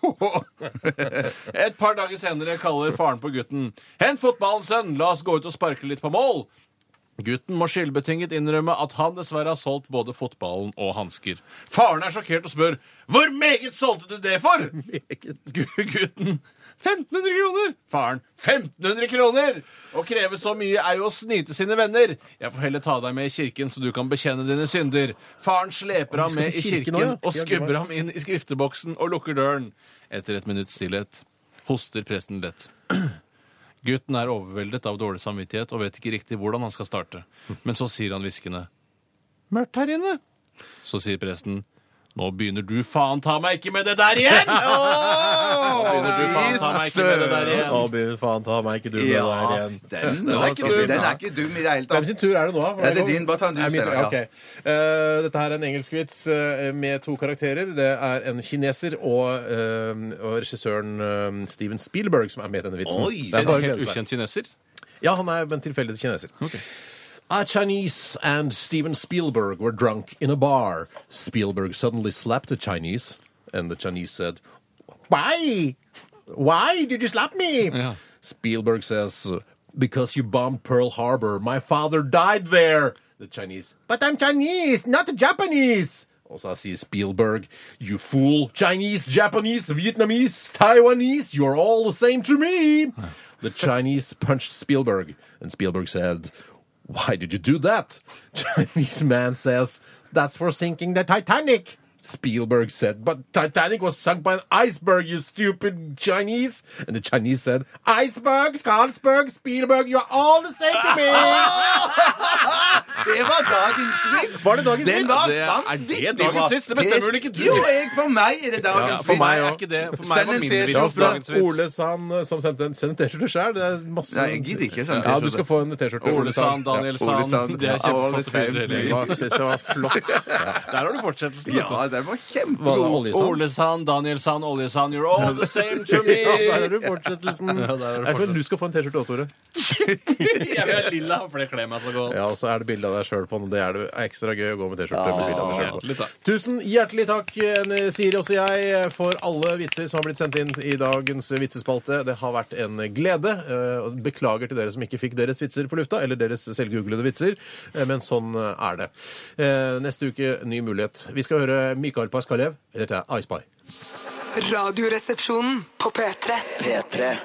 Speaker 4: Et par dager senere kaller faren på gutten. Hent fotballen, sønn! La oss gå ut og sparke litt på mål! Gutten må skyldbetinget innrømme at han dessverre har solgt både fotballen og hansker. Faren er sjokkert og spør hvor meget solgte du det for? Gu- Gutten 1500 kroner! Faren 1500 kroner! Å kreve så mye er jo å snyte sine venner. Jeg får heller ta deg med i kirken så du kan bekjenne dine synder. Faren sleper ham
Speaker 2: skal
Speaker 4: med i
Speaker 2: til kirken
Speaker 4: kirken
Speaker 2: nå, ja. Ja,
Speaker 4: og
Speaker 2: det var-
Speaker 4: skubber ham inn i skrifteboksen og lukker døren. Etter et minutts stillhet hoster presten lett. Gutten er overveldet av dårlig samvittighet og vet ikke riktig hvordan han skal starte. Men så sier han hviskende Mørkt her inne. Så sier presten Nå begynner du faen ta meg ikke med det der igjen! Nå begynner du faen ta meg ikke med det der igjen.
Speaker 2: Å, by faen ta meg ikke du med der
Speaker 3: Ja,
Speaker 2: igjen.
Speaker 3: den var
Speaker 2: ikke
Speaker 3: sant.
Speaker 2: dum,
Speaker 3: Den
Speaker 2: da.
Speaker 3: er ikke dum i det
Speaker 2: Hvem
Speaker 3: hele tatt.
Speaker 2: sin tur er det nå? da?
Speaker 3: Ja, det er din. Bare ta en du,
Speaker 2: Nei, min tur. Ja,
Speaker 3: Steinar, ja.
Speaker 2: ok. Eh, dette her er en engelsk vits eh, med to karakterer. Det er en kineser og, eh, og regissøren eh, Steven Spielberg som er med i denne vitsen.
Speaker 4: Oi!
Speaker 2: det er bare å
Speaker 4: helt
Speaker 2: glede seg.
Speaker 4: ukjent kineser.
Speaker 2: Ja, han er en tilfeldig kineser. A Chinese and Steven Spielberg were drunk in a bar. Spielberg suddenly slapped a Chinese, and the Chinese said, Why? Why did you slap me?
Speaker 4: Yeah.
Speaker 2: Spielberg says, Because you bombed Pearl Harbor. My father died there. The Chinese, But I'm Chinese, not Japanese. Also, I see Spielberg, you fool. Chinese, Japanese, Vietnamese, Taiwanese, you're all the same to me. The Chinese punched Spielberg, and Spielberg said, why did you do that? Chinese man says, That's for sinking the Titanic. Spielberg said, But Titanic was sunk by an iceberg, you stupid Chinese. And the Chinese said, Iceberg, Carlsberg, Spielberg, you're all the same to me.
Speaker 3: Det var dagens vits!
Speaker 2: Var det dagens
Speaker 3: Den
Speaker 2: vits?
Speaker 3: var
Speaker 4: Det er- er det
Speaker 3: vanvittig
Speaker 4: dagens
Speaker 3: bra.
Speaker 4: vits? Det bestemmer vel ikke du?
Speaker 3: Jo, jeg, for meg er det dagens
Speaker 4: Ja,
Speaker 3: vits.
Speaker 4: for meg
Speaker 2: også.
Speaker 4: er ikke det. For meg
Speaker 3: Send en
Speaker 4: var min
Speaker 3: T-skjorte.
Speaker 4: vits dagens vits.
Speaker 2: Ole Sand eh, som sendte en send en T-skjorte sjøl. Det er masse
Speaker 3: Nei, jeg gidder ikke sånn
Speaker 2: Ja, du skal få en T-skjorte.
Speaker 4: Ole Sand, Daniel
Speaker 3: Ja, Ole
Speaker 4: Sand.
Speaker 3: Sand.
Speaker 4: Det er
Speaker 3: Alle
Speaker 4: kjempeflott.
Speaker 3: sand.
Speaker 4: bilder,
Speaker 2: Det
Speaker 4: egentlig.
Speaker 2: var, synes jeg var flott. Ja.
Speaker 4: Der har du fortsettelsen. vet du.
Speaker 3: Ja, den var
Speaker 2: Var det
Speaker 3: kjempegod.
Speaker 2: oljesand?
Speaker 4: Ole Sand, Daniel Sand, Olje Sand, you're all the same to me!
Speaker 2: Ja, der har du fortsettelsen.
Speaker 4: der har du
Speaker 2: Jeg føler du skal få en T-skjorte òg, Tore.
Speaker 4: Jeg vil ha lilla, for det kler meg så godt.
Speaker 2: Ja, og så er det bilde av deg sjøl på den. Det er det ekstra gøy å gå med T-skjorte. med bilde av seg selv på.
Speaker 4: hjertelig takk.
Speaker 2: Tusen hjertelig takk, eh, Siri også jeg, for alle vitser som har blitt sendt inn i dagens eh, vitsespalte. Det har vært en glede. eh, og Beklager til dere som ikke fikk deres vitser på lufta, eller deres selvgooglede vitser, eh, men sånn eh, er det. Eh, Neste uke, ny mulighet. Vi skal høre Mikael Paskalev. Dette er Ice Pie.
Speaker 7: Radioresepsjonen på P3.
Speaker 5: P3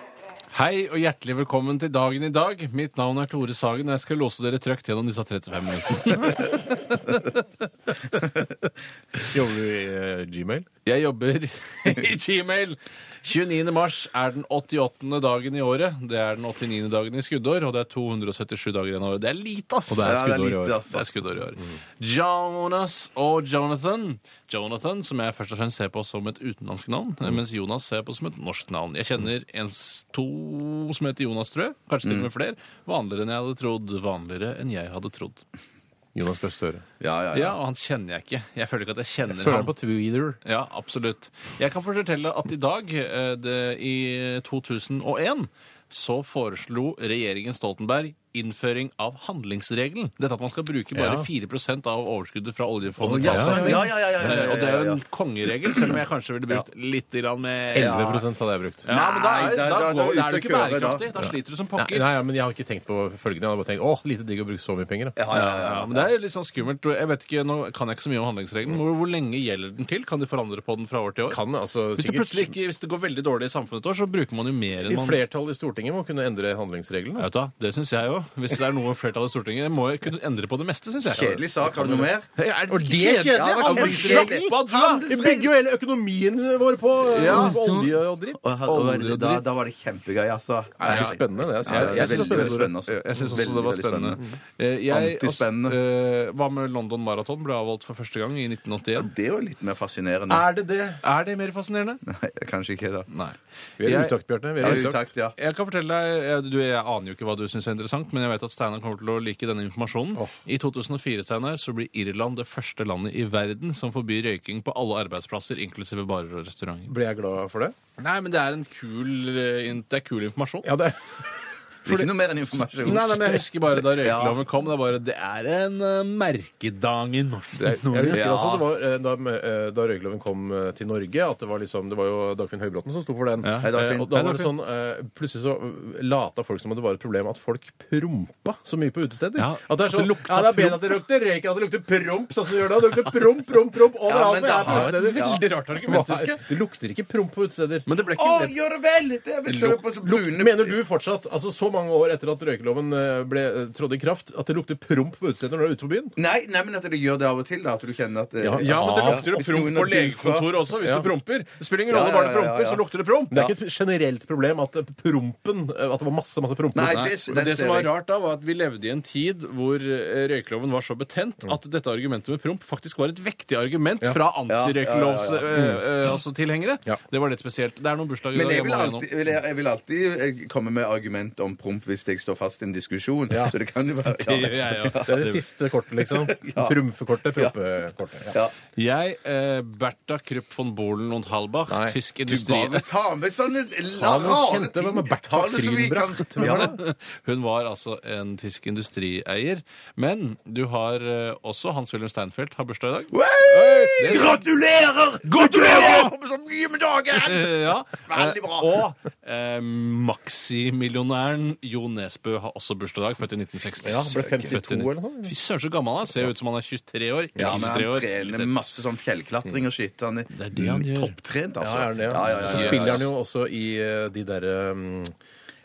Speaker 4: Hei og hjertelig velkommen til dagen i dag. Mitt navn er Tore Sagen, og jeg skal låse dere trøkt gjennom disse 35 minuttene.
Speaker 2: Jobber du i eh, Gmail?
Speaker 4: Jeg jobber i Gmail. 29. mars er den 88. dagen i året. Det er den 89. dagen i skuddår, og det er 277 dager igjen av året. Det er lite, ass!
Speaker 2: Og det er
Speaker 3: Ja, det er
Speaker 2: skuddår i
Speaker 3: lite,
Speaker 2: år.
Speaker 3: ass.
Speaker 4: Det er skuddår i år. Jonas og Jonathan. Jonathan, som jeg først og fremst ser på som et utenlandsk navn,
Speaker 2: Mm.
Speaker 4: mens Jonas ser jeg på som et norsk navn. Jeg kjenner en, s- to
Speaker 2: Mm.
Speaker 4: som heter Jonas, tror jeg. Kanskje til og med flere. Vanligere enn jeg hadde trodd. Vanligere enn jeg hadde trodd.
Speaker 2: Jonas Gahr Støre.
Speaker 3: Ja, ja,
Speaker 4: Ja, og han kjenner jeg ikke. Jeg føler ikke at jeg kjenner
Speaker 2: Føler han
Speaker 4: ham.
Speaker 2: på Twitter.
Speaker 4: Ja, absolutt. Jeg kan fortelle at i dag, eh, det, i 2001, så foreslo regjeringen Stoltenberg innføring av handlingsregelen. Dette at man skal bruke
Speaker 2: Ja.
Speaker 4: bare 4 av overskuddet fra oljefondet.
Speaker 3: ja, ja, ja, ja, ja, ja, ja, ja,
Speaker 4: Eh, Og det er jo
Speaker 3: ja, ja.
Speaker 4: en kongeregel, selv om jeg kanskje ville brukt litt grann med
Speaker 2: 11 hadde jeg brukt.
Speaker 4: Ja, men da, er- da,
Speaker 3: Nei, da-
Speaker 4: går,
Speaker 3: da-
Speaker 4: da er
Speaker 3: da er
Speaker 4: du
Speaker 3: du
Speaker 4: ikke
Speaker 3: ute å kjøre, da.
Speaker 4: bærekraftig. Da sliter du som
Speaker 2: Nei,
Speaker 4: pokker.
Speaker 2: nei, ja, men jeg har ikke tenkt på følgende. Jeg har bare tenkt åh, lite digg å bruke så mye penger. da.
Speaker 4: Ja, ja, ja, men Det er jo litt sånn skummelt. Jeg vet ikke, Nå kan jeg ikke så mye om handlingsregelen. Hvor, hvor lenge gjelder den til? Kan de forandre på den fra år til år?
Speaker 2: Kan altså
Speaker 4: Hvis det
Speaker 2: sikkert
Speaker 4: plutselig ikke, hvis det går veldig dårlig i samfunnet et år, så bruker man jo mer enn
Speaker 2: I
Speaker 4: man
Speaker 2: flertall i Stortinget må kunne endre handlingsreglene.
Speaker 4: Ja, vet du hva, Det syns jeg jo. Hvis det er noe flertallet i Stortinget, må jeg kunne endre på det meste, syns jeg.
Speaker 3: Kjedelig sak. Har du noe mer?
Speaker 4: Er det
Speaker 2: Og det er
Speaker 4: ikke
Speaker 2: kjedelig!
Speaker 3: Ja,
Speaker 2: Alle
Speaker 3: handlingsregler.
Speaker 2: snakker-
Speaker 4: Hva da?
Speaker 2: Vi bygger jo hele økonomien vår på eh,
Speaker 3: Ja.
Speaker 2: olje og dritt.
Speaker 3: Og- og- og- Da, da var det kjempegøy, altså.
Speaker 2: Det er litt spennende, det.
Speaker 3: Ja,
Speaker 2: Jeg, jeg,
Speaker 3: det er
Speaker 2: synes det er
Speaker 3: veldig,
Speaker 2: spennende.
Speaker 3: veldig spennende. altså.
Speaker 4: Jeg syns også det
Speaker 3: Veldig,
Speaker 4: var
Speaker 3: veldig
Speaker 4: spennende. Eh, Jeg,
Speaker 3: Antispennende.
Speaker 4: altså, eh, Hva med London Marathon ble avholdt for første gang i 1981?
Speaker 3: Det er jo litt mer fascinerende.
Speaker 2: Er det det?
Speaker 4: Er det mer fascinerende?
Speaker 3: Nei, kanskje ikke, da.
Speaker 4: Nei.
Speaker 2: Vi er i
Speaker 4: Jeg-
Speaker 2: utakt, Bjarte. Vi
Speaker 3: Ja,
Speaker 2: er i utakt.
Speaker 3: utakt, ja.
Speaker 4: Jeg kan fortelle deg, jeg, du, jeg aner jo ikke hva du syns er interessant, men jeg vet at Steinar kommer til å like denne informasjonen.
Speaker 2: Åh.
Speaker 4: I 2004 Steinar, så blir Irland det første landet i verden som forbyr røyking på alle arbeidsplasser, inklusive barer og restauranter.
Speaker 2: Ble jeg glad for det?
Speaker 4: Nei, men det er en kul, eh, in- det er kul informasjon.
Speaker 2: Ja, det
Speaker 3: Ikke noe mer enn informasjon.
Speaker 4: Nei, nei, men Jeg husker bare da røykeloven kom. Det er bare, det er en eh, merkedag i
Speaker 2: Jeg
Speaker 4: Norges
Speaker 2: husker
Speaker 4: Nordlige.
Speaker 3: Ja.
Speaker 2: også det var, eh, da, eh, da røykeloven kom eh, til Norge, at det var, liksom, det var jo Dagfinn Høybråten som sto for den.
Speaker 4: Ja. Hei,
Speaker 2: Eh,
Speaker 3: Dagfinn.
Speaker 2: og da
Speaker 4: Hei,
Speaker 2: var det sånn, eh, Plutselig så lata folk som om det var et problem at folk prompa så mye på utesteder.
Speaker 4: Ja,
Speaker 2: At det er
Speaker 4: at det
Speaker 2: sånn,
Speaker 4: lukta
Speaker 2: ja, det er bedre at det lukter røyk enn at det lukter promp, sånn som det gjør da. Det lukter promp, promp, promp
Speaker 3: Ja,
Speaker 2: overalt.
Speaker 3: men
Speaker 2: når jeg er
Speaker 3: det
Speaker 2: på
Speaker 3: har et
Speaker 2: utesteder.
Speaker 3: veldig rart
Speaker 4: argument, husker jeg.
Speaker 2: Det lukter ikke promp på utesteder.
Speaker 4: Men det ble
Speaker 3: Å,
Speaker 4: ikke lett.
Speaker 3: gjør det vel! Det er vel
Speaker 2: Lukt-
Speaker 3: på så
Speaker 2: lukt-
Speaker 3: brune-
Speaker 2: Mener du fortsatt, altså så mange år etter at røykeloven eh, ble eh, trådte i kraft, at det lukter promp på utesteder når du er ute på byen?
Speaker 3: Nei, nei, men at du gjør det av og til, da. At du kjenner at eh,
Speaker 2: Ja,
Speaker 4: Ja, men det lukter jo
Speaker 3: hvis
Speaker 4: promp
Speaker 3: noen
Speaker 4: på
Speaker 3: har
Speaker 4: legekontoret
Speaker 3: duffa-
Speaker 4: også, hvis
Speaker 2: Ja.
Speaker 4: du promper. Det spiller ingen
Speaker 3: Ja,
Speaker 4: rolle,
Speaker 3: ja,
Speaker 4: bare du
Speaker 3: ja, ja,
Speaker 4: promper,
Speaker 3: ja.
Speaker 4: så lukter det promp.
Speaker 2: Det er ikke et generelt problem at prompen eh, At det var masse, masse promper.
Speaker 3: Nei,
Speaker 4: Nei,
Speaker 3: det,
Speaker 4: men
Speaker 3: den
Speaker 4: det som
Speaker 3: ser
Speaker 4: var
Speaker 3: jeg.
Speaker 4: rart da, var at vi levde i en tid hvor eh, røykeloven var så betent at dette argumentet med promp faktisk var et vektig argument fra antirøykelovstilhengere. eh, eh, altså tilhengere.
Speaker 2: Ja.
Speaker 4: Det var litt spesielt. Det er noen bursdager
Speaker 3: Men
Speaker 4: i dag,
Speaker 3: jeg vil,
Speaker 4: må gjennom.
Speaker 3: alltid, vil jeg, jeg vil alltid eh, komme med argument om promp hvis jeg står fast i en diskusjon. Så det kan jo være
Speaker 4: Det gjør jeg, ja.
Speaker 2: Det er det siste kortet, liksom. Trumfekortet, prompekortet. Ja.
Speaker 3: Ja.
Speaker 4: Jeg, eh, Bertha Krupp von Bohlen og Halbach,
Speaker 2: Nei.
Speaker 4: tysk
Speaker 3: Du bare
Speaker 4: industri...
Speaker 3: tar med sånne
Speaker 2: Ta noen
Speaker 3: rare
Speaker 2: kjente,
Speaker 3: ting.
Speaker 2: hvem er Bertha
Speaker 3: Ta det så vi kan-
Speaker 2: Krillenbracht? Hvem var det?
Speaker 4: Hun var altså en tysk industrieier. Men du har eh, også Hans-Wilhelm Steinfeld har bursdag i dag.
Speaker 3: Hey!
Speaker 4: det-
Speaker 3: Gratulerer! Gratulerer! På så mye med dagen!
Speaker 4: Eh, ja.
Speaker 3: Veldig bra.
Speaker 4: Eh, Og eh, maksimillionæren Jo Nesbø har også bursdag i dag, født i 1960.
Speaker 2: Ja, ble 52 eller noe sånt.
Speaker 4: Fy søren, så gammel han er. Ser jo ut som han er 23 år.
Speaker 3: Ja, men
Speaker 4: 23
Speaker 3: han
Speaker 4: år.
Speaker 3: trener masse sånn fjellklatring og skitt. Han er,
Speaker 4: Det er det han
Speaker 2: Mm,
Speaker 4: gjør.
Speaker 3: topptrent,
Speaker 2: Ja,
Speaker 3: altså.
Speaker 2: er det det?
Speaker 3: Ja, ja, ja,
Speaker 2: Så
Speaker 3: ja,
Speaker 2: spiller
Speaker 3: ja.
Speaker 2: han jo også i eh, de derre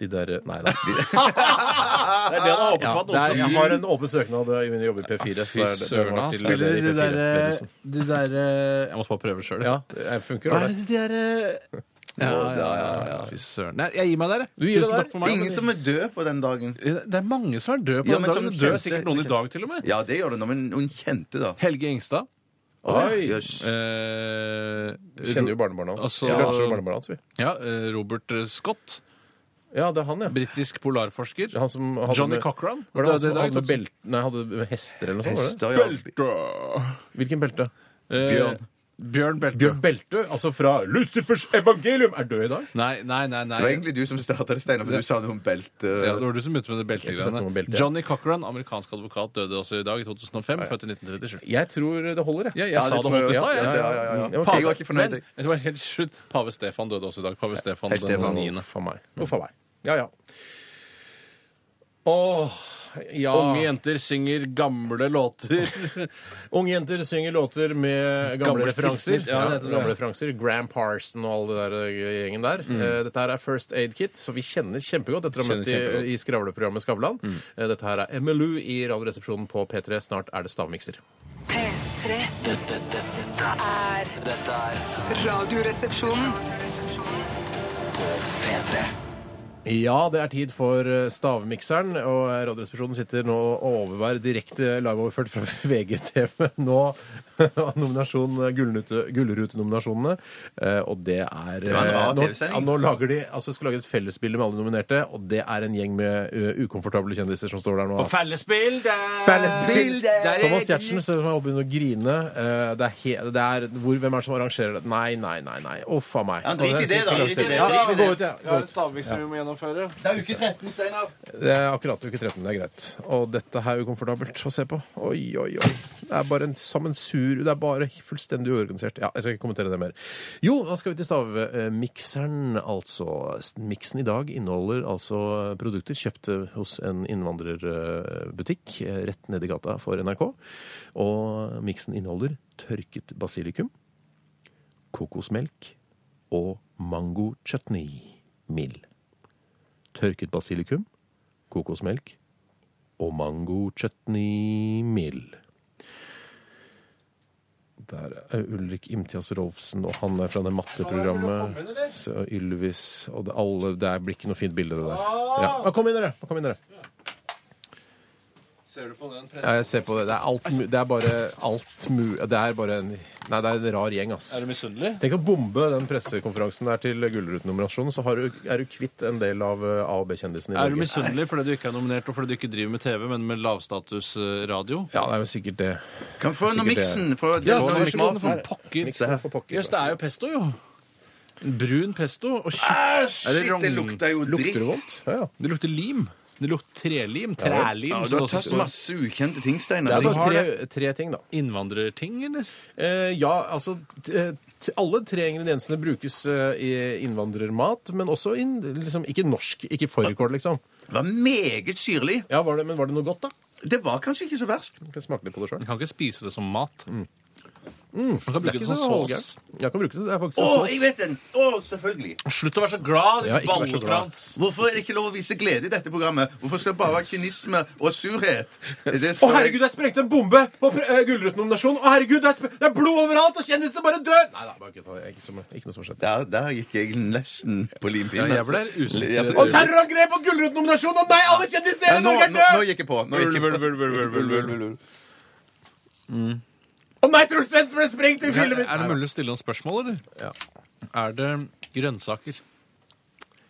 Speaker 2: de der, eh, Nei da.
Speaker 4: Det er det han har håpet
Speaker 2: Ja,
Speaker 4: på. at
Speaker 2: det
Speaker 4: noen
Speaker 2: er,
Speaker 4: skal
Speaker 2: jeg
Speaker 4: si.
Speaker 2: har en åpen søknad eh, i min jobb i P4. så
Speaker 4: Fy
Speaker 2: det er- det er
Speaker 4: søren, han
Speaker 2: til-
Speaker 4: spiller
Speaker 2: det er
Speaker 4: de
Speaker 2: P4,
Speaker 4: der,
Speaker 2: ledelsen.
Speaker 4: de der eh, Jeg måtte bare prøve sjøl.
Speaker 2: Ja, det funker.
Speaker 4: Hva er
Speaker 2: det.
Speaker 4: det de der eh, ja, ja, ja, ja. Fy søren. Nei, jeg gir meg der, jeg.
Speaker 2: Du gir deg
Speaker 4: Tusen
Speaker 2: der.
Speaker 4: takk for meg.
Speaker 3: Ingen som er død på den dagen.
Speaker 4: Det er mange som er døde på
Speaker 3: Ja,
Speaker 4: den
Speaker 3: men
Speaker 4: dagen.
Speaker 3: som
Speaker 4: Det dør
Speaker 3: kjente-
Speaker 4: sikkert noen i dag, til og med.
Speaker 3: Ja, det gjør det nå, men noen kjente, da.
Speaker 4: Helge Ingstad.
Speaker 2: Oi.
Speaker 3: Jøs.
Speaker 4: Eh,
Speaker 2: Vi kjenner jo barnebarnet hans. Vi
Speaker 4: Altså-
Speaker 2: lunsjer med barnebarnet hans, vi.
Speaker 4: Ja, eh, Robert Scott,
Speaker 2: Ja, det er han, ja.
Speaker 4: britisk polarforsker.
Speaker 2: Han som hadde
Speaker 4: Johnny
Speaker 2: med-
Speaker 4: Cochran.
Speaker 2: Var det sånn- han som
Speaker 4: Døde i dag,
Speaker 2: hadde med
Speaker 4: 2000.
Speaker 2: belt... Nei, hadde med hester eller noe sånt? var det?
Speaker 3: Hester, ja.
Speaker 2: Hvilken belte?
Speaker 4: Eh, Bjørn Belte.
Speaker 2: Bjørn Beltø, altså fra Lucifers evangelium, er død i dag.
Speaker 4: Nei, nei, nei. nei.
Speaker 3: Det var egentlig du som starta det, Steinar, for du sa noe om eh. belte.
Speaker 4: ja, det var du som begynte med det
Speaker 2: Jeg snakker
Speaker 4: beltegreiene.
Speaker 2: om belte, ja.
Speaker 4: Johnny Cochran, amerikansk advokat, døde også i dag, i 2005. Født i 1937.
Speaker 2: Jeg tror det holder, jeg.
Speaker 4: Ja, jeg
Speaker 3: Ja,
Speaker 4: sa det
Speaker 3: tror
Speaker 4: holdt i
Speaker 3: jeg også.
Speaker 4: stad. jeg.
Speaker 3: Ja, ja, ja, ja.
Speaker 2: Ok.
Speaker 3: Jeg var ikke fornøyd. jeg.
Speaker 4: Men det var helt slutt. Pave Stefan døde også i dag. Pave Stefan
Speaker 3: Hei,
Speaker 4: den
Speaker 3: Stefan.
Speaker 4: niende.
Speaker 2: Uff a meg. Uff a meg. Ja, ja. Åh, ja.
Speaker 4: Unge jenter synger gamle låter.
Speaker 2: Unge jenter synger låter med gamle,
Speaker 4: Gamle
Speaker 2: referanser.
Speaker 4: tilsnitt, ja, det heter det.
Speaker 2: gamle referanser. Gram Parson og alle det der eh, gjengen der.
Speaker 4: Mm.
Speaker 2: Eh, Dette her er First Aid Kit, så vi kjenner kjempegodt. Dette har vi
Speaker 4: Kjenner
Speaker 2: møtt i,
Speaker 4: kjempegodt. Mm.
Speaker 2: i skravleprogrammet Skavlan. Eh, Dette her er MLU i Radioresepsjonen på P3. Snart er det stavmikser.
Speaker 7: P3
Speaker 5: Dette, dette, dette,
Speaker 7: er
Speaker 5: dette er
Speaker 7: Radioresepsjonen.
Speaker 5: P3
Speaker 2: Ja, det er tid for eh, stavmikseren, og eh, Radioresepsjonen sitter nå og overværer direkte liveoverført fra VGTV nå av nominasjon, gullrute- Gullrutenominasjonene. eh, Og det er
Speaker 3: var
Speaker 2: eh,
Speaker 3: en rar
Speaker 2: nå,
Speaker 3: TV-sending.
Speaker 2: ja, nå lager de altså skal lage et fellesbilde med alle nominerte, og det er en gjeng med eh, ukomfortable kjendiser som står der nå. ass. Thomas Giertsen ser ut som han begynner å grine. Eh, Det er he det er, hvor, hvem er det som arrangerer det? Nei, nei, nei. nei. Uff a meg.
Speaker 3: Ja, drit i
Speaker 2: Og er sikkert
Speaker 3: det, da. Drit i
Speaker 2: langsiden.
Speaker 3: det,
Speaker 2: Ja,
Speaker 3: drit i
Speaker 2: gå
Speaker 3: det.
Speaker 2: ut, ja.
Speaker 4: Vi har
Speaker 2: Gå
Speaker 4: en
Speaker 2: ut.
Speaker 4: stavmiks vi må gjennomføre.
Speaker 3: Det er uke 13, Steinar.
Speaker 2: Det er akkurat uke 13. Det er greit. Og dette her er ukomfortabelt å se på. Oi, oi, oi. Det er bare en sammensur. Det er bare fullstendig uorganisert. Ja, jeg skal ikke kommentere det mer. Jo, da skal vi til stavmikseren, altså. Miksen i dag inneholder altså produkter kjøpt eh, hos en innvandrerbutikk eh, rett nedi gata for NRK. Og miksen inneholder tørket basilikum, kokosmelk og mango chutney mild tørket basilikum, kokosmelk og mango chutney mild. Der er Ulrik Imtias Rolfsen, og han er fra det matteprogrammet. Så Ylvis og det, alle, det blir ikke noe fint bilde, det der. Ja. Ja, kom inn, dere! Kom inn, dere.
Speaker 4: Ser du på den
Speaker 2: Ja, jeg ser på det. Det er, alt, mu- det er bare alt mu... Det er bare en Nei, det er en rar gjeng, ass.
Speaker 4: Er du misunnelig?
Speaker 2: Tenk å bombe den pressekonferansen der til Gullruten-nominasjonen, så har du, er du kvitt en del av eh, A- og B-kjendisene i
Speaker 4: Er du
Speaker 2: Norge.
Speaker 4: misunnelig fordi du ikke er nominert, og fordi du ikke driver med TV, men med lavstatusradio?
Speaker 2: Ja, det er jo sikkert det.
Speaker 3: Kan få noe
Speaker 2: Sikkert det.
Speaker 3: miksen. Få
Speaker 2: Ja,
Speaker 3: få
Speaker 2: nå
Speaker 3: noe
Speaker 2: er miksen
Speaker 3: miksen.
Speaker 2: for
Speaker 4: pokker.
Speaker 2: Miksen for pokker.
Speaker 4: Jøss, det er jo pesto, jo. En Brun pesto. Og shit, er
Speaker 3: Shit, det lukter jo dritt.
Speaker 2: Lukter det vondt? Ja, ja.
Speaker 4: Det lukter lim. Det lukter trelim.
Speaker 3: Ja,
Speaker 4: Trælim.
Speaker 3: du
Speaker 4: som
Speaker 3: har
Speaker 4: det også
Speaker 3: tatt
Speaker 4: står.
Speaker 3: masse ukjente ting,
Speaker 2: Det
Speaker 3: Steinar.
Speaker 2: er bare tre, tre ting, da.
Speaker 4: Innvandrerting, eller?
Speaker 2: Eh, ja, altså t eh, t Alle tre ingrediensene brukes eh, i innvandrermat, men også inn, liksom, ikke norsk. Ikke fårikål, liksom.
Speaker 3: Det var meget syrlig.
Speaker 2: Ja, var det, Men var det noe godt, da?
Speaker 3: Det var kanskje ikke så verst.
Speaker 2: Jeg kan smake litt på det sjøl.
Speaker 4: Man kan ikke spise det som mat. Mm. Man kan
Speaker 2: Det
Speaker 4: bruke
Speaker 2: er
Speaker 4: det
Speaker 2: ikke
Speaker 4: som
Speaker 2: så
Speaker 4: sås.
Speaker 2: halvgærent. Jeg kan bruke det. Det er faktisk
Speaker 3: Å,
Speaker 2: en sås.
Speaker 3: jeg vet den! Å, selvfølgelig.
Speaker 4: Slutt å være så glad!
Speaker 2: Ja, ikke vær så glad.
Speaker 4: ballefrans.
Speaker 3: Hvorfor er det ikke lov å vise glede i dette programmet? Hvorfor skal det bare være kynisme og surhet? Det
Speaker 2: Å,
Speaker 3: skal-
Speaker 2: herregud, jeg sprengte en bombe på uh, Gullruten-nominasjonen! Å, herregud, det er, sp- det er blod overalt, og kjendisene bare dør! Nei da, bare kødda. Det er Ikke, som- ikke noe som har skjedd.
Speaker 3: Der, der gikk jeg nesten på
Speaker 4: Ja,
Speaker 3: limpinnen.
Speaker 4: jeg ble
Speaker 3: altså. Jeg
Speaker 4: usikker.
Speaker 3: ble-
Speaker 2: Og terrorangrep og Gullruten-nominasjonen! Og nei, alle kjendisene i
Speaker 3: Ja,
Speaker 2: hele
Speaker 3: nå,
Speaker 2: Norge er
Speaker 3: nå, nå
Speaker 2: døde!
Speaker 3: gikk jeg på. Nå
Speaker 4: Ulv,
Speaker 3: gikk jeg på.
Speaker 4: ulv, ulv, ulv, ulv, ulv, ulv.
Speaker 2: Og nei, Truls Svendsen ble sprengt i
Speaker 4: Er
Speaker 2: filmen!
Speaker 4: det mulig å stille noen spørsmål, eller?
Speaker 2: Ja.
Speaker 4: Er det grønnsaker?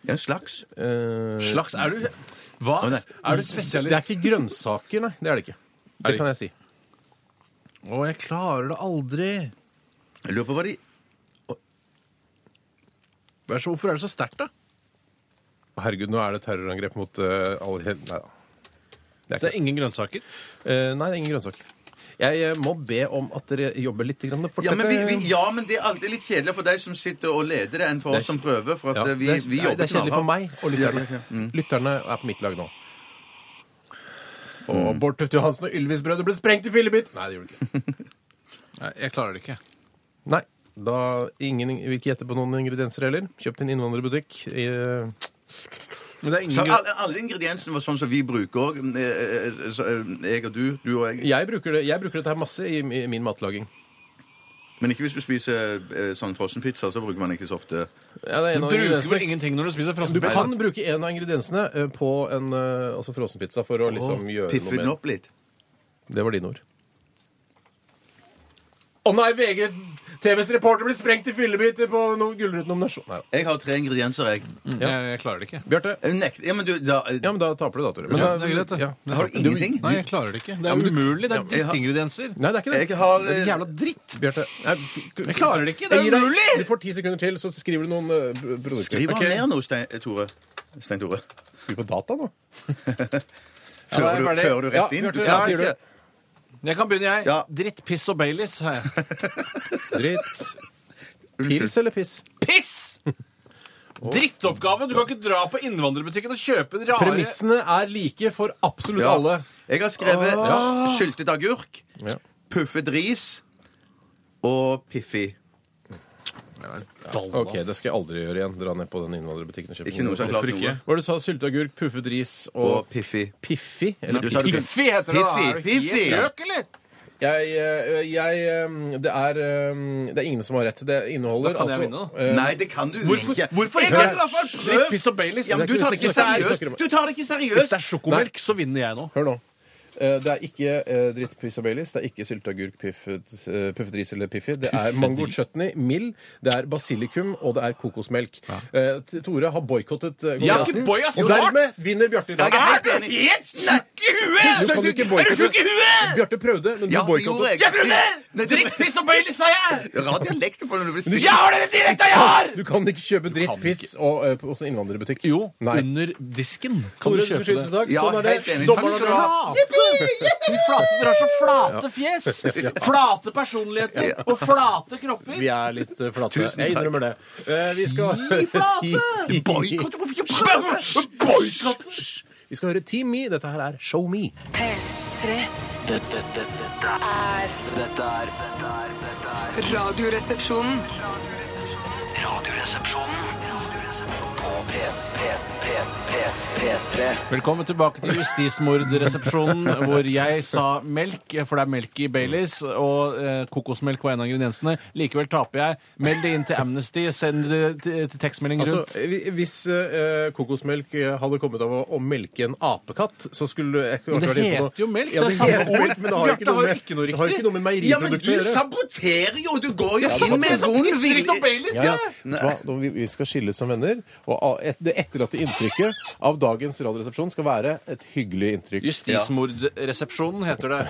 Speaker 3: Ja, en slags.
Speaker 4: Slags Er du Hva?
Speaker 3: Å, nei.
Speaker 4: Er
Speaker 2: Eh, Det
Speaker 4: du
Speaker 2: er
Speaker 4: spesialist?
Speaker 2: ikke grønnsaker, nei. Det er det ikke. Det
Speaker 4: det
Speaker 2: kan jeg si.
Speaker 4: Å, jeg klarer det aldri.
Speaker 3: Jeg lurer på hva de
Speaker 4: Hva er så- Hvorfor er det så sterkt, da?
Speaker 2: Herregud, nå er det terrorangrep mot eh, alle hen- Nei da. Det
Speaker 4: Det
Speaker 2: er
Speaker 4: er
Speaker 2: ikke.
Speaker 4: ingen grønnsaker.
Speaker 2: Eh, nei, det er ingen grønnsaker. Jeg eh, må be om at dere jobber litt grann fort.
Speaker 3: ja men, vi,
Speaker 2: Dette-
Speaker 3: vi, ja, men det er alltid litt kjedeligere for deg som sitter og leder det, enn for
Speaker 2: Det er
Speaker 3: oss som
Speaker 2: kj-
Speaker 3: prøver. For at
Speaker 2: Ja,
Speaker 3: eh, vi,
Speaker 2: det, er,
Speaker 3: vi
Speaker 2: nei,
Speaker 3: jobber
Speaker 2: det er kjedelig for
Speaker 3: knallhardt.
Speaker 2: meg og lytterne. Lytterne er på mitt lag nå. Og Bård Tufte Johansen og Ylvis-brødre ble sprengt i fillebit! Nei, det gjorde de ikke.
Speaker 4: Nei, Jeg klarer det ikke.
Speaker 2: Nei, da ingen vil ikke gjette på noen ingredienser heller. Kjøpt i en innvandrerbutikk. Eh, i-
Speaker 4: Men det er
Speaker 3: Så
Speaker 4: ingen grønn...
Speaker 3: alle, alle ingrediensene var sånn som vi bruker eh, òg. eh, Jeg og du, du og jeg.
Speaker 2: Jeg bruker, det, jeg bruker dette her masse i, i min matlaging.
Speaker 3: Men ikke hvis du spiser eh, sånn frossenpizza, så bruker man ikke så ofte
Speaker 2: Ja, det er en
Speaker 4: Du
Speaker 2: av
Speaker 4: bruker
Speaker 2: ingrediensene.
Speaker 4: vel ingenting når du spiser
Speaker 2: Du
Speaker 4: frossenpizza?
Speaker 2: kan bruke en av ingrediensene eh, på en eh, altså frossenpizza for å liksom gjøre
Speaker 3: piffe
Speaker 2: noe
Speaker 3: den
Speaker 2: med
Speaker 3: opp litt.
Speaker 2: Det var dine ord. Å nei, VG! TVs reporter blir sprengt i fillebiter på no Gullruten-nominasjon. Nei da.
Speaker 3: Jeg har tre ingredienser, jeg.
Speaker 4: Mm. Jeg, jeg klarer det ikke.
Speaker 2: Bjarte.
Speaker 3: Jeg nekter. Ja, men du, da, eh,
Speaker 2: Mm. Ja, men da taper du, da, Tore. Men
Speaker 4: Ja,
Speaker 2: da-
Speaker 4: det er greit, det.
Speaker 2: Ja.
Speaker 3: har du ingenting?
Speaker 4: Nei, jeg klarer det ikke. Det
Speaker 2: Ja,
Speaker 4: er
Speaker 2: men du-
Speaker 4: umulig. Det er
Speaker 3: jeg har-
Speaker 4: drittingredienser.
Speaker 2: Nei, det er ikke det.
Speaker 3: Jeg har,
Speaker 2: det er
Speaker 3: eh,
Speaker 2: jævla dritt, Bjarte. Jeg
Speaker 4: klarer det ikke, det er
Speaker 2: gir deg-
Speaker 4: umulig!
Speaker 2: Du får ti sekunder til, så skriver du noen eh, b- produkter.
Speaker 3: Skriv
Speaker 2: Ok.
Speaker 3: han ned nå, Stein eh, Tore. Stein Tore.
Speaker 2: Skriv på data nå.
Speaker 4: da er
Speaker 3: Fører
Speaker 4: jeg
Speaker 3: du,
Speaker 4: ferdig.
Speaker 3: fører du rett
Speaker 2: Ja,
Speaker 3: inn?
Speaker 2: Bjarte,
Speaker 3: Du
Speaker 2: ja,
Speaker 3: klarer
Speaker 2: sier du.
Speaker 3: ikke.
Speaker 4: Jeg kan begynne, jeg.
Speaker 3: Ja.
Speaker 4: Dritt, piss og Baileys. har jeg.
Speaker 2: Dritt. Pils eller piss?
Speaker 4: Piss! Drittoppgave! Du kan ikke dra på innvandrerbutikken og kjøpe en rare
Speaker 2: Premissene er like for absolutt
Speaker 3: Ja.
Speaker 2: alle.
Speaker 3: Jeg har skrevet
Speaker 2: Åh.
Speaker 3: ja, syltet agurk,
Speaker 2: Ja.
Speaker 3: puffet ris og Piffi.
Speaker 4: Dalmas.
Speaker 2: Ok, det skal jeg aldri gjøre igjen. Dra ned på den innvandrerbutikken og kjøpe
Speaker 3: Ikke noe
Speaker 2: noe.
Speaker 3: som er klart
Speaker 4: Hvorfor ikke?
Speaker 3: noe.
Speaker 2: Hva var det du sa? Sylteagurk, puffet ris
Speaker 3: Og
Speaker 2: og
Speaker 3: Piffi.
Speaker 2: Piffi? Eller
Speaker 3: Du sa du kunne-
Speaker 4: Piffi heter det. da.
Speaker 3: Piffi,
Speaker 4: Er du helt
Speaker 3: Piffi.
Speaker 4: Gjøk, eller?
Speaker 2: Jeg, eh, jeg eh, det, er, eh, det er ingen som har rett. Det inneholder
Speaker 4: Da kan jeg
Speaker 2: altså
Speaker 4: vinne, da.
Speaker 2: eh,
Speaker 3: Nei, det kan du
Speaker 4: Hvorfor-
Speaker 3: ikke.
Speaker 4: hvorfor
Speaker 3: Jeg
Speaker 4: ikke?
Speaker 3: har i hvert fall
Speaker 4: Dritt,
Speaker 3: prøvd!
Speaker 4: piss og Baileys.
Speaker 3: Ja, men du tar det ikke
Speaker 2: Vi snakker om-
Speaker 3: seriøst. Du tar det ikke
Speaker 4: Hvis
Speaker 3: seriøst.
Speaker 4: det er sjokomelk, så vinner jeg nå.
Speaker 2: Hør nå. Eh, Det er ikke eh, dritt piss og Baileys, det er ikke sylteagurk, puffet, eh, puffet ris eller piffi. Det er mango chutney, mild, det er basilikum, og det er kokosmelk. Eh, T- Tore har boikottet eh,
Speaker 4: Ja,
Speaker 2: konkurransen,
Speaker 4: boy, ass,
Speaker 2: og
Speaker 4: så rart!
Speaker 2: dermed vinner Bjarte i dag.
Speaker 3: Er du
Speaker 4: helt snakk i huet!
Speaker 2: Du kan ikke boikotte. Bjarte prøvde, men du
Speaker 3: Ja, det gjorde
Speaker 2: boikottet.
Speaker 3: jeg. Jeg prøvde! Drikk
Speaker 4: piss og Baileys, sa jeg!
Speaker 3: Rar dialekt du får når du blir
Speaker 2: du-
Speaker 3: sint.
Speaker 2: Jeg har
Speaker 4: den direkte jeg har!
Speaker 2: Du kan ikke kjøpe dritt
Speaker 4: kan
Speaker 2: piss og, eh, på- hos en innvandrerbutikk.
Speaker 4: Jo,
Speaker 2: Nei.
Speaker 4: under disken kan
Speaker 2: Tore,
Speaker 4: du
Speaker 2: du
Speaker 4: kjøpe
Speaker 2: skyter i
Speaker 4: det.
Speaker 2: dag.
Speaker 3: Ja,
Speaker 2: Sånn er det.
Speaker 3: helt enig.
Speaker 2: Dommerne
Speaker 3: Takk skal du
Speaker 2: drar.
Speaker 3: ha.
Speaker 4: De flate, dere har så flate fjes, flate personligheter og flate kropper.
Speaker 2: Vi er litt eh, flate.
Speaker 3: Tusen
Speaker 2: Jeg
Speaker 3: takk.
Speaker 2: innrømmer det. Eh, Vi skal
Speaker 4: Gi flate!
Speaker 2: Ti- ti-
Speaker 3: Boikott? Hvorfor ikke boikott?
Speaker 4: Boikott!
Speaker 2: Vi skal høre Team Me. Dette her er Show Me.
Speaker 7: P3
Speaker 5: Dette, dette, dette
Speaker 7: er
Speaker 5: er Dette er dette er- dette er
Speaker 7: Radioresepsjonen.
Speaker 5: Radioresepsjonen På P, P, P, P, P3
Speaker 4: Velkommen tilbake til justismordresepsjonen, hvor jeg sa melk, for det er melk i Baileys, og eh, kokosmelk var en av ingrediensene. Likevel taper jeg. Meld det inn til Amnesty, send det til, til tekstmelding
Speaker 2: Altså,
Speaker 4: rundt.
Speaker 2: hvi- Hvis eh, kokosmelk eh, hadde kommet av å, å melke en apekatt, så skulle jeg ikke
Speaker 4: Men det
Speaker 2: vært inne på
Speaker 4: heter jo melk,
Speaker 2: Ja, det
Speaker 4: det er samme
Speaker 2: heter
Speaker 4: ord.
Speaker 2: melk, men det har jo
Speaker 4: Bjarte
Speaker 2: ikke noe
Speaker 4: har jo
Speaker 2: med,
Speaker 4: ikke noe
Speaker 2: det har jo
Speaker 4: riktig.
Speaker 2: ikke noe med
Speaker 3: Ja, men
Speaker 2: meieriprodukter
Speaker 3: du
Speaker 2: å gjøre.
Speaker 3: saboterer jo! Du går jo
Speaker 4: Sånn
Speaker 3: inn med vond
Speaker 4: distrikt og
Speaker 3: vilje.
Speaker 4: Baileys,
Speaker 2: Ja, ja.
Speaker 4: ja.
Speaker 2: Vet du hva? Nå, vi, vi skal skilles som venner, og av- et, det etterlatte inntrykket av dagens Radioresepsjon skal være et hyggelig inntrykk.
Speaker 4: altså, Justismordresepsjonen heter det.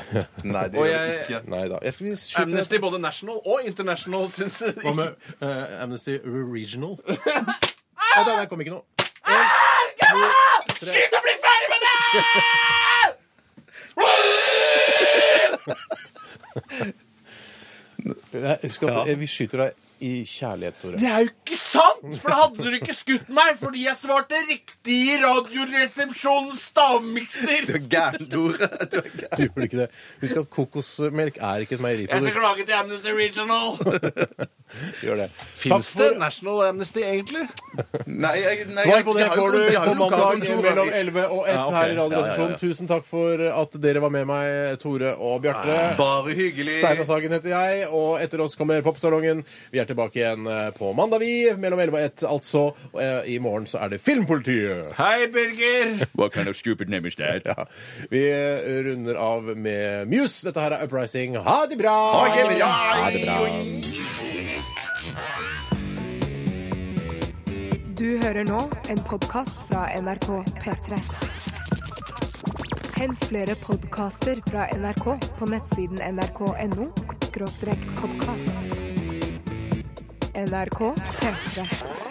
Speaker 3: Nei, det
Speaker 4: Og
Speaker 3: gjør det
Speaker 4: jeg-
Speaker 3: ikke.
Speaker 2: Nei da. Jeg skal vi skyte
Speaker 4: Amnesty både national og international syns
Speaker 2: Hva med eh, Amnesty Regional? Nei, da, der kom ikke noe.
Speaker 4: Ah, Skyt og bli ferdig med det!
Speaker 2: Jeg husker at eh, vi skyter deg i kjærlighet, Tore.
Speaker 4: Det er jo ikke sant! For da hadde du ikke skutt meg fordi jeg svarte riktig i Radioresepsjonens
Speaker 3: Du
Speaker 4: stavmikser.
Speaker 3: er gæren, Tore. Du er gæren.
Speaker 2: Du gjorde ikke det. Husk at kokosmelk er ikke et
Speaker 4: Jeg skal
Speaker 2: meieriprodukt.
Speaker 4: klage til Amnesty Regional.
Speaker 2: Gjør det. Takk
Speaker 4: Fins det
Speaker 2: for-
Speaker 4: National Amnesty, egentlig?
Speaker 3: Nei, jeg, nei,
Speaker 2: Svar på
Speaker 3: de
Speaker 2: det
Speaker 3: har jo-
Speaker 2: får du
Speaker 3: de har
Speaker 2: på
Speaker 3: jo
Speaker 2: mandag
Speaker 3: lokalkontor,
Speaker 2: mellom
Speaker 3: da.
Speaker 2: 11 og 1
Speaker 4: Ja, ok.
Speaker 2: her i Radioresepsjonen. Tusen takk for at dere var med meg, Tore og Bjarte.
Speaker 3: Bare hyggelig.
Speaker 2: Steinar Sagen heter jeg, og etter oss kommer Popsalongen. Vi er tilbake igjen eh, på mandag, vi. Mellom 11 og 1, altså. Og eh, i morgen så er det Filmpolitiet.
Speaker 4: Hei, Birger.
Speaker 3: What kind of stupid name is that?
Speaker 2: Ja. Vi eh, runder av med Muse. Dette her er Uprising. Ha det bra!
Speaker 3: Ha det bra!
Speaker 2: Ha det bra.
Speaker 1: Du hører nå en podkast fra NRK P3. Hent flere podkaster fra NRK på nettsiden nrk.no podkast. NRK P3.